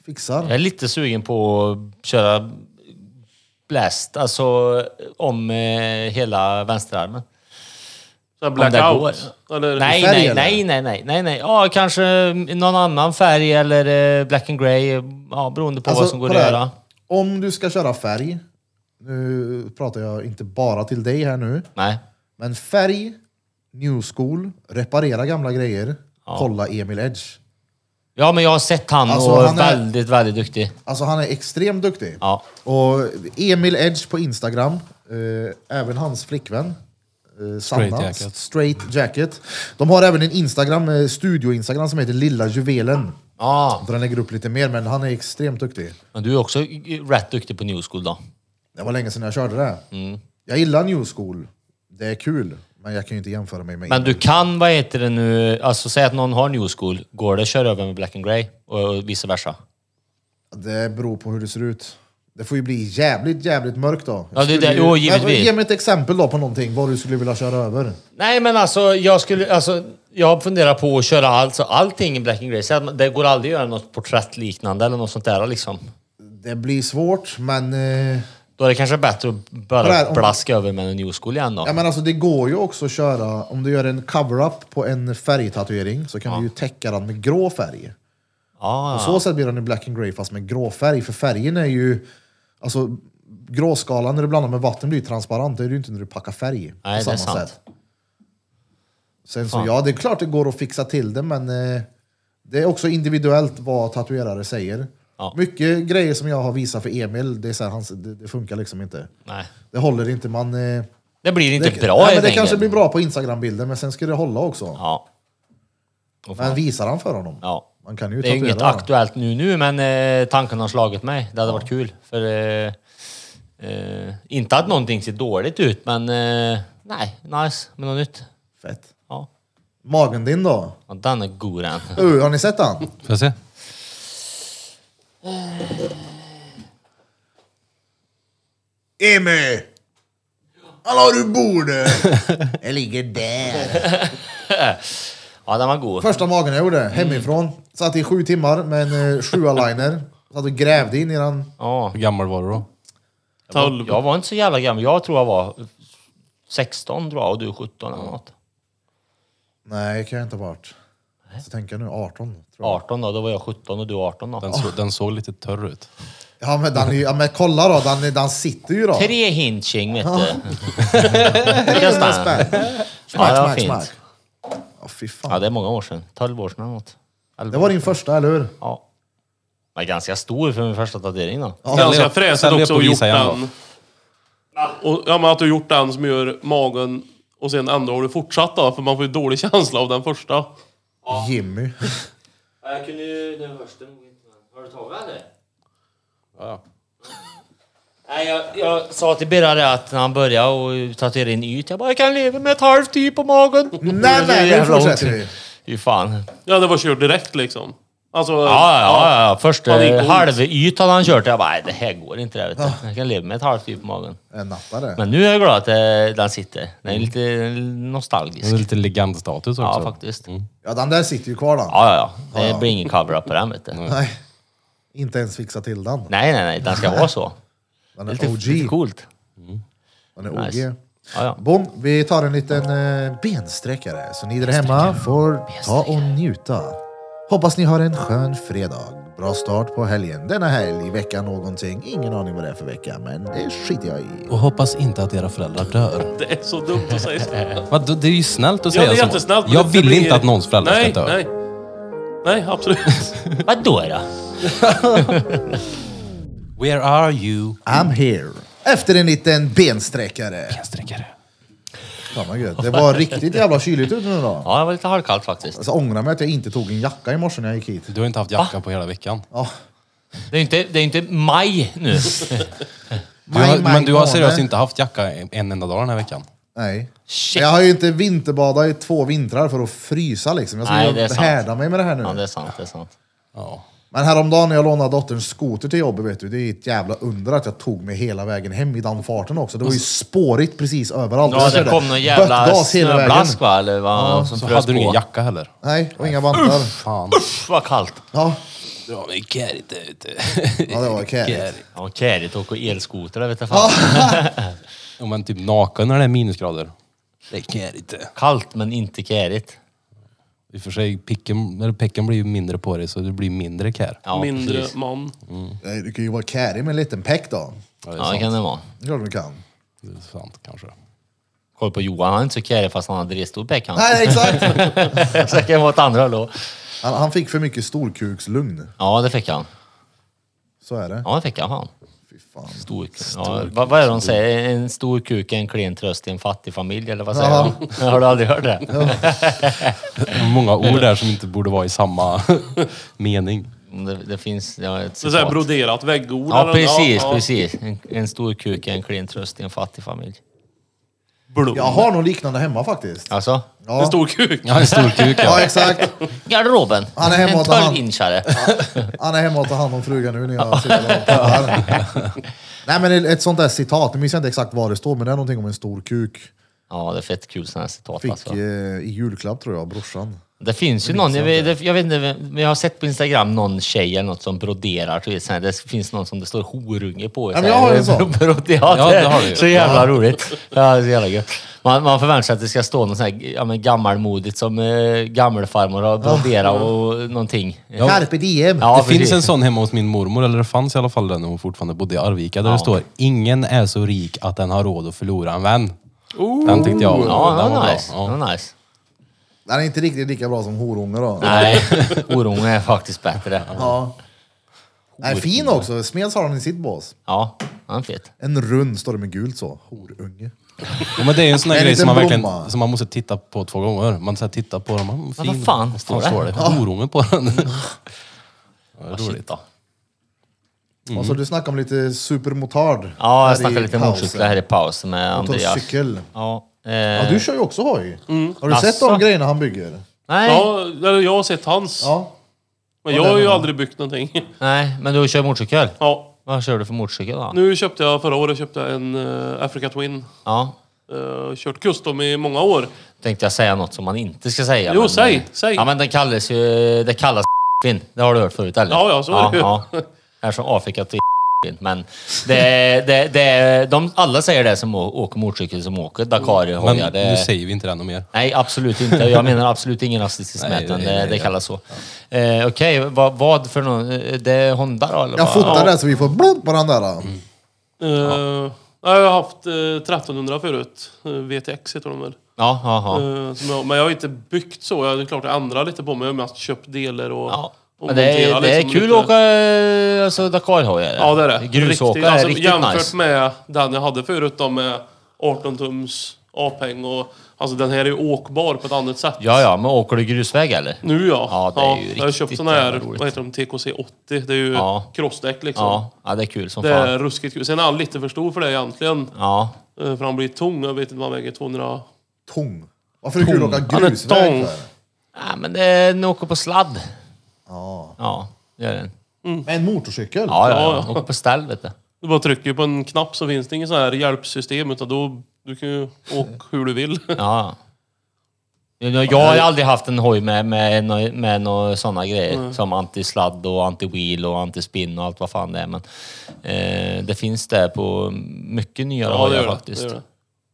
[SPEAKER 1] Fixar.
[SPEAKER 2] är lite sugen på att köra blast, alltså om eh, hela vänsterarmen.
[SPEAKER 3] Så här
[SPEAKER 2] Om det
[SPEAKER 3] blackout.
[SPEAKER 2] går.
[SPEAKER 3] Eller,
[SPEAKER 2] Nej,
[SPEAKER 1] färg,
[SPEAKER 2] nej,
[SPEAKER 1] eller?
[SPEAKER 2] nej, nej, nej, nej, nej. Ja, kanske någon annan färg eller eh, black and grey. Ja, beroende på vad som går att
[SPEAKER 1] Alltså, kolla här.
[SPEAKER 2] göra.
[SPEAKER 1] Om du ska köra färg, nu pratar jag inte bara till dig här nu,
[SPEAKER 2] Nej.
[SPEAKER 1] men färg, new school, reparera gamla grejer, kolla Emil Edge.
[SPEAKER 2] Ja, men jag har sett han
[SPEAKER 1] Alltså,
[SPEAKER 2] och
[SPEAKER 1] han är-
[SPEAKER 2] väldigt, väldigt duktig.
[SPEAKER 1] Alltså han är extremt duktig.
[SPEAKER 2] Ja.
[SPEAKER 1] Och Emil Edge på Instagram, eh, även hans flickvän. eh, Sanna,
[SPEAKER 4] Straight Jacket.
[SPEAKER 1] Straight Jacket. De har även en Instagram, eh, studio-Instagram som heter Lilla Juvelen.
[SPEAKER 2] Ja,
[SPEAKER 1] Där han lägger upp lite mer, men han är extremt duktig.
[SPEAKER 2] men du är också rätt duktig på New School då.
[SPEAKER 1] Det var länge sedan jag körde det. Jag gillar New School. Det är kul, men jag kan ju inte jämföra mig med
[SPEAKER 2] Men
[SPEAKER 1] Emil.
[SPEAKER 2] du kan, vad heter det nu, alltså säg att någon har New School. Går det att köra över med black and grey och, och vice versa?
[SPEAKER 1] Det beror på hur det ser ut. Det får ju bli jävligt, jävligt mörkt då.
[SPEAKER 2] Ja, det-
[SPEAKER 1] Skulle
[SPEAKER 2] det-
[SPEAKER 1] ju-
[SPEAKER 2] jo, givetvis.
[SPEAKER 1] Men Ge mig ett exempel då på någonting, vad du skulle vilja köra över.
[SPEAKER 2] Nej, men alltså jag skulle... Alltså, jag funderar på att köra alltså, allting i Black and Grey. Så att man- Det går aldrig att göra något porträttliknande eller något sånt där liksom.
[SPEAKER 1] Det blir svårt, men... Eh...
[SPEAKER 2] Då är det kanske bättre att
[SPEAKER 1] Kolla här,
[SPEAKER 2] bara
[SPEAKER 1] om-
[SPEAKER 2] blaska över med en New School igen då.
[SPEAKER 1] Ja, men alltså, det går ju också att köra, om du gör en cover-up på en färgtatuering så kan du ju täcka den med grå färg. På
[SPEAKER 2] Ja,
[SPEAKER 1] så sätt blir den ju black and grey fast med grå färg, för färgen är ju... Alltså, gråskalan när du blandar med vatten blir ju transparent, det är det ju inte när du packar färg.
[SPEAKER 2] Nej, det är
[SPEAKER 1] på samma
[SPEAKER 2] sant.
[SPEAKER 1] sätt. Sen så, ja, det är klart det går att fixa till det, men eh, det är också individuellt vad tatuerare säger.
[SPEAKER 2] Ja.
[SPEAKER 1] Mycket grejer som jag har visat för Emil, det, är så här, hans, det, det funkar liksom inte.
[SPEAKER 2] nej.
[SPEAKER 1] Det håller inte, man... Eh,
[SPEAKER 2] Det blir inte
[SPEAKER 1] det,
[SPEAKER 2] bra
[SPEAKER 1] nej,
[SPEAKER 2] helt
[SPEAKER 1] men Det
[SPEAKER 2] enkelt.
[SPEAKER 1] kanske blir bra på Instagram-bilder, men sen ska det hålla också.
[SPEAKER 2] Ja. Åh, fan.
[SPEAKER 1] men visar han för honom?
[SPEAKER 2] ja.
[SPEAKER 1] Man kan ju
[SPEAKER 2] Det är ju
[SPEAKER 1] tatuera
[SPEAKER 2] inget
[SPEAKER 1] honom.
[SPEAKER 2] aktuellt nu nu, men eh, tanken har slagit mig. Det hade varit kul. För, eh, eh, inte att någonting ser dåligt ut, men eh, nej, nice med något nytt.
[SPEAKER 1] Fett.
[SPEAKER 2] Ja.
[SPEAKER 1] Magen din då?
[SPEAKER 2] Ja, den är god den.
[SPEAKER 1] Uh, har ni sett han?
[SPEAKER 4] Får jag se?
[SPEAKER 1] Emmy! Hallå du borde! Jag ligger där.
[SPEAKER 2] Ja, den var god.
[SPEAKER 1] Första magen jag gjorde, hemifrån. Satt i sju timmar med en eh, sjua-liner. Satt och grävde in i den.
[SPEAKER 2] Ja.
[SPEAKER 4] Hur gammal var du då?
[SPEAKER 3] Tolv.
[SPEAKER 2] Jag var inte så jävla gammal. Jag tror jag var 16 tror jag och du 17 eller något.
[SPEAKER 1] Nej, kan jag inte ha varit. Så tänker jag nu, 18. Tror jag.
[SPEAKER 2] 18 då, då var jag 17 och du 18 då.
[SPEAKER 4] Den, så, den såg lite törr ut.
[SPEAKER 1] Ja, men, den, är ju- ja, men kolla då, den, är- den sitter ju då.
[SPEAKER 2] Tre hinching vet du. Just det.
[SPEAKER 1] Spänn.
[SPEAKER 2] Ja,
[SPEAKER 1] Smack,
[SPEAKER 2] det var
[SPEAKER 1] smack,
[SPEAKER 2] fint.
[SPEAKER 1] smack. Ja, fy fan.
[SPEAKER 2] Ja, det är många år sedan. 12 år sedan eller något. 11
[SPEAKER 1] Det var
[SPEAKER 2] år
[SPEAKER 1] din
[SPEAKER 2] sedan.
[SPEAKER 1] första, eller hur?
[SPEAKER 2] Ja. Jag är ganska stor för min första tatuering då.
[SPEAKER 3] Ganska
[SPEAKER 4] lep-
[SPEAKER 3] fräsigt
[SPEAKER 4] sen
[SPEAKER 3] också
[SPEAKER 4] lep och
[SPEAKER 3] att gjort
[SPEAKER 4] visa igen då.
[SPEAKER 3] den. Och, ja, men att du gjort den som gör magen och sen ändå har du fortsatt då, för man får ju dålig känsla av den första.
[SPEAKER 1] Jimmy.
[SPEAKER 2] Jag kunde ju... Den första nog inte. Har du tagit eller?
[SPEAKER 4] Ja.
[SPEAKER 2] Nej, jag, jag sa till Birra det att när han började och tatuerade in yt, jag bara jag kan leva med ett halvt y på magen.
[SPEAKER 1] Nej, nej, nu fortsätter vi.
[SPEAKER 2] Fy fan.
[SPEAKER 3] Ja, det var kört direkt liksom. Alltså,
[SPEAKER 2] Ja, ja, ja. Första
[SPEAKER 3] Ja, det gick ont.
[SPEAKER 2] halv yt hade han kört. Jag bara, nej det här går inte. det här, Vet du. Jag kan leva med ett halvt y på magen.
[SPEAKER 1] En nattare.
[SPEAKER 2] Men nu är jag glad att eh, den sitter. Den är lite nostalgisk.
[SPEAKER 4] Det är lite legendstatus också.
[SPEAKER 2] Ja, faktiskt.
[SPEAKER 1] Ja, den där sitter ju kvar då.
[SPEAKER 2] Ja, ja, ja. Det blir ingen cover-up på den, vet du. Nej,
[SPEAKER 1] Nej. Inte ens fixa till den.
[SPEAKER 2] nej, nej. Den ska vara så.
[SPEAKER 1] Den
[SPEAKER 2] Det
[SPEAKER 1] är
[SPEAKER 2] är lite, lite
[SPEAKER 1] OG.
[SPEAKER 2] coolt.
[SPEAKER 1] Den är
[SPEAKER 2] Nice.
[SPEAKER 1] OG.
[SPEAKER 2] Ja, ja.
[SPEAKER 1] Bom, vi tar en liten eh, bensträckare. Så ni där hemma får ta och njuta. Hoppas ni har en skön fredag. Bra start på helgen. Denna helg, vecka någonting. Ingen aning vad det är för vecka, men det skiter jag i.
[SPEAKER 4] Och hoppas inte att era föräldrar dör.
[SPEAKER 3] Det är så dumt att säga så.
[SPEAKER 4] Vad, det är ju snällt att
[SPEAKER 3] Ja,
[SPEAKER 4] säga
[SPEAKER 3] det är
[SPEAKER 4] så.
[SPEAKER 3] jättesnällt. men
[SPEAKER 4] Jag
[SPEAKER 3] det-
[SPEAKER 4] vill
[SPEAKER 3] det blir-
[SPEAKER 4] inte att någons föräldrar
[SPEAKER 3] nej,
[SPEAKER 4] ska dö.
[SPEAKER 3] Nej, nej. absolut.
[SPEAKER 2] Vadå då?
[SPEAKER 4] Where are you?
[SPEAKER 1] I'm here. Efter en liten bensträckare.
[SPEAKER 4] Bensträckare.
[SPEAKER 1] Fan vad gött. Det var riktigt jävla kyligt ute nu då.
[SPEAKER 2] Ja, det var lite halvkallt faktiskt.
[SPEAKER 1] Alltså ångrar mig att jag inte tog en jacka i morse när jag gick hit.
[SPEAKER 4] Du har inte haft jacka på hela veckan.
[SPEAKER 1] Ja.
[SPEAKER 2] Det är ju inte, det är inte maj nu.
[SPEAKER 4] Du har,
[SPEAKER 1] Maj, maj,
[SPEAKER 4] men du har
[SPEAKER 1] måne.
[SPEAKER 4] seriöst inte haft jacka en enda dag den här veckan.
[SPEAKER 1] Nej.
[SPEAKER 2] Shit.
[SPEAKER 1] Jag har ju inte vinterbadat i två vintrar för att frysa liksom. Jag ska
[SPEAKER 2] Nej, det är
[SPEAKER 1] ju
[SPEAKER 2] sant.
[SPEAKER 1] härda mig med det här nu.
[SPEAKER 2] Ja, det är sant. Det är sant.
[SPEAKER 4] Ja.
[SPEAKER 1] Men häromdagen när jag lånade dotterns skoter till jobbet, vet du, det är ett jävla under att jag tog mig hela vägen hem i den farten också. Det var ju spårigt precis överallt.
[SPEAKER 2] Alltså- Ja,
[SPEAKER 1] Jag
[SPEAKER 2] det
[SPEAKER 1] körde
[SPEAKER 2] kom någon jävla
[SPEAKER 1] böttgas hela vägen.
[SPEAKER 2] snöblask va? Eller vad, som
[SPEAKER 4] Så
[SPEAKER 2] frös
[SPEAKER 4] hade du ingen
[SPEAKER 2] på.
[SPEAKER 4] jacka heller.
[SPEAKER 1] Nej, och inga vantar.
[SPEAKER 4] Fan.
[SPEAKER 2] Pff, vad kallt.
[SPEAKER 1] Ja,
[SPEAKER 4] Dra mig kärigt ut.
[SPEAKER 1] ja det var kärigt.
[SPEAKER 2] Ja, kärigt att åka elskoter, det vet jag fan.
[SPEAKER 4] Ja, men typ naken när det är minusgrader. Det är inte.
[SPEAKER 2] Kallt men inte kärigt.
[SPEAKER 4] I och för sig, picken, eller pecken blir ju mindre på dig så det blir mindre kär.
[SPEAKER 2] Ja,
[SPEAKER 3] Mindre
[SPEAKER 2] precis.
[SPEAKER 3] man.
[SPEAKER 1] Nej, du kan ju vara kärig med en liten peck då.
[SPEAKER 4] Ja, det är
[SPEAKER 2] Ja, det
[SPEAKER 4] sant.
[SPEAKER 2] kan det vara.
[SPEAKER 1] Det är klart du kan.
[SPEAKER 4] Det är sant kanske.
[SPEAKER 2] Kolla på Johan, han är inte så kärig fast han hade rest upp han.
[SPEAKER 1] Nej, exakt!
[SPEAKER 2] Så det kan vara åt andra då.
[SPEAKER 1] Han, han fick för mycket storkukslugn.
[SPEAKER 2] Ja, det fick han.
[SPEAKER 1] Så är det.
[SPEAKER 2] Ja, det fick han fan.
[SPEAKER 1] Fy fan.
[SPEAKER 2] Stor, ja, vad, vad är det de säger? En stor kuk är en klen tröst i en fattig familj, eller vad säger
[SPEAKER 1] Ja.
[SPEAKER 2] de? Har du aldrig hört det?
[SPEAKER 4] Många ord där som inte borde vara i samma mening.
[SPEAKER 2] Det, det finns... Ja, ett
[SPEAKER 3] Det är så här
[SPEAKER 2] citat.
[SPEAKER 3] broderat väggord.
[SPEAKER 2] Ja,
[SPEAKER 3] eller-
[SPEAKER 2] precis,
[SPEAKER 3] ja.
[SPEAKER 2] precis. En, en stor kuk är en klen tröst i en fattig familj.
[SPEAKER 3] Blom.
[SPEAKER 1] Jag har nog liknande hemma faktiskt.
[SPEAKER 2] Alltså?
[SPEAKER 1] Ja,
[SPEAKER 3] En stor kuk.
[SPEAKER 4] Ja, en stor kuk
[SPEAKER 1] ja
[SPEAKER 4] ja.
[SPEAKER 1] exakt.
[SPEAKER 2] Garderoben!
[SPEAKER 1] Han är hemma
[SPEAKER 2] en
[SPEAKER 1] åt han.
[SPEAKER 2] 12-inchare.
[SPEAKER 1] Han är hemma och tar hand om frugan nu när jag sitter och pratar. Nej men ett sånt där citat, nu minns jag inte exakt vad det står, men det är någonting om en stor kuk.
[SPEAKER 2] Ja, det är fett kul sådana här citat
[SPEAKER 1] Fick
[SPEAKER 2] alltså.
[SPEAKER 1] eh, i julklapp tror jag, brorsan.
[SPEAKER 2] Det finns ju någon, jag vet, det- jag vet inte, vem- men jag har sett på Instagram någon tjej eller något som broderar. du vet, så här, Det finns någon som det står horunge på.
[SPEAKER 1] Ja,
[SPEAKER 2] så
[SPEAKER 1] men
[SPEAKER 2] här,
[SPEAKER 1] jag har en sån.
[SPEAKER 2] brod- Ja,
[SPEAKER 4] Ja,
[SPEAKER 2] det,
[SPEAKER 4] det har du ju.
[SPEAKER 2] är så jävla roligt. Ja, det är så jävla gött. Man, man förväntar sig att det ska stå något sån här ja, men gammalmodigt som eh, gammelfarmor har broderat och någonting. Ja,
[SPEAKER 1] Carpe diem!
[SPEAKER 2] Ja.
[SPEAKER 4] det finns
[SPEAKER 2] precis.
[SPEAKER 4] en sån hemma hos min mormor, eller det fanns i alla fall den när hon fortfarande bodde i Arvika, där det står “Ingen är så rik att den har råd att förlora en vän”. Den tyckte jag
[SPEAKER 2] ja,
[SPEAKER 4] den var
[SPEAKER 2] nice.
[SPEAKER 4] bra.
[SPEAKER 2] Ja.
[SPEAKER 4] Ja.
[SPEAKER 2] nice.
[SPEAKER 1] Den är inte riktigt lika bra som horunge då.
[SPEAKER 2] Nej, orunge är faktiskt bättre.
[SPEAKER 1] Ja. Den är fin också, Smeds har den i sitt bås.
[SPEAKER 2] Ja, han är fet.
[SPEAKER 1] En rund står det med gult så, horunge.
[SPEAKER 4] Ja, men det är ju en sån
[SPEAKER 1] Det
[SPEAKER 4] där
[SPEAKER 1] är en
[SPEAKER 4] grej som man,
[SPEAKER 1] liten
[SPEAKER 4] verkligen,
[SPEAKER 1] blomma.
[SPEAKER 4] som man måste titta på två gånger. Man så här tittar på den, man, fin.
[SPEAKER 2] vad fan
[SPEAKER 4] Och
[SPEAKER 2] står det?
[SPEAKER 4] står det? Horunge på den. Ja, det är
[SPEAKER 2] Shit
[SPEAKER 4] roligt.
[SPEAKER 2] då.
[SPEAKER 1] Och så Alltså, du snackade om lite supermotard.
[SPEAKER 2] Mm. Ja,
[SPEAKER 1] här i
[SPEAKER 2] jag snackade lite
[SPEAKER 1] pausen.
[SPEAKER 2] motorcyklar här i pausen med Andreas.
[SPEAKER 1] Motorcykel.
[SPEAKER 2] Ja, eh,
[SPEAKER 1] Ja, du kör ju också hoj. Har du sett
[SPEAKER 2] Asså?
[SPEAKER 1] de grejerna han bygger?
[SPEAKER 2] nej,
[SPEAKER 3] Ja, eller jag har sett hans.
[SPEAKER 1] Ja.
[SPEAKER 3] Men jag har ju aldrig byggt någonting.
[SPEAKER 2] nej, men du kör motorcykel?
[SPEAKER 3] Ja.
[SPEAKER 2] Vad kör du för motorcykel då?
[SPEAKER 3] Nu köpte jag, förra året köpte jag en eh, Africa Twin.
[SPEAKER 2] Ja,
[SPEAKER 3] Eh, kört custom i många år.
[SPEAKER 2] tänkte jag säga något som man inte ska säga.
[SPEAKER 3] Jo, säg, säg.
[SPEAKER 2] Ja, men den kallas ju... Det kallas fin. Det har du hört förut, eller?
[SPEAKER 3] Ja, ja, så är det ju.
[SPEAKER 2] ja. Det är som Afrika till fin, men det, det, det, de, alla säger det som å- åker motorcykel som åker Dakar
[SPEAKER 4] Men
[SPEAKER 2] hojar. Det,
[SPEAKER 4] nu säger vi inte det ännu mer.
[SPEAKER 2] Nej, absolut inte. Jag menar absolut ingen rasistisk
[SPEAKER 4] Nej,
[SPEAKER 2] mätning.
[SPEAKER 4] nej,
[SPEAKER 2] Det,
[SPEAKER 4] nej,
[SPEAKER 2] det
[SPEAKER 4] ja.
[SPEAKER 2] kallas så. Eh, Okej, vad, vad för någon? eh, Det är Honda då? Eller
[SPEAKER 1] Jag
[SPEAKER 2] vad?
[SPEAKER 1] fotar det så vi får blod på den där.
[SPEAKER 3] Eh, Jag har haft eh, 1300 förut. Eh, VTX heter de väl.
[SPEAKER 2] Ja, ja, ja.
[SPEAKER 3] Eh, som jag, men jag har inte byggt så. Jag, det är klart jag ändrar lite på mig. Jag har mest köpt delar och,
[SPEAKER 2] ja.
[SPEAKER 3] och
[SPEAKER 2] Men det är,
[SPEAKER 3] monterat
[SPEAKER 2] det är
[SPEAKER 3] liksom
[SPEAKER 2] kul
[SPEAKER 3] lite.
[SPEAKER 2] att åka eh, alltså, Dakarhojar.
[SPEAKER 3] Ja, det är det.
[SPEAKER 2] Grusåkare är riktigt
[SPEAKER 3] jämfört
[SPEAKER 2] nice.
[SPEAKER 3] med den jag hade förut då med 18-tums A-peng och... Alltså den här är ju åkbar på ett annat sätt.
[SPEAKER 2] Ja, ja, men åker du grusväg eller?
[SPEAKER 3] Nu ja.
[SPEAKER 2] Ja, det är ju
[SPEAKER 3] Jag har köpt
[SPEAKER 2] riktigt
[SPEAKER 3] såna här,
[SPEAKER 2] jävla roligt.
[SPEAKER 3] vad heter de, TKC 80. Det är ju
[SPEAKER 2] Ja.
[SPEAKER 3] crossdäck liksom.
[SPEAKER 2] Ja, ja, det är kul som
[SPEAKER 3] Det
[SPEAKER 2] fan.
[SPEAKER 3] är ruskigt kul. Sen är han lite för stor för det egentligen.
[SPEAKER 2] Ja,
[SPEAKER 3] Eh, För han blir tung. Jag vet inte vad han väger. 200...
[SPEAKER 1] Tång. Varför är det kul att
[SPEAKER 3] Han
[SPEAKER 1] åka
[SPEAKER 3] är
[SPEAKER 1] grusväg
[SPEAKER 3] tång.
[SPEAKER 1] för?
[SPEAKER 2] ja men det är, den åker på sladd.
[SPEAKER 1] Ja.
[SPEAKER 2] Ja, det gör den.
[SPEAKER 1] Med en motorcykel?
[SPEAKER 2] Ja, ja,
[SPEAKER 3] Ja,
[SPEAKER 2] ja.
[SPEAKER 3] ja.
[SPEAKER 2] Åker på ställ, vet du.
[SPEAKER 3] Du bara trycker på en knapp så finns det inget sån här hjälpsystem. Utan då, du kan ju åka hur du vill.
[SPEAKER 2] Ja. Jag, jag har ju aldrig haft en hoj med, med, nå- med några sådana grejer. Som antisladd och anti-wheel och anti-spin och allt vad fan det är. Men eh, det finns det på mycket nyare
[SPEAKER 3] Ja, det
[SPEAKER 2] hojar
[SPEAKER 3] gör det.
[SPEAKER 2] faktiskt.
[SPEAKER 3] det, gör det.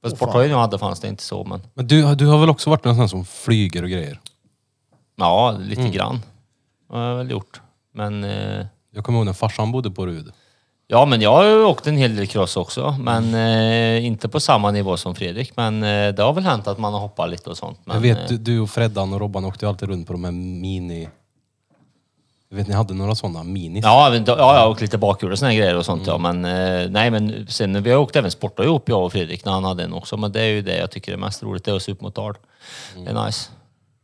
[SPEAKER 2] På sporthojen jag hade fanns det inte så, men
[SPEAKER 4] Men du, du har väl också varit någon sån som flyger och grejer?
[SPEAKER 2] ja, lite
[SPEAKER 4] Mm.
[SPEAKER 2] grann. har jag väl gjort. Men eh,
[SPEAKER 4] Jag kommer ihåg när farsan bodde på Rud.
[SPEAKER 2] Ja, men jag har ju åkt en hel del cross också. Men eh, inte på samma nivå som Fredrik. Men eh, det har väl hänt att man har hoppat lite och sånt. Men,
[SPEAKER 4] Jag
[SPEAKER 2] eh,
[SPEAKER 4] vet, du- du och Freddan och Robban åkte ju alltid runt på de här mini... Jag vet, ni hade några sådana minis.
[SPEAKER 2] Ja, men då- ja, jag har åkt lite bakhjul och såna här grejer och sånt ja.
[SPEAKER 4] Mm.
[SPEAKER 2] Men eh, nej, men sen vi har åkt även sportar ihop jag och Fredrik när han hade en också. Men det är ju det jag tycker är mest roligt, det är att supermotard.
[SPEAKER 4] Mm.
[SPEAKER 2] Det är nice.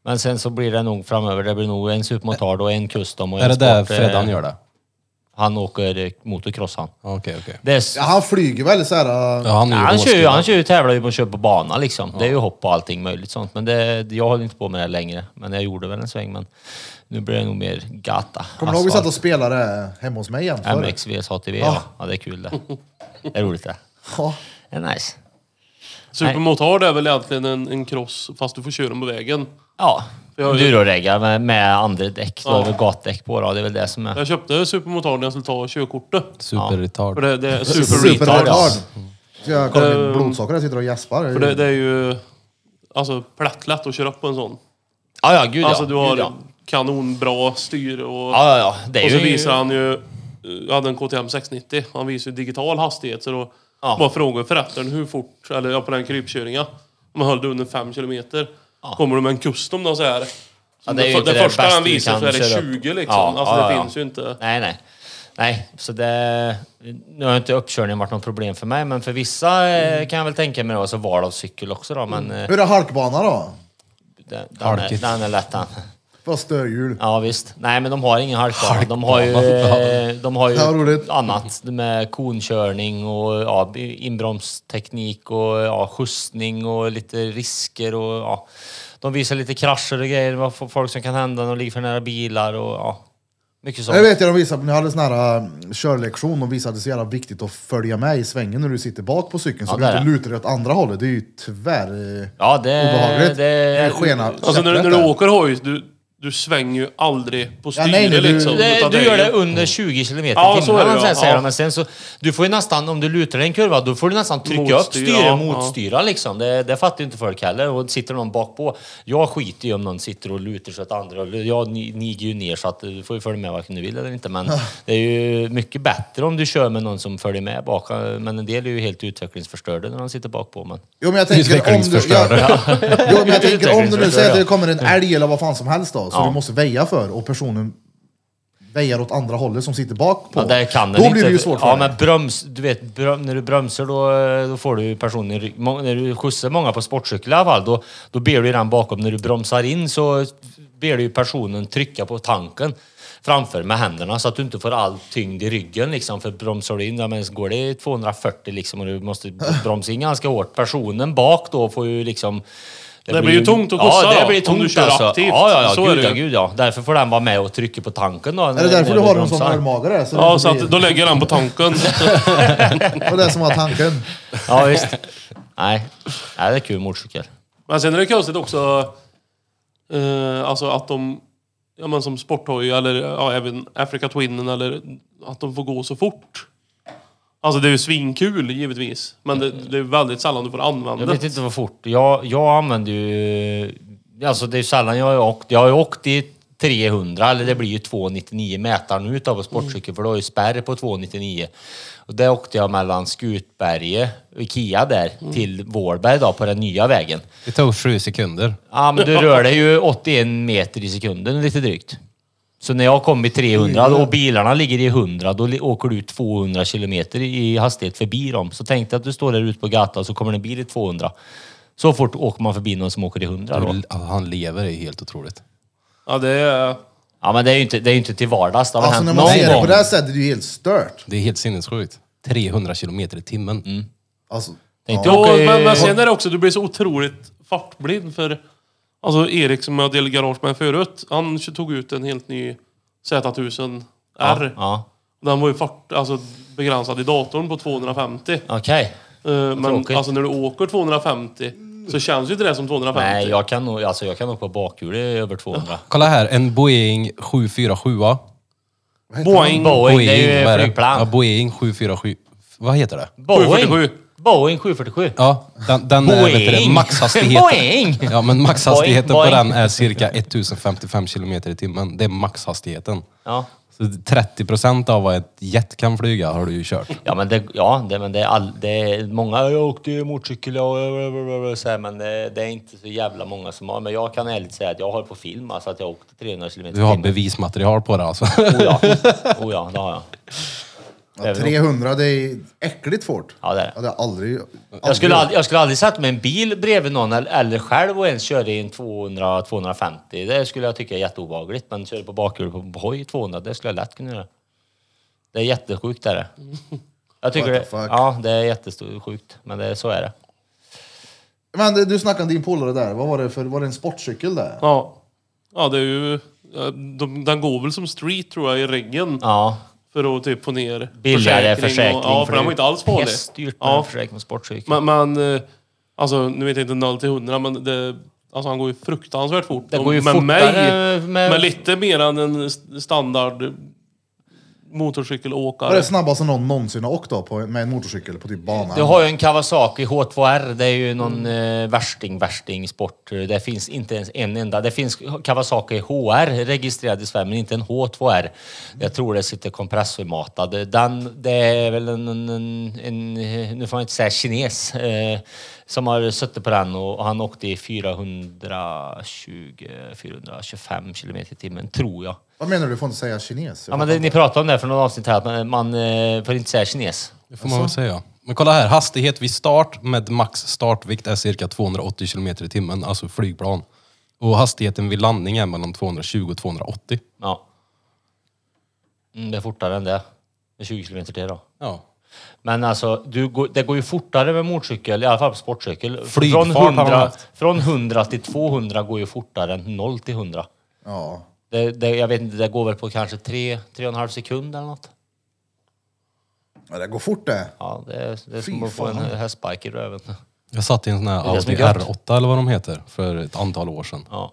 [SPEAKER 2] Men sen så blir det nog framöver, det blir nog en supermotard och en custom och
[SPEAKER 4] Är
[SPEAKER 2] en
[SPEAKER 4] det där
[SPEAKER 2] sport, eh,
[SPEAKER 4] Freddan gör det?
[SPEAKER 2] Han åker eh, motocross han.
[SPEAKER 4] Ja, Okej, okej.
[SPEAKER 2] Det är, s-
[SPEAKER 1] Ja, han flyger väl så här... äh,
[SPEAKER 4] Ja, han är ju
[SPEAKER 2] han, kör ju,
[SPEAKER 4] råskillad.
[SPEAKER 2] han kör ju tävlar ju på köp på bana liksom. Det är ju hopp och allting möjligt sånt. Men det, jag håller inte på med det längre. Men jag gjorde väl en sväng men nu blir det nog mer gata.
[SPEAKER 1] Kommer du
[SPEAKER 3] Alltså.
[SPEAKER 1] ihåg vi
[SPEAKER 2] asfalt.
[SPEAKER 1] satt och spelade hemma hos mig igen förr?
[SPEAKER 2] MX vs ATV,
[SPEAKER 1] Ja.
[SPEAKER 2] ja. ja. Det är kul det. Det är roligt det.
[SPEAKER 1] Ja.
[SPEAKER 2] Det är nice.
[SPEAKER 3] Supermotard är väl egentligen en, en cross fast du får köra den på vägen.
[SPEAKER 2] Ja.
[SPEAKER 3] Jag har ju-
[SPEAKER 2] Duroreggar med, med andra däck. Då
[SPEAKER 3] Ja. Alltså,
[SPEAKER 2] är det gatdäck på då. Det är väl det som är...
[SPEAKER 3] Jag köpte supermotard när jag skulle ta körkortet.
[SPEAKER 4] Superretard.
[SPEAKER 3] För det, det är super, alltså. Ehm.
[SPEAKER 1] Superretard.
[SPEAKER 2] retard.
[SPEAKER 1] Ska jag kolla mitt blodsocker? Jag sitter och gäspar.
[SPEAKER 3] För det, det är ju alltså, plättlätt att köra upp på en sån.
[SPEAKER 2] Ja, ja, gud ja.
[SPEAKER 3] Alltså du har
[SPEAKER 2] Gud, ja.
[SPEAKER 3] kanonbra styr och...
[SPEAKER 2] Ja, ja, ja. Det är
[SPEAKER 3] och så
[SPEAKER 2] ju...
[SPEAKER 3] visar han ju... eh, Jag hade en KTM 690. Han visar ju digital hastighet. Så då
[SPEAKER 2] Ja.
[SPEAKER 3] bara frågar förrättaren hur fort... Eller ja, på den krypkörningen. Om man höll det under 5 kilometer. Kommer du med en custom då så här.
[SPEAKER 2] Ja,
[SPEAKER 3] det,
[SPEAKER 2] ju inte
[SPEAKER 3] det, första
[SPEAKER 2] bästa
[SPEAKER 3] han
[SPEAKER 2] du
[SPEAKER 3] visar
[SPEAKER 2] kan
[SPEAKER 3] så är det
[SPEAKER 2] köra upp.
[SPEAKER 3] 20 liksom. alltså det finns ju inte...
[SPEAKER 2] Nej, nej. Nej, så det... Nu har inte uppkörningen varit något problem för mig, men för vissa eh, kan jag väl tänka mig då, så val av cykel också då,
[SPEAKER 3] Mm.
[SPEAKER 2] men... eh,
[SPEAKER 1] Hur är halkbanan då?
[SPEAKER 2] Den, den, är,
[SPEAKER 4] Halkigt.
[SPEAKER 2] den är lätt den.
[SPEAKER 1] Vad stödhjul.
[SPEAKER 2] Ja visst. Nej men de har ingen halkbana. De har ju, eh, de har ju
[SPEAKER 1] Ja, roligt.
[SPEAKER 2] annat med konkörning och ja, inbromsteknik och ja, skjutsning och lite risker och ja. De visar lite krascher och grejer, vad f- folk som kan hända när de ligger för nära bilar och ja. Mycket
[SPEAKER 1] Jag
[SPEAKER 2] sånt.
[SPEAKER 1] vet jag, de visade, ni hade sån här um, körlektion och visade det så jävla viktigt att följa med i svängen när du sitter bak på cykeln så
[SPEAKER 2] Ja,
[SPEAKER 1] du
[SPEAKER 2] det
[SPEAKER 1] inte
[SPEAKER 2] är
[SPEAKER 1] lutar dig åt andra hållet. Det är ju tyvärr eh,
[SPEAKER 2] Ja det,
[SPEAKER 1] obehagligt.
[SPEAKER 2] det
[SPEAKER 1] Det är skena.
[SPEAKER 3] Alltså när, du- när
[SPEAKER 1] käpprätt
[SPEAKER 3] du
[SPEAKER 1] där.
[SPEAKER 3] åker hoj, du, du svänger ju aldrig på
[SPEAKER 1] Ja,
[SPEAKER 3] styret
[SPEAKER 1] nej, nej, du-
[SPEAKER 3] liksom.
[SPEAKER 2] Mm. Det,
[SPEAKER 3] utan
[SPEAKER 2] du
[SPEAKER 3] är
[SPEAKER 2] gör
[SPEAKER 3] ju-
[SPEAKER 2] det under 20 kilometer
[SPEAKER 3] Ja,
[SPEAKER 2] i
[SPEAKER 3] så är
[SPEAKER 2] timmen.
[SPEAKER 3] det,
[SPEAKER 2] men sen
[SPEAKER 3] ja.
[SPEAKER 2] säger
[SPEAKER 3] Ja.
[SPEAKER 2] de, Men sen så, du får ju nästan, om du lutar dig i en kurva, då får du nästan trycka upp
[SPEAKER 3] Motstyra,
[SPEAKER 2] styret
[SPEAKER 3] ja,
[SPEAKER 2] motstyra liksom. Det, det fattar ju inte folk heller. Och sitter någon bakpå, jag skiter ju om någon sitter och lutar sig åt andra hållet. Jag ni- niger ju ner så att du får ju följa med varken du vill eller inte. Men det är ju mycket bättre om du kör med någon som följer med bak. Men en del är ju helt utvecklingsförstörda när de sitter bakpå. Men...
[SPEAKER 1] Jo men jag tänker om du...
[SPEAKER 4] Utvecklingsförstörare.
[SPEAKER 1] jo men jag tänker om du nu säger att det
[SPEAKER 2] Utvecklingsförstörare.
[SPEAKER 1] kommer en älg eller vad fan som helst då, så
[SPEAKER 2] Ja.
[SPEAKER 1] du måste väja för och personen väjar åt andra hållet som sitter bak på.
[SPEAKER 2] Ja, det kan den
[SPEAKER 1] då
[SPEAKER 2] inte.
[SPEAKER 1] blir det ju svårt för
[SPEAKER 2] Ja,
[SPEAKER 1] dig.
[SPEAKER 2] men broms, du vet, bröm, när du bromsar då, eh, då får du ju personen i rygg- må- När du skjutsar många på sportcykel i alla fall, då, då ber du ju den bakom. När du bromsar in så ber du ju personen trycka på tanken framför med händerna så att du inte får all tyngd i ryggen liksom. För bromsar du in, ja, men så går det 240 liksom och du måste bromsa in ganska hårt. Personen bak då får ju liksom...
[SPEAKER 3] Det blir ju tungt att skjutsa
[SPEAKER 2] Ja, det
[SPEAKER 3] då,
[SPEAKER 2] blir
[SPEAKER 3] om
[SPEAKER 2] tungt
[SPEAKER 3] du kör
[SPEAKER 2] alltså.
[SPEAKER 3] aktivt.
[SPEAKER 2] Ja, ja, ja.
[SPEAKER 3] Så är
[SPEAKER 2] gud,
[SPEAKER 3] det
[SPEAKER 2] ja,
[SPEAKER 3] ju.
[SPEAKER 2] gud ja. Därför får den vara med och trycka på tanken då.
[SPEAKER 1] Är det därför du har en sån ölmagare? Så
[SPEAKER 3] Ja,
[SPEAKER 1] det
[SPEAKER 3] så
[SPEAKER 1] inte
[SPEAKER 3] att
[SPEAKER 1] blir-
[SPEAKER 3] då lägger han på tanken.
[SPEAKER 1] Det var det som var tanken.
[SPEAKER 2] Ja, visst. Nej. Nej, det är kul motorcykel.
[SPEAKER 3] Men sen är det konstigt också, eh, alltså att de, ja men som sporthoj eller ja, även Africa Twinnen eller att de får gå så fort. Alltså det är ju svinkul givetvis, men det, det är väldigt sällan du får använda
[SPEAKER 2] Jag
[SPEAKER 3] det.
[SPEAKER 2] vet inte vad fort. Jag, jag använder ju... Alltså det är ju sällan jag har åkt. Jag har ju åkt i 300, eller det blir ju 299 mätaren ut av en sportcykel, för då har ju spärr på 299. Och det åkte jag mellan Skutberget, Ikea där, till Vårberg då, på den nya vägen.
[SPEAKER 4] Det tog sju sekunder.
[SPEAKER 2] Ja, men du rör dig ju 81 meter i sekunden lite drygt. Så när jag kom i 300 och
[SPEAKER 1] Mm.
[SPEAKER 2] bilarna ligger i 100, då li- åker du 200 kilometer i hastighet förbi dem. Så tänk dig att du står där ute på gatan och så kommer det en bil i 200. Så fort åker man förbi någon som åker i 100 då.
[SPEAKER 1] Mm.
[SPEAKER 4] Ja, alltså, Han lever är ju helt otroligt.
[SPEAKER 3] Ja, det är...
[SPEAKER 2] Ja, men det är ju inte, det är ju inte till vardags. Det har
[SPEAKER 1] Alltså när
[SPEAKER 2] hänt
[SPEAKER 1] man ser
[SPEAKER 2] någon
[SPEAKER 1] det på
[SPEAKER 2] gång.
[SPEAKER 1] det här sättet, det är ju helt stört.
[SPEAKER 4] Det är helt sinnessjukt. 300 kilometer i timmen.
[SPEAKER 2] Mm.
[SPEAKER 1] Alltså,
[SPEAKER 2] Tänk
[SPEAKER 1] ja.
[SPEAKER 2] dig-
[SPEAKER 3] Ja,
[SPEAKER 2] åker-
[SPEAKER 3] men, men sen är det också, du blir så otroligt fartblind för... Alltså Erik som jag delade garage med förut, han tog ut en helt ny Z1000 R.
[SPEAKER 2] Ja,
[SPEAKER 3] Den var ju fart, alltså, begränsad i datorn på 250.
[SPEAKER 2] okej.
[SPEAKER 3] Eh, men
[SPEAKER 2] tråkigt.
[SPEAKER 3] alltså när du åker 250 så känns ju inte det som 250.
[SPEAKER 2] Nej, jag kan nog, alltså jag kan nog på bakhjulet i över 200.
[SPEAKER 4] Kolla här, en Boeing 747.
[SPEAKER 3] Boeing
[SPEAKER 2] Boeing, det
[SPEAKER 4] vad
[SPEAKER 2] är ju
[SPEAKER 4] det? Ja,
[SPEAKER 2] flygplan.
[SPEAKER 4] Boeing 747. Vad heter det?
[SPEAKER 2] Boeing.
[SPEAKER 3] 747.
[SPEAKER 2] Boeing 747.
[SPEAKER 4] Ja, den, den är, vet du, det,
[SPEAKER 2] Boeing.
[SPEAKER 4] maxhastigheten.
[SPEAKER 2] Boeing.
[SPEAKER 4] Ja, men maxhastigheten på
[SPEAKER 2] Boeing, Boeing.
[SPEAKER 4] den är cirka 1055 kilometer i timmen. Det är maxhastigheten.
[SPEAKER 2] Ja.
[SPEAKER 4] Så 30 procent av vad ett jet kan flyga har du ju kört.
[SPEAKER 2] Ja, men det, ja, det, men det, är all, det är många. Jag åkte ju motorcykel och blablabla", så här, men det, det är inte så jävla många som har. Men jag kan ärligt säga att jag har på film alltså att jag åkte 300 kilometer
[SPEAKER 4] Du har bevismaterial på det alltså.
[SPEAKER 2] Oh ja. oh ja, det har jag.
[SPEAKER 1] ja, 300, det är äckligt fort.
[SPEAKER 2] Ja, det är det.
[SPEAKER 1] Jag hade aldrig...
[SPEAKER 2] Jag
[SPEAKER 1] aldrig-
[SPEAKER 2] skulle, aldrig, jag skulle aldrig sätta mig i en bil bredvid någon eller, eller själv och ens köra i en 200-250. Det skulle jag tycka är jätteobehagligt. Men köra på bakhjulet på hoj i 200, det skulle jag lätt kunna göra. Det är jättesjukt är det. Jag tycker
[SPEAKER 1] What
[SPEAKER 2] det,
[SPEAKER 1] the fuck?
[SPEAKER 2] ja, det är jättesjukt, men det, så är det.
[SPEAKER 1] Men du snackade om din polare där, vad var det för, var det en sportcykel där?
[SPEAKER 3] Ja. ja, det är ju... eh, De, den går väl som street tror jag i reggen.
[SPEAKER 2] Ja,
[SPEAKER 3] För att typ få ner
[SPEAKER 2] billigare försäkring.
[SPEAKER 3] och, ja, för den var inte alls farlig.
[SPEAKER 2] Häststyrt med
[SPEAKER 3] Ja.
[SPEAKER 2] försäkring med sportcykel.
[SPEAKER 3] Men, men eh, alltså nu vet jag inte 0 till 100 men det, alltså han går ju fruktansvärt fort.
[SPEAKER 2] Det
[SPEAKER 3] Och
[SPEAKER 2] går ju
[SPEAKER 3] med
[SPEAKER 2] fortare
[SPEAKER 3] mig,
[SPEAKER 2] med-
[SPEAKER 3] med... lite mer än en st- standard
[SPEAKER 1] Var
[SPEAKER 3] motorcykelåkare.
[SPEAKER 1] det snabbaste någon någonsin har åkt då på, med en motorcykel på typ banan?
[SPEAKER 2] Du har ju en Kawasaki H2R. Det är ju någon
[SPEAKER 3] Mm.
[SPEAKER 2] eh, värsting, värsting sport. Det finns inte ens en enda. Det finns Kawasaki HR registrerad i Sverige, men inte en H2R. Jag tror det sitter kompressormatad. Den, det är väl en, en, en, en nu får man inte säga kines, eh, som har suttit på den och, och han åkte i 420, 425 kilometer i timmen, tror jag.
[SPEAKER 1] Vad menar du? Du får inte säga kines.
[SPEAKER 2] Ja, men det, ni pratade om det här för någon avsnitt här, att man, man eh, får inte säga kines.
[SPEAKER 4] Det får man väl säga. Men kolla här, hastighet vid start med max startvikt är cirka 280 kilometer i timmen, alltså flygplan. Och hastigheten vid landning är mellan 220 och 280.
[SPEAKER 2] Ja. Mm, det är fortare än det. Det är 20 kilometer till då.
[SPEAKER 4] Ja.
[SPEAKER 2] Men alltså, du går, det går ju fortare med motorcykel, i alla fall på sportcykel.
[SPEAKER 4] Flygfart
[SPEAKER 2] Från
[SPEAKER 4] har man
[SPEAKER 2] 100,
[SPEAKER 4] haft.
[SPEAKER 2] från 100 till 200 går ju fortare än 0 till 100.
[SPEAKER 1] Ja.
[SPEAKER 2] Det, det, jag vet inte, det går väl på kanske 3-3,5 sekund eller något.
[SPEAKER 1] ja, det går fort det.
[SPEAKER 2] Ja, det, är- det är
[SPEAKER 1] Fy
[SPEAKER 2] som att få en
[SPEAKER 1] fan.
[SPEAKER 2] hästspark i röven.
[SPEAKER 4] Jag satt i en sån här
[SPEAKER 2] Det är det som
[SPEAKER 4] Audi
[SPEAKER 2] är gött.
[SPEAKER 4] R8 eller vad de heter för ett antal år sedan.
[SPEAKER 2] Ja.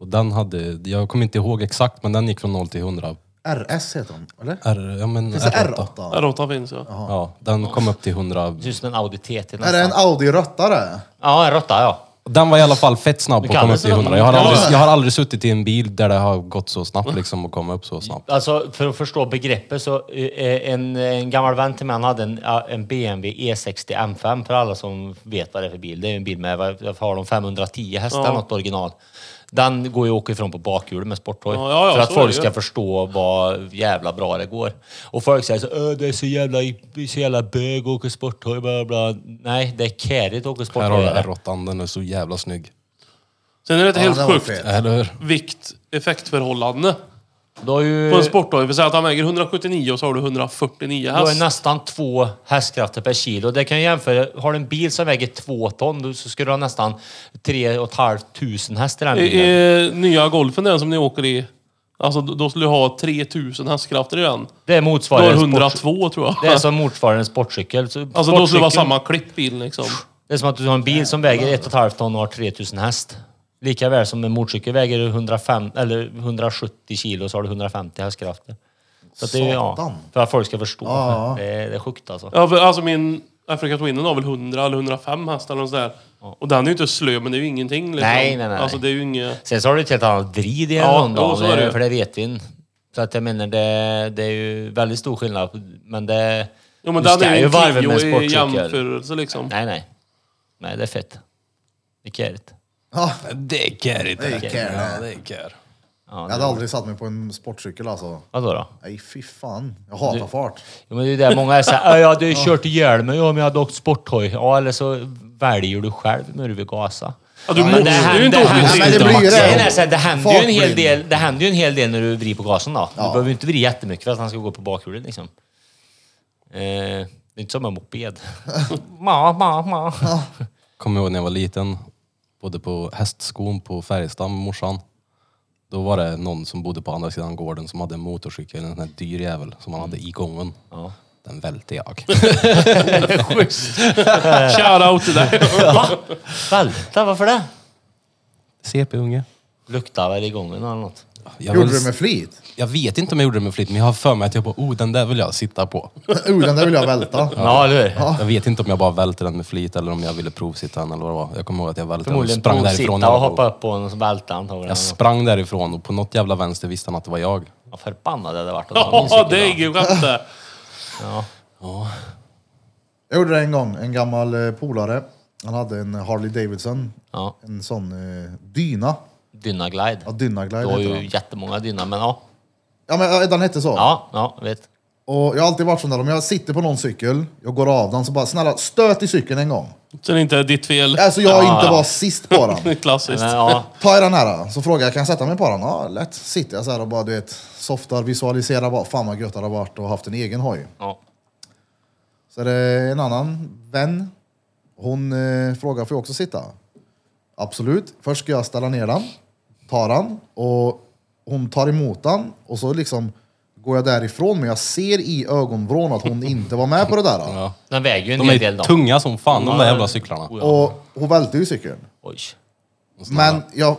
[SPEAKER 4] Och den hade, jag kommer inte ihåg exakt, men den gick från 0 till 100.
[SPEAKER 1] RS heter de, eller?
[SPEAKER 4] R, ja men
[SPEAKER 1] Finns det
[SPEAKER 4] R8.
[SPEAKER 1] R8?
[SPEAKER 3] Ja, Råttan finns ja.
[SPEAKER 4] Ja, den kom upp till 100.
[SPEAKER 2] Det ser ut som en Audi TT
[SPEAKER 1] Är det en
[SPEAKER 2] nästan.
[SPEAKER 1] Audi röttare?
[SPEAKER 2] Ja, en råtta ja.
[SPEAKER 4] Den var i alla fall fett snabb på att
[SPEAKER 2] kan Mm.
[SPEAKER 4] komma
[SPEAKER 2] det
[SPEAKER 4] upp till 100.
[SPEAKER 2] så.
[SPEAKER 4] Jag har,
[SPEAKER 1] Ja.
[SPEAKER 4] aldrig, jag har aldrig suttit i en bil där det har gått så snabbt liksom och komma upp så snabbt.
[SPEAKER 2] Alltså, för att förstå begreppet så eh, en, en gammal vän till mig han hade en, eh, en BMW E60 M5 för alla som vet vad det är för bil. Det är en bil med, vad vad har de, 510 hästar
[SPEAKER 3] Ja.
[SPEAKER 2] något original. Den går ju att åka ifrån på bakhjulet med sporthoj.
[SPEAKER 3] Ja, ja, ja,
[SPEAKER 2] för att
[SPEAKER 3] så är
[SPEAKER 2] folk
[SPEAKER 3] det ju.
[SPEAKER 2] ska förstå vad jävla bra det går. Och folk säger så "Ö, det är så jävla, det är så jävla bög att åka sporthoj, bla bla bla." Nej, det är kärigt att åka
[SPEAKER 4] Här har
[SPEAKER 2] sporthoj.
[SPEAKER 4] du R8, den är så jävla snygg.
[SPEAKER 3] Sen är det ett
[SPEAKER 1] Ja, det
[SPEAKER 3] helt
[SPEAKER 1] var
[SPEAKER 3] sjukt
[SPEAKER 1] fel.
[SPEAKER 4] Eller hur?
[SPEAKER 3] vikt-effektförhållande
[SPEAKER 2] Då har ju...
[SPEAKER 3] på en sportdoj. Vi säger att han väger 179 och så har du 149
[SPEAKER 2] Då är
[SPEAKER 3] häst.
[SPEAKER 2] nästan två hästkrafter per kilo. Det kan jag jämföra. Har du en bil som väger två ton då- så ska du ha nästan tre och ett halvt tusen häst i den
[SPEAKER 3] I,
[SPEAKER 2] bilen.
[SPEAKER 3] i nya golfen den som ni åker i, alltså då då skulle du ha 3000 hästkrafter i den.
[SPEAKER 2] Det
[SPEAKER 3] Du har
[SPEAKER 2] motsvarar en sport,
[SPEAKER 3] 102 tror jag.
[SPEAKER 2] Det är som motsvarar en sportcykel. Så
[SPEAKER 3] Alltså då skulle det
[SPEAKER 2] sportcykel-
[SPEAKER 3] vara samma klippbil liksom.
[SPEAKER 2] Det är som att du har en bil som väger ett och ett halvt ton och har 3000 häst. Lika väl som en motorcykel väger du 105, eller 170 kilo så har du 150 hästkrafter. Så att det är ju, ja,
[SPEAKER 1] Satan.
[SPEAKER 2] för att folk ska förstå.
[SPEAKER 1] Ja.
[SPEAKER 2] Det, är, det är sjukt alltså.
[SPEAKER 3] Ja, för, alltså min Africa Twinen har väl 100 eller 105 hästar eller något sådär. Och den är ju inte slö, men det är ju ingenting. Liksom.
[SPEAKER 2] Nej, nej, nej.
[SPEAKER 3] Alltså det är ju inget...
[SPEAKER 2] Sen så har du ett helt annat vrid i en
[SPEAKER 3] Ja,
[SPEAKER 2] runda,
[SPEAKER 3] jo, så är det ju.
[SPEAKER 2] för det vet vi inte. Så att jag menar, det, det är ju väldigt stor skillnad. på- Men det...
[SPEAKER 3] Jo men
[SPEAKER 2] du
[SPEAKER 3] den
[SPEAKER 2] ska
[SPEAKER 3] är ju
[SPEAKER 2] ju
[SPEAKER 3] en
[SPEAKER 2] varva med
[SPEAKER 3] Clio i
[SPEAKER 2] sportcykel.
[SPEAKER 3] jämförelse liksom.
[SPEAKER 2] Nej, nej. Nej, det är fett. Det är kärigt.
[SPEAKER 1] Ja,
[SPEAKER 4] Det är kärigt.
[SPEAKER 1] det är kär.
[SPEAKER 4] Ja, det är kär.
[SPEAKER 2] Ja,
[SPEAKER 1] Jag
[SPEAKER 2] det-
[SPEAKER 1] hade aldrig satt mig på en sportcykel alltså.
[SPEAKER 2] Vadå då?
[SPEAKER 1] Nej, fy fan. Jag hatar fart.
[SPEAKER 2] Jo, men det är ju där många är såhär, jag hade ju kört ihjäl mig om jag hade åkt sporthoj. Ja, eller så väljer du själv när du vill gasa.
[SPEAKER 3] Ja, du
[SPEAKER 2] Men
[SPEAKER 3] måste
[SPEAKER 2] händer-
[SPEAKER 3] ju inte åka
[SPEAKER 2] händer-
[SPEAKER 1] Ja, men det blir ju det.
[SPEAKER 2] Grejen är så här, det händer ju en hel
[SPEAKER 1] Fartblind.
[SPEAKER 2] del, det händer ju en hel del när du vrider på gasen då. Du
[SPEAKER 1] Ja.
[SPEAKER 2] behöver ju inte vrida jättemycket för att han ska gå på bakhjulet liksom. Eh, det är inte som en moped. ma, ma, ma.
[SPEAKER 4] Kommer ihåg när jag var liten, bodde på hästskon på Färjestad med morsan. Då var det någon som bodde på andra sidan gården som hade en motorcykel, en sån här dyr jävel som han hade i gången.
[SPEAKER 2] Ja.
[SPEAKER 4] Den välte jag.
[SPEAKER 3] Shoutout till dig.
[SPEAKER 2] Va? Välta, varför det?
[SPEAKER 4] CP-unge.
[SPEAKER 2] Luktar väl i gången eller något.
[SPEAKER 4] Jag,
[SPEAKER 1] Gjorde
[SPEAKER 4] vill-
[SPEAKER 1] du det med flit?
[SPEAKER 4] jag vet inte om jag gjorde det med flit, men jag har för mig att jag bara, oh den där vill jag sitta på.
[SPEAKER 1] Uh, den där vill jag välta.
[SPEAKER 2] Ja, eller hur?
[SPEAKER 4] Jag vet inte om jag bara välte den med flit eller om jag ville provsitta den eller vad det var. Jag kommer ihåg att jag välte den och
[SPEAKER 2] Förmodligen
[SPEAKER 4] sprang därifrån.
[SPEAKER 2] provsitta och hoppa upp på honom och så välta antagligen.
[SPEAKER 4] Jag sprang därifrån och på något jävla vänster visste han att det var jag.
[SPEAKER 2] Vad förbannad jag hade varit. att ha en
[SPEAKER 3] Ja,
[SPEAKER 2] cykel
[SPEAKER 3] det är
[SPEAKER 2] då.
[SPEAKER 3] inget skämt det.
[SPEAKER 2] Ja.
[SPEAKER 1] Jag gjorde det en gång. En gammal eh, polare. Han hade en Harley Davidson.
[SPEAKER 2] ja.
[SPEAKER 1] En sån eh, dyna.
[SPEAKER 2] Dynaglide.
[SPEAKER 1] Ja, Dynaglide
[SPEAKER 2] Du har
[SPEAKER 1] heter
[SPEAKER 2] ju
[SPEAKER 1] den.
[SPEAKER 2] jättemånga dyna, men ja.
[SPEAKER 1] Ja, men eh, den hette så.
[SPEAKER 2] Ja, ja, vet.
[SPEAKER 1] Och jag har alltid varit sån där, om jag sitter på någon cykel, jag går av den, så bara snälla stöt i cykeln en gång.
[SPEAKER 3] Så det inte är ditt fel.
[SPEAKER 1] Alltså jag
[SPEAKER 2] Ja,
[SPEAKER 1] inte
[SPEAKER 2] ja.
[SPEAKER 1] var sist på den.
[SPEAKER 3] Det är klassiskt.
[SPEAKER 2] Men, ja.
[SPEAKER 1] Ta i den här, så frågar jag kan jag sätta mig på den? Ja, lätt. Sitter jag så här och bara du vet, softar, visualiserar bara, fan vad gött det hade varit att haft en egen hoj.
[SPEAKER 2] ja.
[SPEAKER 1] Så är det en annan vän, hon eh, frågar får jag också sitta? Absolut. Först ska jag ställa ner den, tar den och hon tar emot den och så liksom går jag därifrån men jag ser i ögonvrån att hon inte var med på det där.
[SPEAKER 4] Ja.
[SPEAKER 2] Den väger ju en
[SPEAKER 4] De
[SPEAKER 2] hel del
[SPEAKER 4] är
[SPEAKER 2] då.
[SPEAKER 4] tunga som fan de där
[SPEAKER 2] Ja.
[SPEAKER 4] jävla cyklarna.
[SPEAKER 2] Oj,
[SPEAKER 1] Och hon välte ju cykeln.
[SPEAKER 2] Oj.
[SPEAKER 1] Men jag...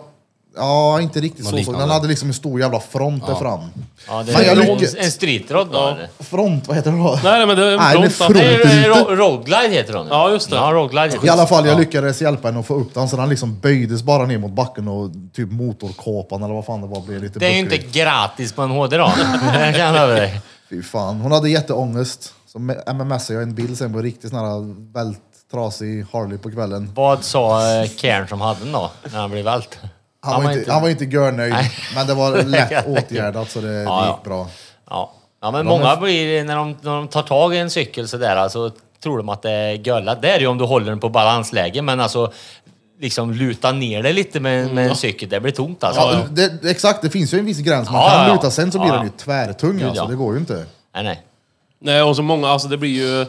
[SPEAKER 1] Ja, inte riktigt
[SPEAKER 4] Något
[SPEAKER 1] så. så.
[SPEAKER 4] liknande.
[SPEAKER 1] Den hade liksom en stor jävla front där fram.
[SPEAKER 2] Ja, det
[SPEAKER 1] Fan, jag
[SPEAKER 2] är en-
[SPEAKER 1] lyckas-
[SPEAKER 2] en streetrod då eller?
[SPEAKER 1] Front, vad heter det då?
[SPEAKER 3] Nej, nej, men det är en
[SPEAKER 1] Nej, det är
[SPEAKER 3] bromsa.
[SPEAKER 1] front.
[SPEAKER 2] Nej,
[SPEAKER 1] Inte
[SPEAKER 2] eh,
[SPEAKER 1] ute.
[SPEAKER 2] ro- Roadglide heter de.
[SPEAKER 3] Ja, just det.
[SPEAKER 2] Ja, roadglide heter
[SPEAKER 1] I alla fall, jag
[SPEAKER 2] ja.
[SPEAKER 1] lyckades hjälpa henne att få upp den så den liksom böjdes bara ner mot backen och typ motorkåpan eller vad fan det var blev lite
[SPEAKER 2] Det är ju inte
[SPEAKER 1] buckrig.
[SPEAKER 2] gratis på en HD då. Jag kan över dig.
[SPEAKER 1] Fy fan, hon hade jätteångest. Så mmsade jag en bild sen på en riktigt sån här vält trasig Harley på kvällen.
[SPEAKER 2] Vad sa eh, Cairn som hade den då, när han blev vält?
[SPEAKER 1] Han, var, inte, han var inte görnöjd,
[SPEAKER 2] Nej.
[SPEAKER 1] men det var lätt åtgärdat så det,
[SPEAKER 2] Ja,
[SPEAKER 1] det
[SPEAKER 2] ja.
[SPEAKER 1] gick bra.
[SPEAKER 2] Ja. ja, men många blir, när de, när de tar tag i en cykel sådär, alltså, tror de att det är göllat. Det är det ju om du håller den på balansläge, men alltså liksom luta ner det lite med, med en cykel, det blir tomt alltså.
[SPEAKER 1] Mm. Ja, det, det- exakt, det finns ju en viss gräns. Man
[SPEAKER 2] Ja,
[SPEAKER 1] kan
[SPEAKER 2] ja, ja.
[SPEAKER 1] luta sen så blir
[SPEAKER 2] Ja,
[SPEAKER 1] den ju
[SPEAKER 2] ja.
[SPEAKER 1] tvärtung
[SPEAKER 2] Gud,
[SPEAKER 1] alltså.
[SPEAKER 2] ja.
[SPEAKER 1] Det går ju inte.
[SPEAKER 2] Nej, nej.
[SPEAKER 3] Nej, och så många, alltså det blir ju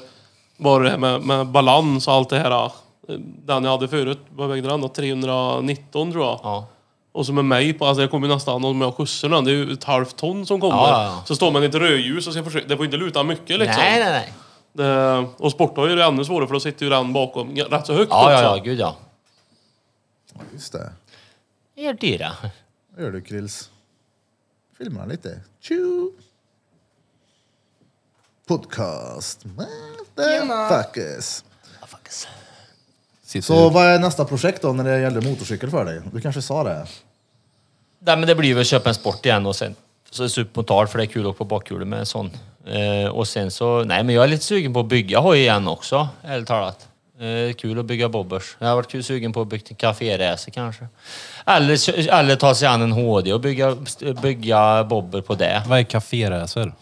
[SPEAKER 3] bara det här med, med balans och allt det här. eh, Den jag hade förut, vad vägde den då? 319 tror jag.
[SPEAKER 2] Ja.
[SPEAKER 3] Och så med mig, på, alltså jag kommer ju nästan, om jag skjutsar den, det är ju ett halvt ton som kommer.
[SPEAKER 2] Ja, ja, ja.
[SPEAKER 3] Så står man i ett rödljus och ska försöka, det får inte luta mycket liksom.
[SPEAKER 2] nej, nej, nej.
[SPEAKER 3] Det, och sporthoj är det ännu svårare för då sitter ju den bakom rätt så högt
[SPEAKER 2] Ja,
[SPEAKER 3] också.
[SPEAKER 2] ja, ja, gud ja.
[SPEAKER 1] Just det.
[SPEAKER 2] Det är dyra.
[SPEAKER 1] Vad gör du Krills? Filma den lite. Tju! Podcast. Motherfuckers.
[SPEAKER 4] Sitter
[SPEAKER 1] Så vad är nästa projekt då när det gäller motorcykel för dig? Du kanske sa det?
[SPEAKER 2] Nej, men det blir väl att köpa en sport igen och sen så supermotar för det är kul att åka på bakhjulet med en sån. Eh, och sen så, nej men jag är lite sugen på att bygga hoj igen också, ärligt talat. Eh, kul att bygga bobbers. Jag har varit kul sugen på att bygga en kaféracer kanske. Eller, kö- eller ta sig an en HD och bygga, bygga bobber på det.
[SPEAKER 4] Vad är kaféracer?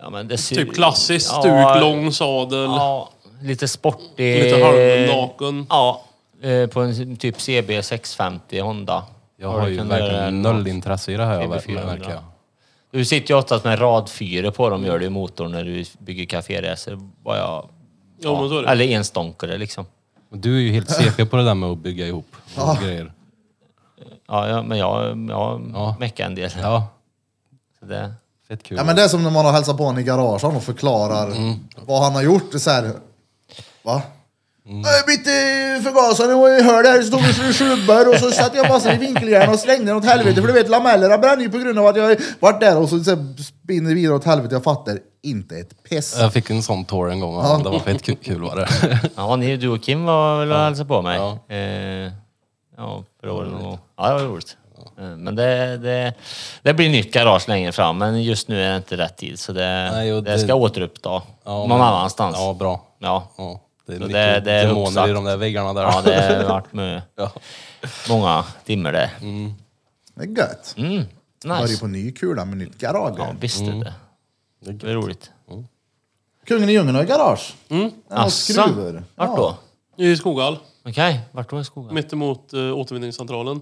[SPEAKER 2] Ja, men det ser-
[SPEAKER 3] Typ klassiskt,
[SPEAKER 2] Ja,
[SPEAKER 3] stuk, lång sadel,
[SPEAKER 2] Ja, lite sportig.
[SPEAKER 3] lite halvnaken.
[SPEAKER 2] Ja, eh, på en typ CB 650 Honda.
[SPEAKER 4] Jag
[SPEAKER 2] Har
[SPEAKER 4] har
[SPEAKER 2] du
[SPEAKER 4] ju
[SPEAKER 2] kunnat göra
[SPEAKER 4] verkligen
[SPEAKER 2] en-
[SPEAKER 4] noll intresse i det här jag ver-
[SPEAKER 2] 400.
[SPEAKER 4] märker jag.
[SPEAKER 2] Du sitter ju oftast med radfyra på dem, gör du i motorn när du bygger kaféresor. Vad jag...
[SPEAKER 3] Ja, men så är det.
[SPEAKER 2] Eller enstånkare liksom.
[SPEAKER 4] Och Du är ju helt CP på det där med att bygga ihop och grejer.
[SPEAKER 2] Ja, ja, men jag, jag
[SPEAKER 4] Ja.
[SPEAKER 2] meckar en del.
[SPEAKER 4] Ja,
[SPEAKER 2] Så Det.
[SPEAKER 4] fett kul.
[SPEAKER 1] Ja men det är som när man har hälsat på honom i garagen och förklarar vad han har gjort. Det är Så här, va? Jag bytte förgasaren och jag hörde här, det stod det skrubbor och så satte jag massor i vinkeljärn och slängde den åt helvete. För du vet lamellerna bränner ju på grund av att jag varit där och så, så här, spinner vidare åt helvete. Jag fattar inte ett piss.
[SPEAKER 4] Jag fick en sån tår en gång och
[SPEAKER 1] Ja.
[SPEAKER 4] det var fett kul var det.
[SPEAKER 2] Ja, ni, du och Kim var väl och hälsade på mig.
[SPEAKER 4] Ja.
[SPEAKER 2] Eh, ja, förra året någon gång. Ja, det var roligt. Eh, Men det, det, det blir nytt garage längre fram, men just nu är det inte rätt tid. Så det,
[SPEAKER 4] Nej, och
[SPEAKER 2] det,
[SPEAKER 4] det-
[SPEAKER 2] ska återuppta
[SPEAKER 4] Ja,
[SPEAKER 2] någon
[SPEAKER 4] men-
[SPEAKER 1] Alltså.
[SPEAKER 2] annanstans.
[SPEAKER 4] Ja,
[SPEAKER 2] Ja.
[SPEAKER 4] bra.
[SPEAKER 2] Ja.
[SPEAKER 4] Ja, det är
[SPEAKER 2] Så
[SPEAKER 4] mycket
[SPEAKER 2] det- det är
[SPEAKER 4] demoner
[SPEAKER 2] uppsatt.
[SPEAKER 4] i de där väggarna där.
[SPEAKER 2] det har varit med
[SPEAKER 4] Ja. Mm.
[SPEAKER 2] många timmar det.
[SPEAKER 1] Det är gött.
[SPEAKER 2] Mm.
[SPEAKER 1] Börjar
[SPEAKER 2] Nice.
[SPEAKER 1] på ny kula med nytt garage.
[SPEAKER 2] Ja, visst
[SPEAKER 3] Mm.
[SPEAKER 2] är det. Det är roligt.
[SPEAKER 1] Kungen i djungeln har garage. Mm. Ja,
[SPEAKER 2] Asså?
[SPEAKER 1] skruvar.
[SPEAKER 2] Vart då?
[SPEAKER 3] I Skoghall,
[SPEAKER 2] Okej, vart då i skogen?
[SPEAKER 3] mittemot eh, återvinningscentralen.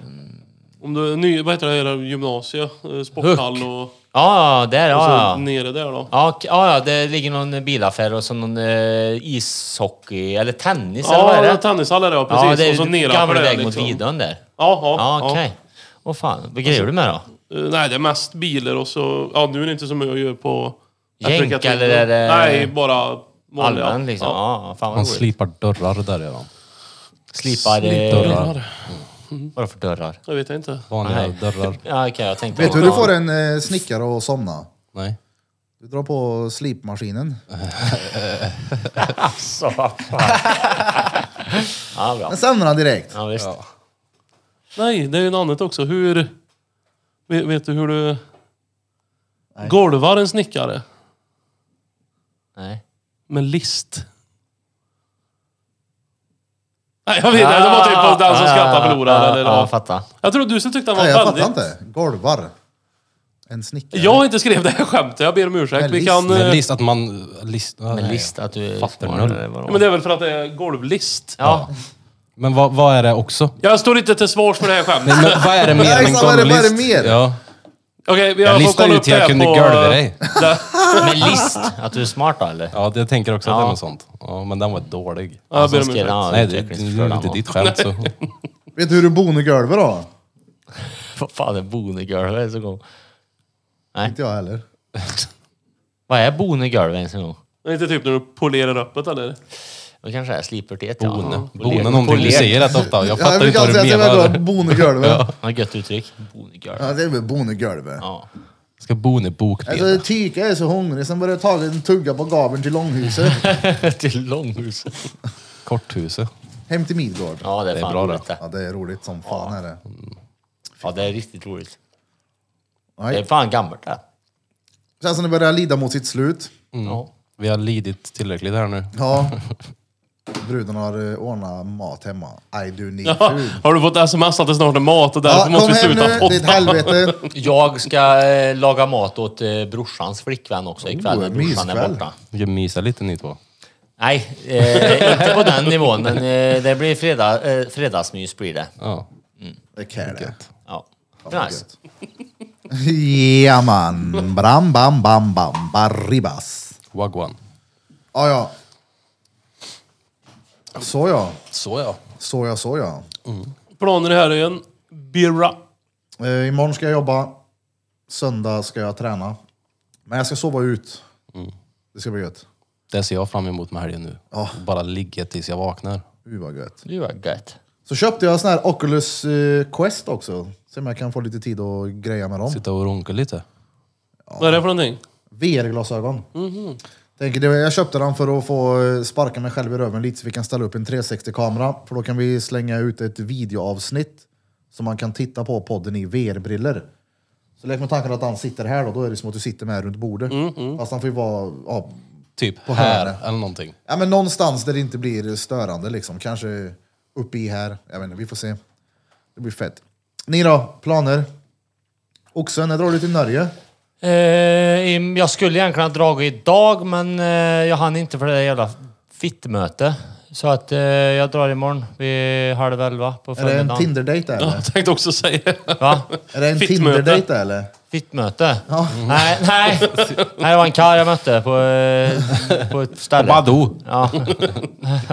[SPEAKER 2] Mm.
[SPEAKER 3] Om du, ny, vad heter det hela gymnasiet? Eh, sporthall och, och
[SPEAKER 2] Ja, där.
[SPEAKER 3] så
[SPEAKER 2] Ja, ja.
[SPEAKER 3] nere där då.
[SPEAKER 2] Ja, k- ja, ja, det ligger någon bilaffär och så någon eh, ishockey eller tennis eller vad
[SPEAKER 3] Ja,
[SPEAKER 2] är
[SPEAKER 3] ja
[SPEAKER 2] det?
[SPEAKER 3] tennishall är det ja, precis.
[SPEAKER 2] Ja, det är
[SPEAKER 3] och så nere på
[SPEAKER 2] gamla
[SPEAKER 3] det,
[SPEAKER 2] väg mot
[SPEAKER 3] liksom.
[SPEAKER 2] Vidön där.
[SPEAKER 3] Ja, ja.
[SPEAKER 2] Ja,
[SPEAKER 3] ja.
[SPEAKER 2] okej. Åh fan, vad grejer du med då?
[SPEAKER 3] Eh, nej, det är mest bilar och så... Ja, nu är det inte som jag gör på...
[SPEAKER 2] Jänk,
[SPEAKER 3] Afrika Twitter.
[SPEAKER 2] eller är det-
[SPEAKER 3] Nej, bara vanliga.
[SPEAKER 2] Allmän liksom?
[SPEAKER 3] Ja.
[SPEAKER 2] Ja, fan
[SPEAKER 4] Han
[SPEAKER 2] vad roligt.
[SPEAKER 4] slipar dörrar där redan.
[SPEAKER 2] Slipar... eh,
[SPEAKER 4] Dörrar.
[SPEAKER 2] Vadå för dörrar?
[SPEAKER 3] Jag vet inte.
[SPEAKER 4] Vanliga
[SPEAKER 2] Nej.
[SPEAKER 4] dörrar.
[SPEAKER 2] Ja, okej, jag tänkte...
[SPEAKER 1] Vet du hur du får en eh, snickare att somna?
[SPEAKER 4] Nej.
[SPEAKER 1] Du drar på slipmaskinen.
[SPEAKER 2] Alltså, vad fan. Ja, bra.
[SPEAKER 1] Den sömnar han direkt.
[SPEAKER 2] Ja, visst.
[SPEAKER 3] Nej, det är ju något annat också. Hur... Vet, vet du hur du... Golvar en snickare
[SPEAKER 2] Nej.
[SPEAKER 3] med list. Nej, jag vet inte. Det var typ på den som skrattar förlorar.
[SPEAKER 4] Ah,
[SPEAKER 2] Ja,
[SPEAKER 3] eller,
[SPEAKER 2] Ja,
[SPEAKER 3] ja.
[SPEAKER 2] jag fattar.
[SPEAKER 3] Jag tror du som tyckte han var
[SPEAKER 1] Nej, jag fattar
[SPEAKER 3] väldigt...
[SPEAKER 1] inte. Golvar. En snickare.
[SPEAKER 3] Jag har inte skrivit det här skämtet. Jag ber om ursäkt.
[SPEAKER 1] Med
[SPEAKER 3] Vi
[SPEAKER 1] list.
[SPEAKER 3] kan... eh,
[SPEAKER 4] Men list, att man... List,
[SPEAKER 2] Men
[SPEAKER 4] nej.
[SPEAKER 2] list att du är
[SPEAKER 4] Fattar
[SPEAKER 2] smart,
[SPEAKER 4] noll.
[SPEAKER 2] eller vadå?
[SPEAKER 3] Men det är väl för att det är golvlist.
[SPEAKER 2] Ja,
[SPEAKER 4] Men vad, vad är det också?
[SPEAKER 3] Jag står inte till svars för det här skämtet.
[SPEAKER 4] Men vad är det mer
[SPEAKER 1] Nej,
[SPEAKER 4] än
[SPEAKER 1] exakt, vad är det- vad är det
[SPEAKER 4] golvlist?
[SPEAKER 1] mer?
[SPEAKER 4] Ja.
[SPEAKER 3] Okej, vi
[SPEAKER 4] Jag
[SPEAKER 3] jag får
[SPEAKER 4] listar
[SPEAKER 3] kolla
[SPEAKER 4] ut
[SPEAKER 3] upp
[SPEAKER 4] till
[SPEAKER 3] det
[SPEAKER 4] jag kunde
[SPEAKER 3] på...
[SPEAKER 4] golva dig.
[SPEAKER 3] där.
[SPEAKER 2] men list att du är smart då eller?
[SPEAKER 4] Ja, jag tänker också att det
[SPEAKER 2] Ja.
[SPEAKER 4] är något sånt. Ja, men den var dålig.
[SPEAKER 3] Ja, jag ber
[SPEAKER 2] Som
[SPEAKER 3] om
[SPEAKER 2] skrev,
[SPEAKER 3] ursäkt.
[SPEAKER 2] ja,
[SPEAKER 4] Nej, det, det
[SPEAKER 2] utvecklingsförda
[SPEAKER 4] är inte
[SPEAKER 2] han.
[SPEAKER 4] ditt skämt så.
[SPEAKER 1] Vet du hur du bonar golvet då?
[SPEAKER 2] Vad fan är bonegolv ens en gång?
[SPEAKER 1] Inte jag heller.
[SPEAKER 2] Vad är bonegolv ens en gång?
[SPEAKER 3] Det är inte typ när du polerar upp det eller?
[SPEAKER 2] Det kanske är slipper till ett, ja.
[SPEAKER 4] Bone.
[SPEAKER 2] Ja,
[SPEAKER 4] Bone är någonting du
[SPEAKER 2] polert.
[SPEAKER 4] säger rätt ofta. Jag fattar
[SPEAKER 1] vi
[SPEAKER 4] inte
[SPEAKER 1] kan
[SPEAKER 4] vad du
[SPEAKER 1] säga att alltså, jag vill ha
[SPEAKER 4] menar.
[SPEAKER 1] bonegolvet. ja.
[SPEAKER 2] Ja, gött uttryck. Bonegolv.
[SPEAKER 1] det är väl bonegolvet.
[SPEAKER 2] Ja.
[SPEAKER 4] Ska bo i bokben.
[SPEAKER 1] Alltså Tyka är så hungrig, sen börjar jag ta en tugga på gaveln till långhuset.
[SPEAKER 2] till långhus.
[SPEAKER 4] Korthuset.
[SPEAKER 1] Hem till Midgård.
[SPEAKER 2] Ja, det är,
[SPEAKER 4] Det är
[SPEAKER 2] fan
[SPEAKER 4] bra
[SPEAKER 2] roligt det.
[SPEAKER 1] Ja, det är roligt som fan är det.
[SPEAKER 2] Ja, det är riktigt roligt. Det är
[SPEAKER 1] Nej.
[SPEAKER 2] fan gammalt det.
[SPEAKER 1] Känns som det börjar lida mot sitt slut.
[SPEAKER 4] Mm.
[SPEAKER 2] Ja.
[SPEAKER 4] Vi har lidit tillräckligt här nu.
[SPEAKER 1] Ja. Bruden har eh, ordnat mat hemma. I do need food.
[SPEAKER 3] Har du fått sms att det snart är mat och därför
[SPEAKER 1] Ja,
[SPEAKER 3] måste
[SPEAKER 1] kom
[SPEAKER 3] vi
[SPEAKER 1] hem
[SPEAKER 3] sluta
[SPEAKER 1] nu, ditt
[SPEAKER 3] podda?
[SPEAKER 1] helvete.
[SPEAKER 2] Jag ska eh, laga mat åt eh, brorsans flickvän också ikväll när
[SPEAKER 1] Oh,
[SPEAKER 2] brorsan är
[SPEAKER 1] myskväll.
[SPEAKER 2] borta.
[SPEAKER 4] Vi kan mysa lite ni två.
[SPEAKER 2] Nej, eh, inte på den nivån, men eh, det blir fredag, eh, fredagsmys blir det.
[SPEAKER 4] Ja.
[SPEAKER 1] Det kan det.
[SPEAKER 2] Ja.
[SPEAKER 1] Ja,
[SPEAKER 2] Nice.
[SPEAKER 1] gött. Ja man. Bram bam bam bam barribas.
[SPEAKER 4] Wagwan.
[SPEAKER 1] Ja ja. Så ja.
[SPEAKER 4] Så ja.
[SPEAKER 1] Så ja, så ja.
[SPEAKER 3] Planer i helgen. Birra.
[SPEAKER 1] Eh, imorgon ska jag jobba. Söndag ska jag träna. Men jag ska sova ut.
[SPEAKER 3] Mm.
[SPEAKER 1] Det ska bli gött.
[SPEAKER 4] Det ser jag fram emot med helgen nu.
[SPEAKER 1] Ja.
[SPEAKER 4] Bara ligga tills jag vaknar.
[SPEAKER 1] Gud vad gött.
[SPEAKER 2] Det var gött.
[SPEAKER 1] Så köpte jag en sån här Oculus eh, Quest också. Se om jag kan få lite tid att greja med dem.
[SPEAKER 4] Sitta och runka lite.
[SPEAKER 3] Vad är det för någonting?
[SPEAKER 1] VR-glasögon. Tänker det, jag köpte den för att få eh, sparka mig själv i röven lite så vi kan ställa upp en 360-kamera. För då kan vi slänga ut ett videoavsnitt som man kan titta på podden i VR-briller. Så lek med tanken att han sitter här då, då är det som att du sitter med runt bordet. Fast han får ju vara ja,
[SPEAKER 4] Typ
[SPEAKER 1] På
[SPEAKER 4] här
[SPEAKER 1] hörnet.
[SPEAKER 4] eller någonting.
[SPEAKER 1] ja, men någonstans där det inte blir störande liksom. Kanske uppe i här. Jag vet inte, vi får se. Det blir fett. Ni då? Planer? Oxen, när drar du till Norge?
[SPEAKER 2] Eh, im- jag skulle egentligen ha dragit idag, men eh, jag hann inte för det där jävla fittmöte. Så att eh, jag drar imorgon vid halv elva på
[SPEAKER 1] Är det en
[SPEAKER 2] förmiddagen.
[SPEAKER 1] Tinder-dejt
[SPEAKER 3] Ja,
[SPEAKER 1] eller?
[SPEAKER 3] jag tänkte också säga det.
[SPEAKER 2] Va?
[SPEAKER 1] Är det en
[SPEAKER 3] Fittmöte.
[SPEAKER 1] Tinder-dejt eller?
[SPEAKER 2] Fittmöte?
[SPEAKER 1] Ja.
[SPEAKER 2] Nej, nej. nej, det var en karl jag mötte på, eh, på ett ställe.
[SPEAKER 4] Badoo.
[SPEAKER 2] Ja.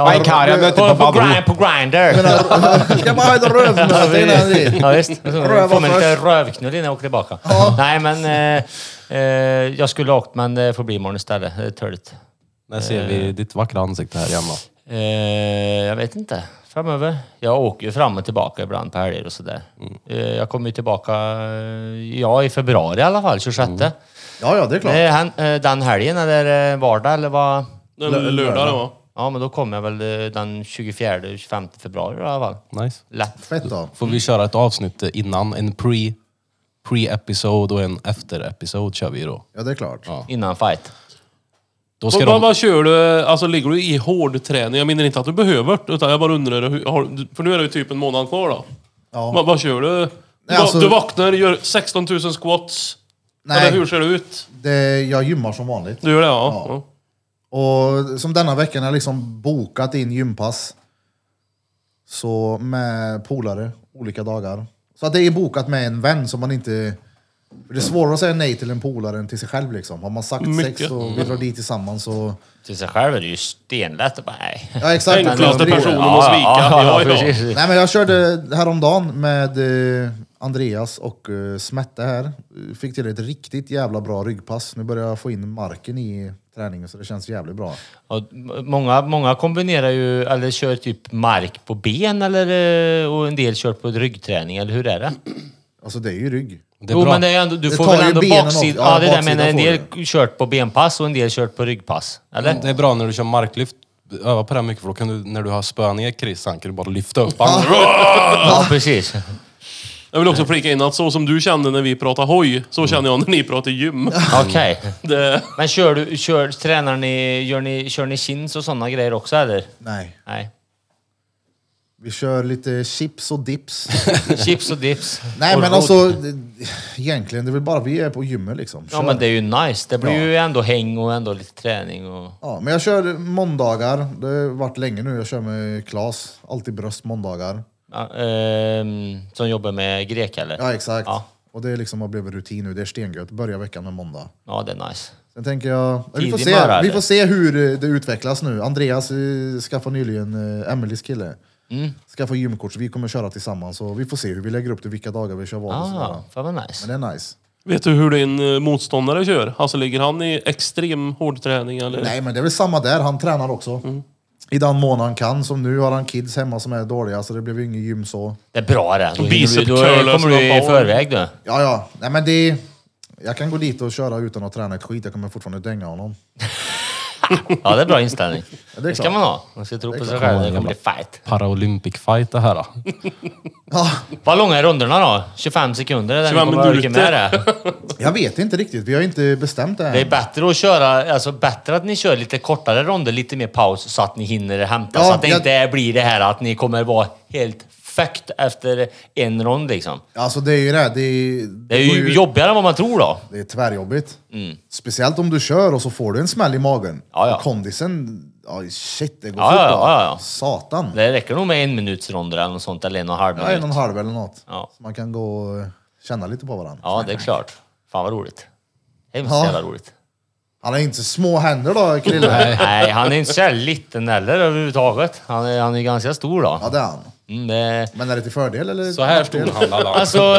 [SPEAKER 4] var en karl jag mötte på
[SPEAKER 2] på,
[SPEAKER 4] Badoo.
[SPEAKER 2] grind, på Grindr.
[SPEAKER 1] Ska bara ha ett rövmöte eh, innan dit.
[SPEAKER 2] Ja, visst.
[SPEAKER 1] Röva
[SPEAKER 2] Får mig lite
[SPEAKER 1] först.
[SPEAKER 2] rövknull innan jag åker tillbaka. Nej, men eh, eh, jag skulle ha åkt, men det får bli imorgon istället. Det är törligt.
[SPEAKER 4] När ser vi ditt vackra ansikte här hemma?
[SPEAKER 2] Eh, jag vet inte. Framöver. Jag åker ju fram och tillbaka ibland på
[SPEAKER 3] Mm. Mm.
[SPEAKER 2] helger och sådär. Eh, jag kommer ju tillbaka, eh, ja i februari i alla fall, 26.
[SPEAKER 1] Ja, ja, det är klart.
[SPEAKER 2] Det är han, eh, den helgen eller eh, vardag eller vad?
[SPEAKER 3] Den lördag det var.
[SPEAKER 2] Ja, men då kommer jag väl eh, den 24-25 februari i alla fall.
[SPEAKER 4] Nice.
[SPEAKER 2] Lätt.
[SPEAKER 1] Fett då.
[SPEAKER 4] Får vi köra ett avsnitt innan? En pre, pre-episode och en efter-episode kör vi då.
[SPEAKER 1] Ja, det är klart.
[SPEAKER 4] Ja.
[SPEAKER 2] Innan fight.
[SPEAKER 4] Då ska
[SPEAKER 3] Vad, vad,
[SPEAKER 4] de...
[SPEAKER 3] vad kör du? Alltså ligger du i hård träning? Jag menar inte att du behöver det, utan jag bara undrar. hur- Har, du- för nu är det ju typ en månad kvar då.
[SPEAKER 1] Ja.
[SPEAKER 3] Vad, vad kör du? Du,
[SPEAKER 1] Nej, alltså-
[SPEAKER 3] du vaknar, gör 16 000 squats.
[SPEAKER 1] Nej.
[SPEAKER 3] Eller hur ser det ut?
[SPEAKER 1] Det, jag gymmar som vanligt.
[SPEAKER 3] Du gör det ja. ja.
[SPEAKER 1] Och som denna veckan har jag liksom bokat in gympass. Så med polare, olika dagar. Så att det är bokat med en vän som man inte... För det är svårare att säga nej till en polare än till sig själv liksom. Har man sagt sex
[SPEAKER 3] Mycket.
[SPEAKER 1] och vi drar dit tillsammans så...
[SPEAKER 2] Till sig själv är det ju stenlätt att bara, nej.
[SPEAKER 1] Ja exakt.
[SPEAKER 3] Enklaste
[SPEAKER 1] Men-
[SPEAKER 3] personen Mm. att svika. Ja, ja.
[SPEAKER 2] precis.
[SPEAKER 1] Nej men jag körde häromdagen med eh, Andreas och eh, Smette här. Fick till ett riktigt jävla bra ryggpass. Nu börjar jag få in marken i träningen så det känns jävligt bra.
[SPEAKER 2] Ja, m- många, många kombinerar ju, eller kör typ mark på ben eller, eh, och en del kör på ryggträning, eller hur är det?
[SPEAKER 1] Alltså det är ju rygg.
[SPEAKER 4] Det är
[SPEAKER 2] jo,
[SPEAKER 4] bra.
[SPEAKER 2] men det är ändå, du
[SPEAKER 1] Det
[SPEAKER 2] får
[SPEAKER 1] tar
[SPEAKER 2] väl
[SPEAKER 1] ju
[SPEAKER 2] ändå
[SPEAKER 1] benen
[SPEAKER 2] baksida.
[SPEAKER 1] också.
[SPEAKER 2] Ja,
[SPEAKER 1] Ja,
[SPEAKER 2] det är det, men en
[SPEAKER 1] baksida
[SPEAKER 2] del kört på benpass och en del kört på ryggpass. Eller?
[SPEAKER 1] Mm.
[SPEAKER 4] Det är bra när du kör marklyft. Öva på det här mycket för då kan du, när du har spö ner Chris, han kan du bara lyfta upp honom.
[SPEAKER 2] Ja, precis.
[SPEAKER 1] Mm.
[SPEAKER 3] Jag vill också flika in att så som du kände när vi pratade hoj, så känner jag när ni pratar gym.
[SPEAKER 2] Okej.
[SPEAKER 3] Det,
[SPEAKER 2] Men kör du, kör, tränar ni, gör ni, kör ni chins och sådana grejer också eller?
[SPEAKER 1] Nej.
[SPEAKER 2] Nej.
[SPEAKER 1] Vi kör lite chips och dips.
[SPEAKER 2] Chips och dips.
[SPEAKER 1] Nej
[SPEAKER 2] och
[SPEAKER 1] men
[SPEAKER 2] rodd.
[SPEAKER 1] alltså, det- egentligen det är väl bara vi är på gymmet liksom.
[SPEAKER 2] Ja
[SPEAKER 1] Kör.
[SPEAKER 2] men det är ju nice. Det blir
[SPEAKER 1] Ja.
[SPEAKER 2] ju ändå häng och ändå lite träning och...
[SPEAKER 1] ja, men jag kör måndagar, det har varit länge nu. Jag kör med Klas, alltid bröst måndagar.
[SPEAKER 2] Ja, ehm, som jobbar med grek eller?
[SPEAKER 1] Ja exakt.
[SPEAKER 2] Ja.
[SPEAKER 1] Och det är liksom har blivit rutin nu, det är stengött. Börja veckan med måndag.
[SPEAKER 2] Ja, det är nice.
[SPEAKER 1] Sen tänker jag, vi får,
[SPEAKER 2] Tidig
[SPEAKER 1] se,
[SPEAKER 2] mördare.
[SPEAKER 1] vi får se hur eh, det utvecklas nu. Andreas eh, skaffade nyligen eh, Emelies kille.
[SPEAKER 2] Mm.
[SPEAKER 1] Skaffade gymkort, så vi kommer köra tillsammans. Och vi får se hur vi lägger upp det, vilka dagar vi kör vad och sådär.
[SPEAKER 2] Ah, fan vad nice.
[SPEAKER 1] Men det är nice.
[SPEAKER 3] vet du hur din eh, motståndare kör? Alltså ligger han i extrem hårdträning eller?
[SPEAKER 1] Nej, men det är väl samma där. Han tränar också.
[SPEAKER 2] Mm.
[SPEAKER 1] I den mån han kan. Som nu har han kids hemma som är dåliga, så det blev ju ingen gym så.
[SPEAKER 2] Det är bra det. Då, hinner du,
[SPEAKER 3] Bicep
[SPEAKER 2] då
[SPEAKER 3] curler
[SPEAKER 2] kommer du i
[SPEAKER 3] som bara-
[SPEAKER 2] förväg du.
[SPEAKER 1] Ja, ja. Nej, men det... Jag kan gå dit och köra utan att träna ett skit. Jag kommer fortfarande dänga honom.
[SPEAKER 2] Ja, det är bra inställning. det,
[SPEAKER 1] är
[SPEAKER 2] ska
[SPEAKER 1] klart.
[SPEAKER 2] man ha. Man ska tro på sig själv. Det kommer bli fight.
[SPEAKER 4] Paralympic fight det här. då.
[SPEAKER 1] Ja,
[SPEAKER 2] Vad långa är rundorna då? 25 sekunder? Är det
[SPEAKER 3] 25
[SPEAKER 2] 25 minuter.
[SPEAKER 3] minuter.
[SPEAKER 2] Med det.
[SPEAKER 1] jag vet inte riktigt. Vi har inte bestämt det
[SPEAKER 2] det är
[SPEAKER 1] än.
[SPEAKER 2] bättre att köra, alltså bättre att ni kör lite kortare ronder, lite mer paus så att ni hinner hämta.
[SPEAKER 1] Ja,
[SPEAKER 2] så att det
[SPEAKER 1] jag-
[SPEAKER 2] inte blir det här att ni kommer vara helt fucked efter en rond liksom.
[SPEAKER 1] Alltså, det är ju det. Det är,
[SPEAKER 2] Det är ju jobbigare än vad man tror då.
[SPEAKER 1] Det är tvärjobbigt. Speciellt om du kör och så får du en smäll i magen.
[SPEAKER 2] Ja, ja.
[SPEAKER 1] Och kondisen... Ja, shit, det går
[SPEAKER 2] Ja,
[SPEAKER 1] fort.
[SPEAKER 2] ja,
[SPEAKER 1] då.
[SPEAKER 2] ja, ja.
[SPEAKER 1] Satan.
[SPEAKER 2] Det räcker nog med en minuts ronder eller något sånt, eller en och en halv
[SPEAKER 1] Ja, en
[SPEAKER 2] minut.
[SPEAKER 1] och en halv eller något.
[SPEAKER 2] Ja.
[SPEAKER 1] Så man kan gå och känna lite på varandra.
[SPEAKER 2] Ja, det är klart. Fan vad roligt. Hemskt
[SPEAKER 1] Ja.
[SPEAKER 2] jävla roligt.
[SPEAKER 1] Han har inte så små händer då, Krille.
[SPEAKER 2] Nej, han är inte så här liten heller överhuvudtaget. Han är, han är ganska stor då.
[SPEAKER 1] Ja, det är han.
[SPEAKER 2] Mm, det,
[SPEAKER 1] Men är det till fördel eller?
[SPEAKER 4] Så här stor handlar han.
[SPEAKER 2] alltså,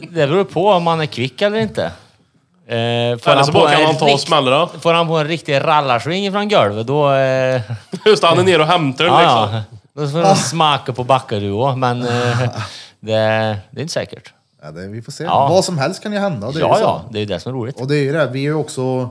[SPEAKER 2] det beror på om han är kvick eller inte. Eh, får,
[SPEAKER 3] Eller så
[SPEAKER 2] han på
[SPEAKER 3] bara kan
[SPEAKER 2] en
[SPEAKER 3] han ta och
[SPEAKER 2] rikt,
[SPEAKER 3] smälla.
[SPEAKER 2] får han på en riktig rallarsving från golvet, då... Eh,
[SPEAKER 3] Just det, han är nere och hämtar den
[SPEAKER 2] ja,
[SPEAKER 3] liksom.
[SPEAKER 2] ja. Då får han smaka på Backaruo, men eh, det, det är inte säkert.
[SPEAKER 1] Ja, det, vi får se.
[SPEAKER 2] Ja.
[SPEAKER 1] Vad som helst kan ju hända. Det är ju
[SPEAKER 2] Ja,
[SPEAKER 1] så.
[SPEAKER 2] ja, det är ju det som är roligt.
[SPEAKER 1] Och det är ju det, vi är ju också...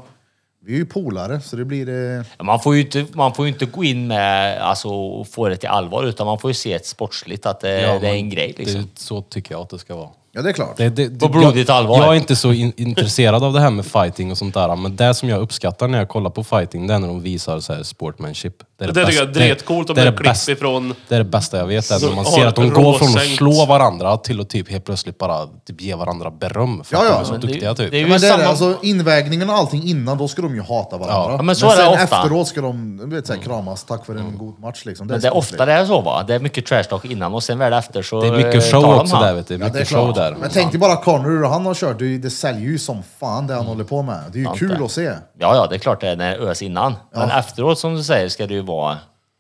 [SPEAKER 1] Vi är ju polare, så det blir... Eh,
[SPEAKER 2] Ja, Man får ju inte, man får ju inte gå in med alltså, och få det till allvar, utan man får ju se ett sportsligt att det,
[SPEAKER 4] Ja,
[SPEAKER 2] det är
[SPEAKER 4] men
[SPEAKER 2] en grej. Liksom.
[SPEAKER 4] Det, så tycker jag att det ska vara.
[SPEAKER 1] ja, det är klart.
[SPEAKER 4] Det, det, det,
[SPEAKER 2] På blodigt
[SPEAKER 4] jag,
[SPEAKER 2] allvar.
[SPEAKER 4] Jag är inte så in, intresserad av det här med fighting och sånt där, men det som jag uppskattar när jag kollar på fighting, det är när de visar så här sportmanship. är
[SPEAKER 3] Det tycker jag är
[SPEAKER 4] bästa- det-
[SPEAKER 3] dretcoolt om
[SPEAKER 4] det är
[SPEAKER 3] det är
[SPEAKER 4] det
[SPEAKER 3] klipp
[SPEAKER 4] bästa-
[SPEAKER 3] ifrån...
[SPEAKER 4] Det är det bästa jag vet, är när man
[SPEAKER 3] Så
[SPEAKER 4] ser
[SPEAKER 3] har
[SPEAKER 4] att de går från att
[SPEAKER 3] råsänkt.
[SPEAKER 4] slå varandra till att typ helt plötsligt bara typ ge varandra beröm för
[SPEAKER 1] Ja,
[SPEAKER 4] att
[SPEAKER 1] ja,
[SPEAKER 4] de är så
[SPEAKER 1] men
[SPEAKER 2] det-
[SPEAKER 4] duktiga typ.
[SPEAKER 2] det är ju
[SPEAKER 1] men det är
[SPEAKER 2] samma-
[SPEAKER 1] det, alltså invägningen och allting innan, då ska de ju hata varandra.
[SPEAKER 4] Ja,
[SPEAKER 2] men så är det
[SPEAKER 1] sen
[SPEAKER 2] ofta.
[SPEAKER 1] efteråt ska de du vet, så här, kramas, tack för en god match liksom.
[SPEAKER 2] Men det är
[SPEAKER 1] sportsligt.
[SPEAKER 2] ofta det är så va? Det är mycket trash talk innan och sen väl efter så
[SPEAKER 4] det är
[SPEAKER 2] eh,
[SPEAKER 4] mycket
[SPEAKER 2] tar
[SPEAKER 4] show
[SPEAKER 2] de
[SPEAKER 4] också
[SPEAKER 2] han.
[SPEAKER 4] där vet du.
[SPEAKER 1] Ja,
[SPEAKER 4] Mycket
[SPEAKER 1] det är
[SPEAKER 4] show
[SPEAKER 1] klart.
[SPEAKER 4] där.
[SPEAKER 1] Men tänk dig bara Connor, hur han har kört, det, det säljer ju som fan det han håller på med. Det är ju
[SPEAKER 2] Sant
[SPEAKER 1] kul
[SPEAKER 2] det.
[SPEAKER 1] att se.
[SPEAKER 2] Ja, ja, det är klart det är när ös innan. Men efteråt som du säger ska det ju vara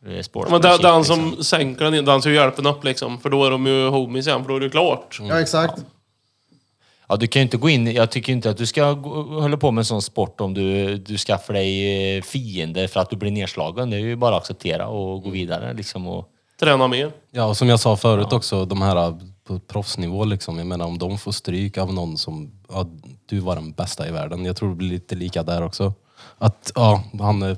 [SPEAKER 2] eh, sportsmanship.
[SPEAKER 3] Men den, den
[SPEAKER 2] liksom.
[SPEAKER 3] som sänker den, in, den ska ju hjälpa den upp liksom. För då är de ju homies igen, för då är det ju klart.
[SPEAKER 1] Ja, exakt.
[SPEAKER 2] Ja, du kan ju inte gå in... Jag tycker inte att du ska gå- hålla på med en sån sport om du, du skaffar dig eh, fiender för att du blir nedslagen. Det är ju bara att acceptera och gå
[SPEAKER 4] Mm.
[SPEAKER 2] vidare liksom. Och,
[SPEAKER 3] Träna mer.
[SPEAKER 4] Ja, äh, och som jag sa förut också, de här på proffsnivå liksom. Jag menar om de får stryk av någon som ja, du var den bästa i världen. Jag tror det blir lite lika där också. Att ja, han, eh,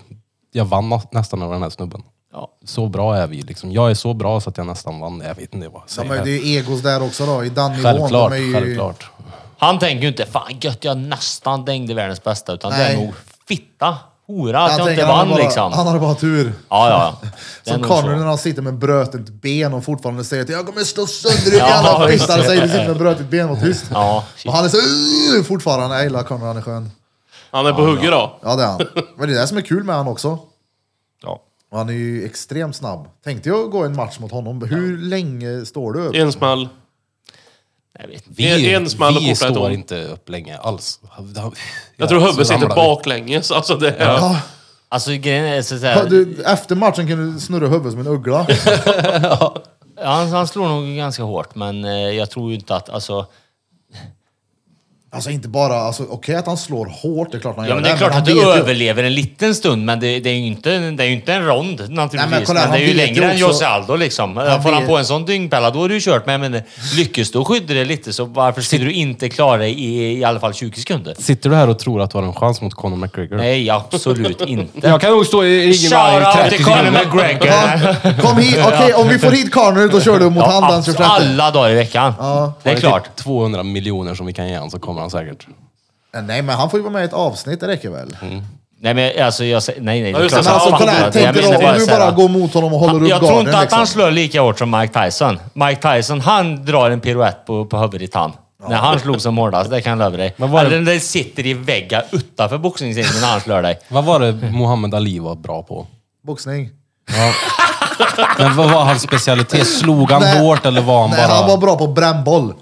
[SPEAKER 4] jag vann na- nästan över den här snubben.
[SPEAKER 2] Ja.
[SPEAKER 4] Så bra är vi liksom. Jag är så bra så att jag nästan vann. Jag vet inte vad jag
[SPEAKER 1] De är
[SPEAKER 4] säger.
[SPEAKER 1] det ju egos där också då, i den nivån.
[SPEAKER 4] Självklart,
[SPEAKER 1] de är ju,
[SPEAKER 4] självklart.
[SPEAKER 2] Han tänker ju inte fan gött, jag nästan dängde världens bästa. Utan det är
[SPEAKER 1] Nej.
[SPEAKER 2] nog fitta, hora att jag
[SPEAKER 1] tänker,
[SPEAKER 2] inte
[SPEAKER 1] han har
[SPEAKER 2] vann
[SPEAKER 1] bara,
[SPEAKER 2] liksom.
[SPEAKER 1] Han har bara tur.
[SPEAKER 2] Ja, ja. Det är
[SPEAKER 1] Som
[SPEAKER 2] nog
[SPEAKER 1] Connor
[SPEAKER 2] så.
[SPEAKER 1] när han sitter med brötet ben och fortfarande säger att jag kommer slå sönder ditt
[SPEAKER 2] Ja,
[SPEAKER 1] jävla
[SPEAKER 2] visst.
[SPEAKER 1] fitta. Han säger du sitter med brötet ben och tyst.
[SPEAKER 2] Ja, shit.
[SPEAKER 1] Och han är så "Ugh", fortfarande. Jag gillar Connor, han är skön.
[SPEAKER 3] Han är på hugget då.
[SPEAKER 1] Ja det är han. Men det är det som är kul med han också.
[SPEAKER 2] Ja.
[SPEAKER 1] Och han är ju extremt snabb. Tänkte jag gå en match mot honom. Hur länge står du upp?
[SPEAKER 3] En smäll.
[SPEAKER 2] Jag vet inte.
[SPEAKER 4] Vi,
[SPEAKER 3] En smäll och
[SPEAKER 4] vi
[SPEAKER 3] portar ett
[SPEAKER 4] står
[SPEAKER 3] hål.
[SPEAKER 4] inte upp länge alls.
[SPEAKER 3] Jag tror
[SPEAKER 4] så
[SPEAKER 3] huvudet sitter
[SPEAKER 4] ramlar vi.
[SPEAKER 3] baklänges. Alltså det är...
[SPEAKER 1] Ja,
[SPEAKER 2] Alltså grejen är så så
[SPEAKER 1] Ja,
[SPEAKER 2] här,
[SPEAKER 1] du, efter matchen kan du snurra huvudet som en uggla.
[SPEAKER 2] han, han slår nog ganska hårt men eh, jag tror ju inte att, alltså,
[SPEAKER 1] Alltså inte bara, alltså, okej att han slår hårt, det är klart han
[SPEAKER 2] Ja,
[SPEAKER 1] gör
[SPEAKER 2] men det är
[SPEAKER 1] men
[SPEAKER 2] klart
[SPEAKER 1] han
[SPEAKER 2] att du
[SPEAKER 1] vet ju-
[SPEAKER 2] överlever en liten stund, men det, det, är, ju inte, det är ju inte en rond naturligtvis.
[SPEAKER 1] Nej, men
[SPEAKER 2] men,
[SPEAKER 1] kolla, han
[SPEAKER 2] det är ju
[SPEAKER 1] vet ju
[SPEAKER 2] längre än
[SPEAKER 1] också-
[SPEAKER 2] Jose Aldo liksom. Får han
[SPEAKER 1] vet-
[SPEAKER 2] på en sån dyngpälla, då har du ju kört. Men jag menar, lyckas du skydda dig lite, så varför skulle du inte klara dig i, i alla fall 20 sekunder?
[SPEAKER 4] Sitter du här och tror att du har en chans mot Conor McGregor?
[SPEAKER 2] Nej, absolut inte.
[SPEAKER 6] Jag kan nog stå i ringen med
[SPEAKER 2] Shoutout
[SPEAKER 6] 30
[SPEAKER 2] till Conor
[SPEAKER 6] sekunder.
[SPEAKER 2] McGregor!
[SPEAKER 1] Kom hit, okej om vi får hit Connor då kör du mot han den 26.
[SPEAKER 2] Ja, alla dagar i veckan. Det är
[SPEAKER 4] Har
[SPEAKER 2] klart.
[SPEAKER 4] Typ 200 miljoner som vi kan ge honom så kommer han säkert.
[SPEAKER 1] Eh, Nej men han får ju vara med i ett avsnitt, det räcker väl?
[SPEAKER 2] Nej, men alltså jag säger... Nej, nej.
[SPEAKER 3] Ja,
[SPEAKER 2] det är
[SPEAKER 3] just
[SPEAKER 2] klart
[SPEAKER 3] det,
[SPEAKER 2] att
[SPEAKER 1] Alltså
[SPEAKER 3] men
[SPEAKER 2] han
[SPEAKER 1] kolla här,
[SPEAKER 2] fattar det.
[SPEAKER 1] tänk
[SPEAKER 2] Mm.
[SPEAKER 1] dig då,
[SPEAKER 2] Jag menar
[SPEAKER 1] om du
[SPEAKER 2] så här
[SPEAKER 1] bara
[SPEAKER 2] att-
[SPEAKER 1] går mot honom och håller upp
[SPEAKER 2] jag tror inte
[SPEAKER 1] garden
[SPEAKER 2] att han
[SPEAKER 1] liksom.
[SPEAKER 2] slår lika hårt som Mike Tyson. Mike Tyson, han drar en piruett på, på huvudet i tand. När han slog som hårdast, det kan jag lova dig.
[SPEAKER 4] Men var det-
[SPEAKER 2] Eller den sitter i väggen utanför boxningsringen när han slår dig.
[SPEAKER 4] Vad var det Muhammad Ali var bra på?
[SPEAKER 1] Boxning.
[SPEAKER 4] Men vad var hans specialitet? Slog han
[SPEAKER 1] Nej.
[SPEAKER 4] hårt eller var han
[SPEAKER 1] Nej,
[SPEAKER 4] bara...
[SPEAKER 1] han var bra på brännboll.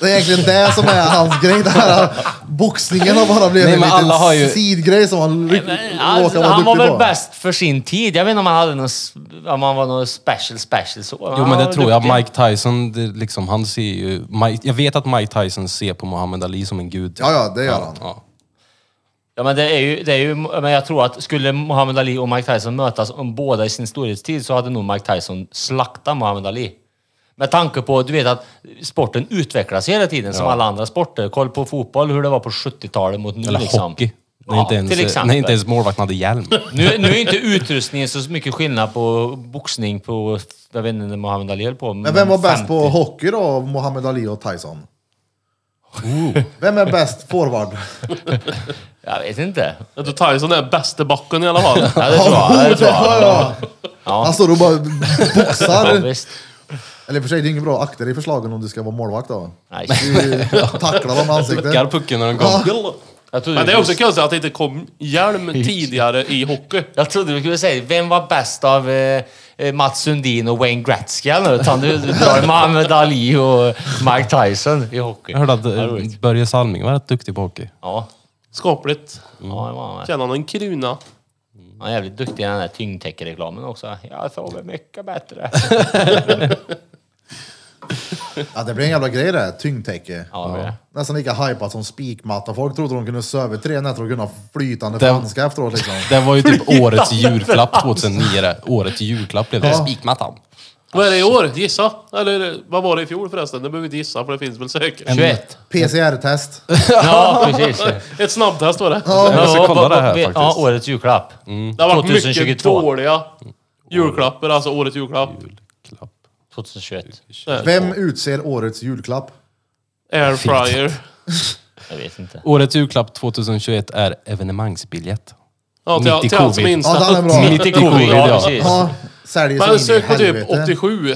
[SPEAKER 1] det är egentligen det som är hans grej. Det här, boxningen har bara blivit
[SPEAKER 4] Nej,
[SPEAKER 1] en
[SPEAKER 4] men
[SPEAKER 1] liten
[SPEAKER 4] alla har ju-
[SPEAKER 1] sidgrej som han ry-
[SPEAKER 2] Men,
[SPEAKER 1] råkar
[SPEAKER 2] alltså,
[SPEAKER 1] vara
[SPEAKER 2] han var
[SPEAKER 1] duktig
[SPEAKER 2] väl
[SPEAKER 1] på.
[SPEAKER 2] bäst för sin tid. Jag vet inte om han hade någon, s- om han var någon special special så.
[SPEAKER 4] Jo
[SPEAKER 2] Han
[SPEAKER 4] men det
[SPEAKER 2] var
[SPEAKER 4] tror jag.
[SPEAKER 2] duktig.
[SPEAKER 4] Mike Tyson, det, liksom, han ser ju... Mike, jag vet att Mike Tyson ser på Muhammad Ali som en gud.
[SPEAKER 1] Ja, ja, det gör han.
[SPEAKER 4] Ja.
[SPEAKER 2] Ja, men, det är ju, det är ju, men jag tror att skulle Muhammad Ali och Mike Tyson mötas om båda i sin storhetstid så hade nog Mike Tyson slaktat Muhammad Ali. Med tanke på, du vet att sporten utvecklas hela tiden som alla andra sporter. Koll på fotboll, hur det var på 70-talet mot nu
[SPEAKER 4] Eller
[SPEAKER 2] liksom.
[SPEAKER 4] hockey. När,
[SPEAKER 2] Ja,
[SPEAKER 4] inte
[SPEAKER 2] till
[SPEAKER 4] ens,
[SPEAKER 2] exempel.
[SPEAKER 4] när inte ens målvakten hade hjälm.
[SPEAKER 2] Nu, nu är inte utrustningen så mycket skillnad på boxning på, jag vet inte när Muhammad Ali höll på.
[SPEAKER 1] Men vem var bäst på hockey då? Muhammad Ali och Tyson?
[SPEAKER 2] Oh.
[SPEAKER 1] Vem är bäst forward?
[SPEAKER 2] Jag vet inte.
[SPEAKER 3] Jag tror Tyson är bäste backen i alla fall.
[SPEAKER 2] Ja, det tror jag. Det tror jag.
[SPEAKER 1] ja. Han står och bara
[SPEAKER 2] Ja,
[SPEAKER 1] boxar.
[SPEAKER 2] visst.
[SPEAKER 1] Eller i och för sig, det är inget bra. Akta dig för slagen om du ska vara målvakt då.
[SPEAKER 2] Nej.
[SPEAKER 1] Du tacklar dem i
[SPEAKER 4] Duckar
[SPEAKER 1] ansiktet.
[SPEAKER 4] pucken när den går.
[SPEAKER 2] Jag trodde
[SPEAKER 3] Men det är
[SPEAKER 2] du-
[SPEAKER 3] också konstigt att det inte kom hjälm tidigare i hockey.
[SPEAKER 2] Jag trodde du skulle säga, vem var bäst av eh, eh, Mats Sundin och Wayne Gretzky? eller något? Utan du, du drar Muhammad Ali och Mike Tyson i hockey.
[SPEAKER 4] Jag hörde att
[SPEAKER 2] Ja, det var
[SPEAKER 4] eh,
[SPEAKER 2] roligt.
[SPEAKER 4] Börje Salming var rätt duktig på hockey.
[SPEAKER 2] Ja,
[SPEAKER 3] Skapligt.
[SPEAKER 2] ja det var han med.
[SPEAKER 3] Tjänar han en krona?
[SPEAKER 2] Han är jävligt duktig i den där tyngdtäckereklamen också. Jag sover mycket bättre.
[SPEAKER 1] Ja, det blir en jävla grej det här, tyngdtäcke.
[SPEAKER 2] Ja, det är det.
[SPEAKER 1] Nästan lika hypat som spikmatta. Folk trodde de kunde söva i tre nätter och kunna ha flytande
[SPEAKER 4] Det-
[SPEAKER 1] franska efteråt liksom.
[SPEAKER 4] Det var ju typ årets julklapp 2009 det. Årets julklapp blev det. Spikmattan.
[SPEAKER 3] Vad är det i år? Gissa! Eller vad var det i fjol förresten? Det behöver vi inte gissa för det finns väl säkert.
[SPEAKER 2] 21.
[SPEAKER 1] PCR-test.
[SPEAKER 2] Ja, precis.
[SPEAKER 3] Ett snabbtest var det.
[SPEAKER 4] Jag ska
[SPEAKER 2] Ja,
[SPEAKER 4] kolla
[SPEAKER 2] på-
[SPEAKER 4] det här
[SPEAKER 2] på-
[SPEAKER 4] faktiskt. Mm.
[SPEAKER 2] Ja, årets julklapp.
[SPEAKER 3] Det har varit
[SPEAKER 2] 2022.
[SPEAKER 3] mycket dåliga julklappar, alltså årets julklapp.
[SPEAKER 4] Julklapp.
[SPEAKER 2] 2021.
[SPEAKER 1] Vem utser årets julklapp?
[SPEAKER 3] Airfryer.
[SPEAKER 2] Jag vet inte.
[SPEAKER 4] Årets julklapp 2021 är evenemangsbiljett.
[SPEAKER 3] Ja,
[SPEAKER 4] Mitt i
[SPEAKER 3] till, till allt som är
[SPEAKER 4] covid.
[SPEAKER 1] Ja,
[SPEAKER 3] inställt.
[SPEAKER 1] den är bra.
[SPEAKER 2] Mitt i covid, ja precis.
[SPEAKER 1] Ja, säljer
[SPEAKER 3] Men
[SPEAKER 1] sig in i
[SPEAKER 3] sök på typ
[SPEAKER 1] helvete.
[SPEAKER 3] 87.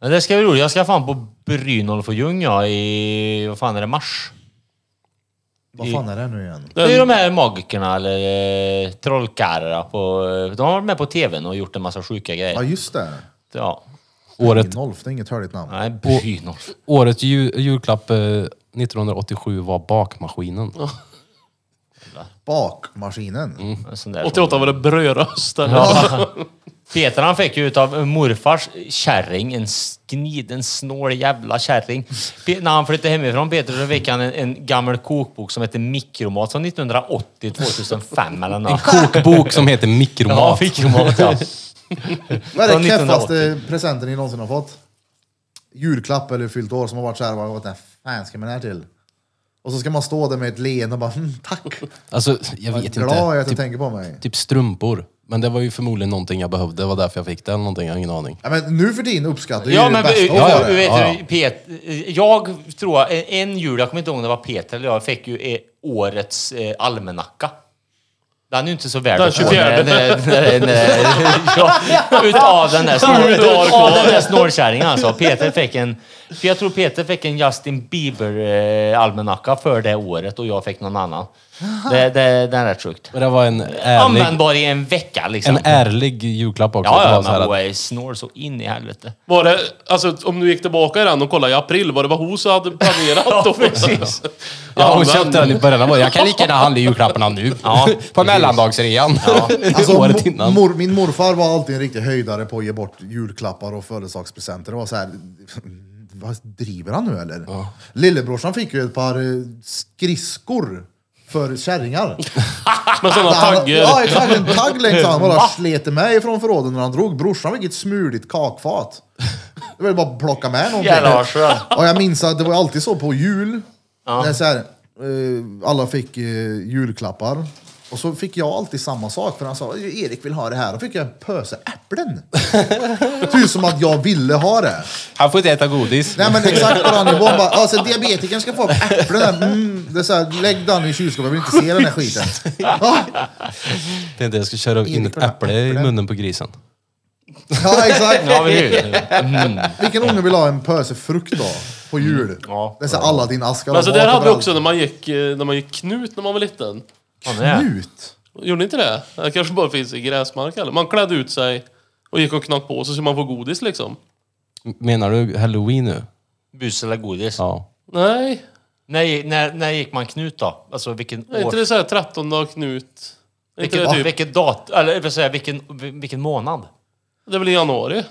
[SPEAKER 2] Men det ska bli roligt. Jag ska fan på Brynolf och Ljung ja, i... Vad fan är det? Mars?
[SPEAKER 1] Vad fan är det nu igen?
[SPEAKER 2] Det är ju de här magikerna eller eh, trollkarlarna på... eh, De har varit med på tvn och gjort en massa sjuka
[SPEAKER 1] Ja,
[SPEAKER 2] grejer.
[SPEAKER 1] just det.
[SPEAKER 2] Ja.
[SPEAKER 4] Året,
[SPEAKER 1] Nolf, det är inget hörligt namn.
[SPEAKER 2] Nej, Brynolf.
[SPEAKER 4] årets ju, julklapp eh, 1987 var bakmaskinen.
[SPEAKER 1] Bakmaskinen.
[SPEAKER 2] En sån där som-
[SPEAKER 3] 88 var det brödrost. eller?
[SPEAKER 2] Ja. Peter han fick ju utav morfars kärring, en gnid, en snål jävla kärring. Pe- när han flyttade hemifrån Peter så fick han en, en gammal kokbok som hette Mikromat från 1980, 2005 eller nåt.
[SPEAKER 4] Kokbok som heter
[SPEAKER 2] Ja,
[SPEAKER 4] Mikromat.
[SPEAKER 2] mikromat ja.
[SPEAKER 1] Vad är
[SPEAKER 2] Från
[SPEAKER 1] den
[SPEAKER 2] 1980.
[SPEAKER 1] keffaste presenten ni någonsin har fått? Julklapp eller fyllt år som har varit såhär, vad vad- vad- fan ska man här till? Och så ska man stå där med ett leende och bara, "Mm, tack.
[SPEAKER 4] Alltså, jag
[SPEAKER 1] Vad
[SPEAKER 4] vet
[SPEAKER 1] glad jag är
[SPEAKER 4] inte.
[SPEAKER 1] att du
[SPEAKER 4] Typ,
[SPEAKER 1] tänker på mig.
[SPEAKER 4] typ strumpor. Men det var ju förmodligen någonting jag behövde. Det var därför jag fick det eller någonting. Jag har ingen aning.
[SPEAKER 1] Ja, men nu för din uppskattar ju
[SPEAKER 2] Ja,
[SPEAKER 1] det
[SPEAKER 2] men
[SPEAKER 1] bästa
[SPEAKER 2] vet,
[SPEAKER 1] att ha det.
[SPEAKER 4] ja.
[SPEAKER 2] vet du, Pet, jag tror, en- en jul, jag kommer inte ihåg om det var Peter eller jag, fick ju eh, årets eh, almanacka. Den är ju inte så värd
[SPEAKER 3] Den
[SPEAKER 2] att få
[SPEAKER 3] 24.
[SPEAKER 2] när- när- när- när- ja, Utav den där, snor,
[SPEAKER 3] Sju dagar
[SPEAKER 2] utav
[SPEAKER 3] kvar.
[SPEAKER 2] den där snorkärringen alltså. Peter fick en, för jag tror Peter fick en Justin Bieber eh, almanacka för det året och jag fick någon annan. Det, det, den är rätt sjukt.
[SPEAKER 4] Men det var en ärlig,
[SPEAKER 2] Användbar i en vecka liksom.
[SPEAKER 4] en ärlig julklapp också. Det
[SPEAKER 2] Ja,
[SPEAKER 4] var så
[SPEAKER 2] ja,
[SPEAKER 4] här
[SPEAKER 2] men
[SPEAKER 4] att-
[SPEAKER 2] hon snor så in i helvete.
[SPEAKER 3] Var det, alltså om du gick tillbaka i den och kollade i april, var det vad hos hade planerat då?
[SPEAKER 2] precis.
[SPEAKER 4] Ja, hon
[SPEAKER 3] men-
[SPEAKER 4] köpte den i början av året. Jag kan lika gärna handla julklapparna nu.
[SPEAKER 2] Ja,
[SPEAKER 4] på mellandagsrean.
[SPEAKER 1] Alltså,
[SPEAKER 4] året
[SPEAKER 1] mo-
[SPEAKER 4] innan.
[SPEAKER 1] Mor, min morfar var alltid en riktig höjdare på att ge bort julklappar och födelsedagspresenter. Det var så här, vad driver han nu eller? Lillebrorsan fick ju ett par eh, skridskor för kärringar.
[SPEAKER 3] Med sådana
[SPEAKER 1] Han-
[SPEAKER 3] taggar.
[SPEAKER 1] Ja, exakt. En tagg längst fram. Bara slet det med ifrån förråden när han drog. Brorsan fick ett smuligt kakfat. Det var ju bara att plocka med någonting.
[SPEAKER 2] Jävla arsel.
[SPEAKER 1] Och jag minns att det var alltid så på jul. När så här, eh, alla fick eh, julklappar. Och så fick jag alltid samma sak, för han sa Erik vill ha det här. Då fick jag en pöse äpplen. Typ som att jag ville ha det.
[SPEAKER 4] Han får inte äta godis.
[SPEAKER 1] Nej men exakt på den nivån. Bara, Alltså diabetikern ska få äpplen. här. Mm, det är så här, lägg den i kylskåpet, jag vill inte se den här skiten. Ja,
[SPEAKER 4] Tänkte jag skulle köra in ett äpple i munnen på grisen.
[SPEAKER 1] ja exakt.
[SPEAKER 2] Ja, men hur?
[SPEAKER 1] Vilken unge vill ha en pöse frukt då? På jul? det är så alla din askar
[SPEAKER 3] Men alltså
[SPEAKER 1] de har
[SPEAKER 3] där hade vi
[SPEAKER 1] överallt.
[SPEAKER 3] också när man gick, eh, när man gick knut när man var liten.
[SPEAKER 2] Ja, det är.
[SPEAKER 1] Knut?
[SPEAKER 3] Gjorde ni inte det? Det kanske bara finns i gräsmark eller? Man klädde ut sig och gick och knackade på sig så man får godis liksom.
[SPEAKER 4] Menar du halloween nu?
[SPEAKER 2] Bus eller godis?
[SPEAKER 4] Ja.
[SPEAKER 3] Nej,
[SPEAKER 2] När, när, när gick man Knut då? Alltså vilken
[SPEAKER 3] är
[SPEAKER 2] år?
[SPEAKER 3] inte det såhär 13 dagar knut? Är inte
[SPEAKER 2] Vilken,
[SPEAKER 3] det, typ,
[SPEAKER 2] vilken datum? Eller jag vill säga, vilken, vilken månad?
[SPEAKER 3] det är väl i januari?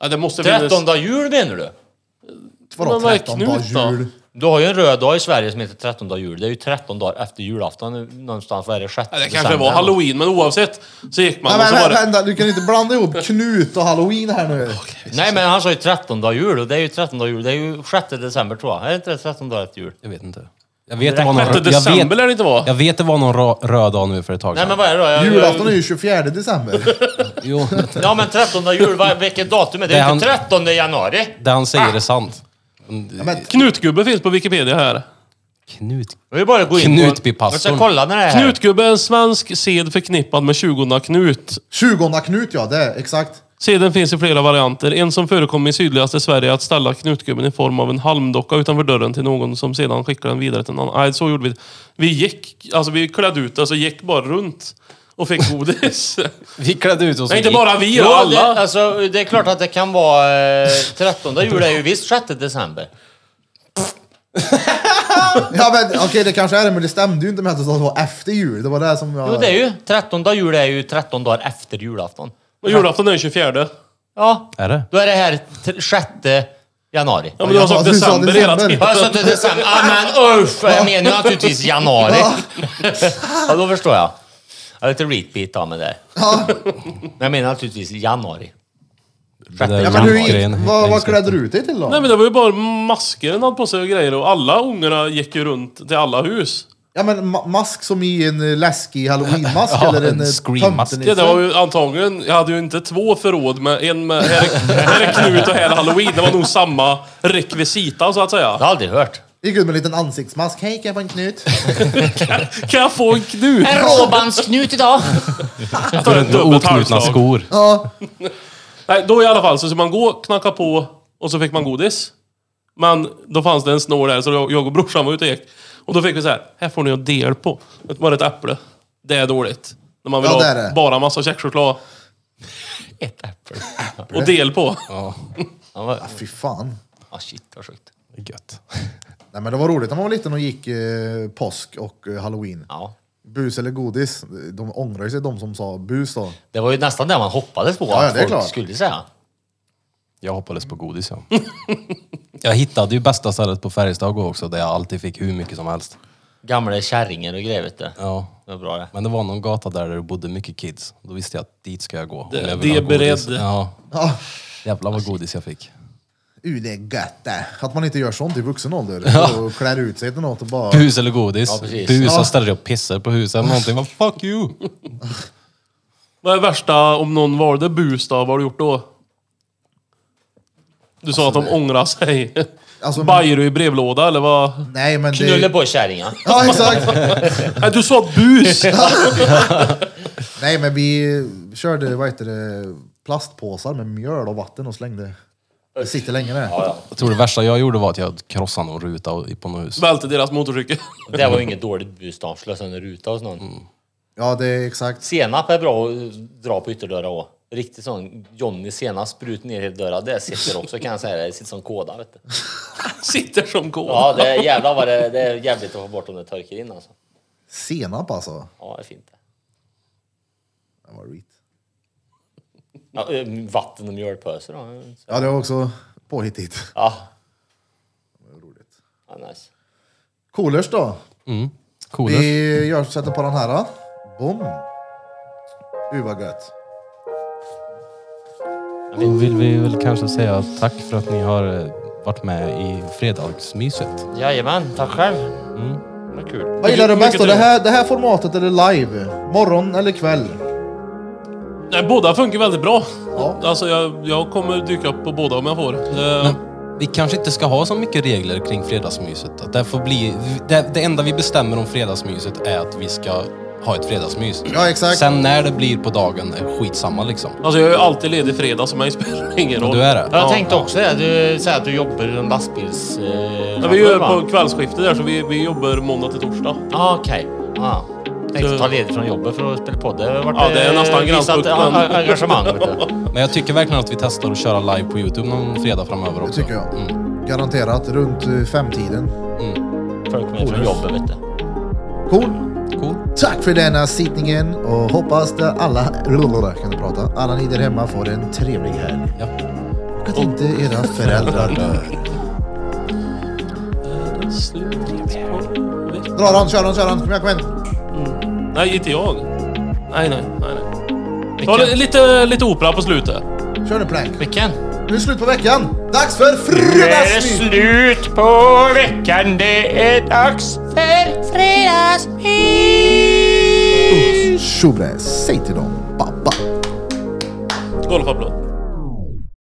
[SPEAKER 3] Ja, det måste finnas...
[SPEAKER 2] 13 jul menar du?
[SPEAKER 1] Vadå
[SPEAKER 3] Men vad är
[SPEAKER 1] 13
[SPEAKER 3] Knut
[SPEAKER 1] dagar
[SPEAKER 3] då?
[SPEAKER 1] jul?
[SPEAKER 2] Du har ju en röd dag i Sverige som heter 13 dagar jul. Det är ju 13 dagar efter julafton någonstans. Vad är det? 6
[SPEAKER 3] Ja, det kanske var halloween, men oavsett så gick man
[SPEAKER 1] Nej,
[SPEAKER 3] och så
[SPEAKER 1] men,
[SPEAKER 3] var
[SPEAKER 1] vänta,
[SPEAKER 3] det...
[SPEAKER 1] vänta, du kan inte blanda ihop Knut och halloween här nu.
[SPEAKER 2] Nej, men han sa ju 13 dagar jul och det är ju 13 dagar jul. Det är ju 6 december tror jag. Är det inte det 13 dagar efter jul?
[SPEAKER 4] Jag vet inte. Jag vet, det var någon,
[SPEAKER 3] 6
[SPEAKER 4] jag
[SPEAKER 3] december
[SPEAKER 4] vet,
[SPEAKER 3] lär det inte vara.
[SPEAKER 4] jag vet det var någon ra- röd dag nu för ett tag
[SPEAKER 2] Nej,
[SPEAKER 4] sedan.
[SPEAKER 2] men vad är det då? Jag-
[SPEAKER 1] Julafton är ju 24 december.
[SPEAKER 4] Jo,
[SPEAKER 2] Ja, men 13 dagar jul. vad- Vilket datum är det? Det
[SPEAKER 4] Det
[SPEAKER 2] är ju
[SPEAKER 4] han-
[SPEAKER 2] inte 13 januari.
[SPEAKER 4] det han säger är sant. Men,
[SPEAKER 1] men-
[SPEAKER 3] Knutgubbe finns på Wikipedia här.
[SPEAKER 4] Knut...
[SPEAKER 2] Det är ju bara att gå in på...
[SPEAKER 4] Knutbypastorn.
[SPEAKER 2] Jag ska kolla när det är här.
[SPEAKER 3] Knutgubbe är en svensk sed förknippad med 20 Knut.
[SPEAKER 1] 20 Knut ja, det är exakt.
[SPEAKER 3] Seden finns i flera varianter. En som förekom i sydligaste Sverige är att ställa knutgubben i form av en halmdocka utanför dörren till någon som sedan skickar den vidare till någon annan. Nej, så gjorde vi. Vi gick, alltså vi klädde ut oss och gick bara runt och fick godis.
[SPEAKER 4] Vi klädde ut oss
[SPEAKER 3] Nej, inte
[SPEAKER 4] gick.
[SPEAKER 3] bara vi,
[SPEAKER 2] Jo,
[SPEAKER 3] och
[SPEAKER 2] det,
[SPEAKER 3] alla.
[SPEAKER 2] alltså, det är klart att det kan vara... Eh, 13 jul är ju visst 6 december.
[SPEAKER 1] Ja, men, Okej, det kanske är det, men det stämde ju inte med att det var efter jul. Det var det som jag...
[SPEAKER 2] Jo, det är ju. 13 jul är ju 13 dagar efter julafton.
[SPEAKER 3] Och julafton är den 24.
[SPEAKER 2] Ja,
[SPEAKER 4] Är det?
[SPEAKER 2] då är det här t- 6 januari.
[SPEAKER 3] Ja, men du
[SPEAKER 1] Ja,
[SPEAKER 3] har sagt
[SPEAKER 1] du sa
[SPEAKER 3] december hela
[SPEAKER 1] december.
[SPEAKER 3] tiden.
[SPEAKER 2] Alltså inte december. Ja, men usch! Jag menar ju naturligtvis januari. Ja, då förstår jag. Jag har lite repeat av mig där. Men jag menar naturligtvis januari.
[SPEAKER 4] Det där
[SPEAKER 1] Ja, men hur,
[SPEAKER 4] julgrejen.
[SPEAKER 1] vad, vad klädde du ut dig till då?
[SPEAKER 3] Nej men det var ju bara masker han hade på sig och grejer och alla ungarna gick ju runt till alla hus.
[SPEAKER 1] Ja, men ma- mask som i en eh, läskig halloweenmask
[SPEAKER 4] Ja,
[SPEAKER 1] eller en, eh,
[SPEAKER 4] en
[SPEAKER 1] en
[SPEAKER 4] screammask.
[SPEAKER 1] tomtenisse.
[SPEAKER 3] Ja, det var ju antagligen, jag hade ju inte två förråd med en med här, är- här är Knut och här är halloween. Det var nog samma rekvisita så att säga.
[SPEAKER 2] Jag har aldrig hört.
[SPEAKER 1] Gick ut med en liten ansiktsmask. Hej, kan jag få en Knut?
[SPEAKER 3] Kan jag få en Knut?
[SPEAKER 2] En råbandsknut idag!
[SPEAKER 3] Ta ett
[SPEAKER 4] Med
[SPEAKER 3] dubbelt
[SPEAKER 4] Oknutna
[SPEAKER 3] halsslag.
[SPEAKER 4] skor.
[SPEAKER 1] Ja,
[SPEAKER 3] Nej, då i alla fall så skulle man gå, knacka på och så fick man godis. Men då fanns det en snår där så jag- jag och brorsan var ute och gick. Och då fick vi så här, här får ni en del på. Det var ett äpple. Det är dåligt. När man vill
[SPEAKER 1] Ja, det är
[SPEAKER 3] ha
[SPEAKER 1] det.
[SPEAKER 3] bara massa käkchoklad
[SPEAKER 2] Ett äpple.
[SPEAKER 3] och del på.
[SPEAKER 2] Ja, vad-
[SPEAKER 1] fy fan.
[SPEAKER 2] ah, shit, vad sjukt.
[SPEAKER 4] Gött.
[SPEAKER 1] Nej, men det var roligt när man var liten och gick eh, påsk och eh, halloween.
[SPEAKER 2] Ja.
[SPEAKER 1] Bus eller godis? De ångrar ju sig de som sa bus då.
[SPEAKER 2] Det var ju nästan det man hoppades på
[SPEAKER 1] Ja, ja,
[SPEAKER 2] att
[SPEAKER 1] det är
[SPEAKER 2] folk
[SPEAKER 1] klart.
[SPEAKER 2] skulle säga.
[SPEAKER 4] Jag hoppades på godis ja. jag hittade ju bästa stället på Färjestad också där jag alltid fick hur mycket som helst.
[SPEAKER 2] Gamla kärringar och grejer vet du.
[SPEAKER 4] Ja.
[SPEAKER 2] Det var bra det.
[SPEAKER 4] Men det var någon gata där det bodde mycket kids. Då visste jag att dit ska jag gå. om
[SPEAKER 3] Det-
[SPEAKER 4] jag vill
[SPEAKER 3] det
[SPEAKER 4] ha godis.
[SPEAKER 3] beredde.
[SPEAKER 4] Ja.
[SPEAKER 1] Ja,
[SPEAKER 4] Jävlar vad godis jag fick.
[SPEAKER 1] Uh, det är gött det. Att man inte gör sånt i vuxen ålder. Och klär ut sig till något och bara...
[SPEAKER 4] Bus eller godis.
[SPEAKER 2] precis.
[SPEAKER 4] Bus
[SPEAKER 1] Ja.
[SPEAKER 4] och ställer dig och pissar på huset eller någonting. Vad fuck you!
[SPEAKER 3] Vad är värsta om någon valde bus då? Vad har du gjort då? Du sa att de ångrar sig.
[SPEAKER 1] Alltså,
[SPEAKER 3] Bajror i brevlåda eller vad?
[SPEAKER 1] nej men
[SPEAKER 2] Knulla
[SPEAKER 1] det...
[SPEAKER 2] på kärringar.
[SPEAKER 1] Ja, exakt.
[SPEAKER 3] Nej, du sa bus!
[SPEAKER 1] Nej men vi körde, vad heter det, plastpåsar med mjöl och vatten och slängde. Det sitter länge det.
[SPEAKER 4] Jag tror det värsta jag gjorde var att jag krossade någon ruta och- på något hus.
[SPEAKER 3] Välte deras motorcykel.
[SPEAKER 2] Det var ju inget dåligt bus då. Slå sönder ruta hos någon.
[SPEAKER 1] Mm. Ja, det är exakt.
[SPEAKER 2] Senap är bra att dra på ytterdörrar och Riktigt sån Johnny senap, sprut ner hela dörren. Det sitter också kan jag säga. Det sitter som kåda vet du.
[SPEAKER 3] Sitter som kål.
[SPEAKER 2] Ja, det är jävlar vad det, det är jävligt att få bort om det torkar in alltså.
[SPEAKER 1] Senap alltså.
[SPEAKER 2] Ja, det är fint det.
[SPEAKER 1] Det var skit.
[SPEAKER 2] Ja, eh, vatten och mjölpåse då.
[SPEAKER 1] Ja, det var också påhittigt.
[SPEAKER 2] Ja,
[SPEAKER 1] Roligt.
[SPEAKER 2] ja nice.
[SPEAKER 1] Coolers då.
[SPEAKER 4] Mm. Coolers.
[SPEAKER 1] Vi gör, sätter på den här. då. Bom. Uh, vad gött.
[SPEAKER 4] Då vill vi väl kanske säga tack för att ni har eh, varit med i fredagsmyset.
[SPEAKER 2] Jajamän, tack själv.
[SPEAKER 1] Mm.
[SPEAKER 2] Vad kul.
[SPEAKER 1] Vad gillar du
[SPEAKER 3] Mycket
[SPEAKER 1] bäst då? Det
[SPEAKER 3] trevligt.
[SPEAKER 1] här, det här formatet eller live? Morgon eller kväll?
[SPEAKER 3] Nej, båda funkar väldigt bra.
[SPEAKER 1] Ja.
[SPEAKER 3] Alltså, jag, jag kommer dyka upp på båda om jag får. Eh,
[SPEAKER 4] Vi kanske inte ska ha så mycket regler kring fredagsmyset. Att det, får bli, det, det enda vi bestämmer om fredagsmyset är att vi ska ha ett fredagsmys.
[SPEAKER 1] Ja, exakt.
[SPEAKER 4] Sen när det blir på dagen är skitsamma liksom.
[SPEAKER 3] alltså, jag är ju alltid ledig fredag så mig spelar det ingen roll.
[SPEAKER 4] Du är det?
[SPEAKER 2] Jag tänkte också det. Du säger att du jobbar i en lastbils... Eh,
[SPEAKER 3] Ja, vi gör på kvällsskiftet där så vi, vi jobbar måndag till torsdag.
[SPEAKER 2] Ja, okej. Ja. Tänkte
[SPEAKER 3] Så-
[SPEAKER 2] ta ledigt från jobbet för att spela podd. Det har varit
[SPEAKER 3] Ja, det är
[SPEAKER 2] eh,
[SPEAKER 3] nästan
[SPEAKER 2] visat
[SPEAKER 3] grannpucklen.
[SPEAKER 2] en- en- engagemang. Vet du.
[SPEAKER 4] Men jag tycker verkligen att vi testar att köra live på Youtube någon fredag framöver
[SPEAKER 1] Det
[SPEAKER 4] också.
[SPEAKER 1] tycker jag.
[SPEAKER 3] Mm.
[SPEAKER 1] Garanterat runt eh, femtiden.
[SPEAKER 2] Folk kommer från jobbet, vet du.
[SPEAKER 1] Cool.
[SPEAKER 4] Cool.
[SPEAKER 1] Tack för denna sittningen och hoppas att alla, kan du prata, alla ni där hemma får en trevlig helg.
[SPEAKER 4] Ja.
[SPEAKER 1] Och att inte era föräldrar dör. Dra den, kör den, kör den. Kom igen, kom igen.
[SPEAKER 3] Nej, inte jag. Nej, nej, nej. nej. Ta li- lite, lite opera på slutet.
[SPEAKER 1] Kör nu plank.
[SPEAKER 2] Vilken?
[SPEAKER 1] Nu är det slut på veckan. Dags för fredagsmys!
[SPEAKER 2] slut på veckan. Det är dags för fredagsmys.
[SPEAKER 1] Tjobre, säg till dem. Pappa.
[SPEAKER 3] Golfapplåd.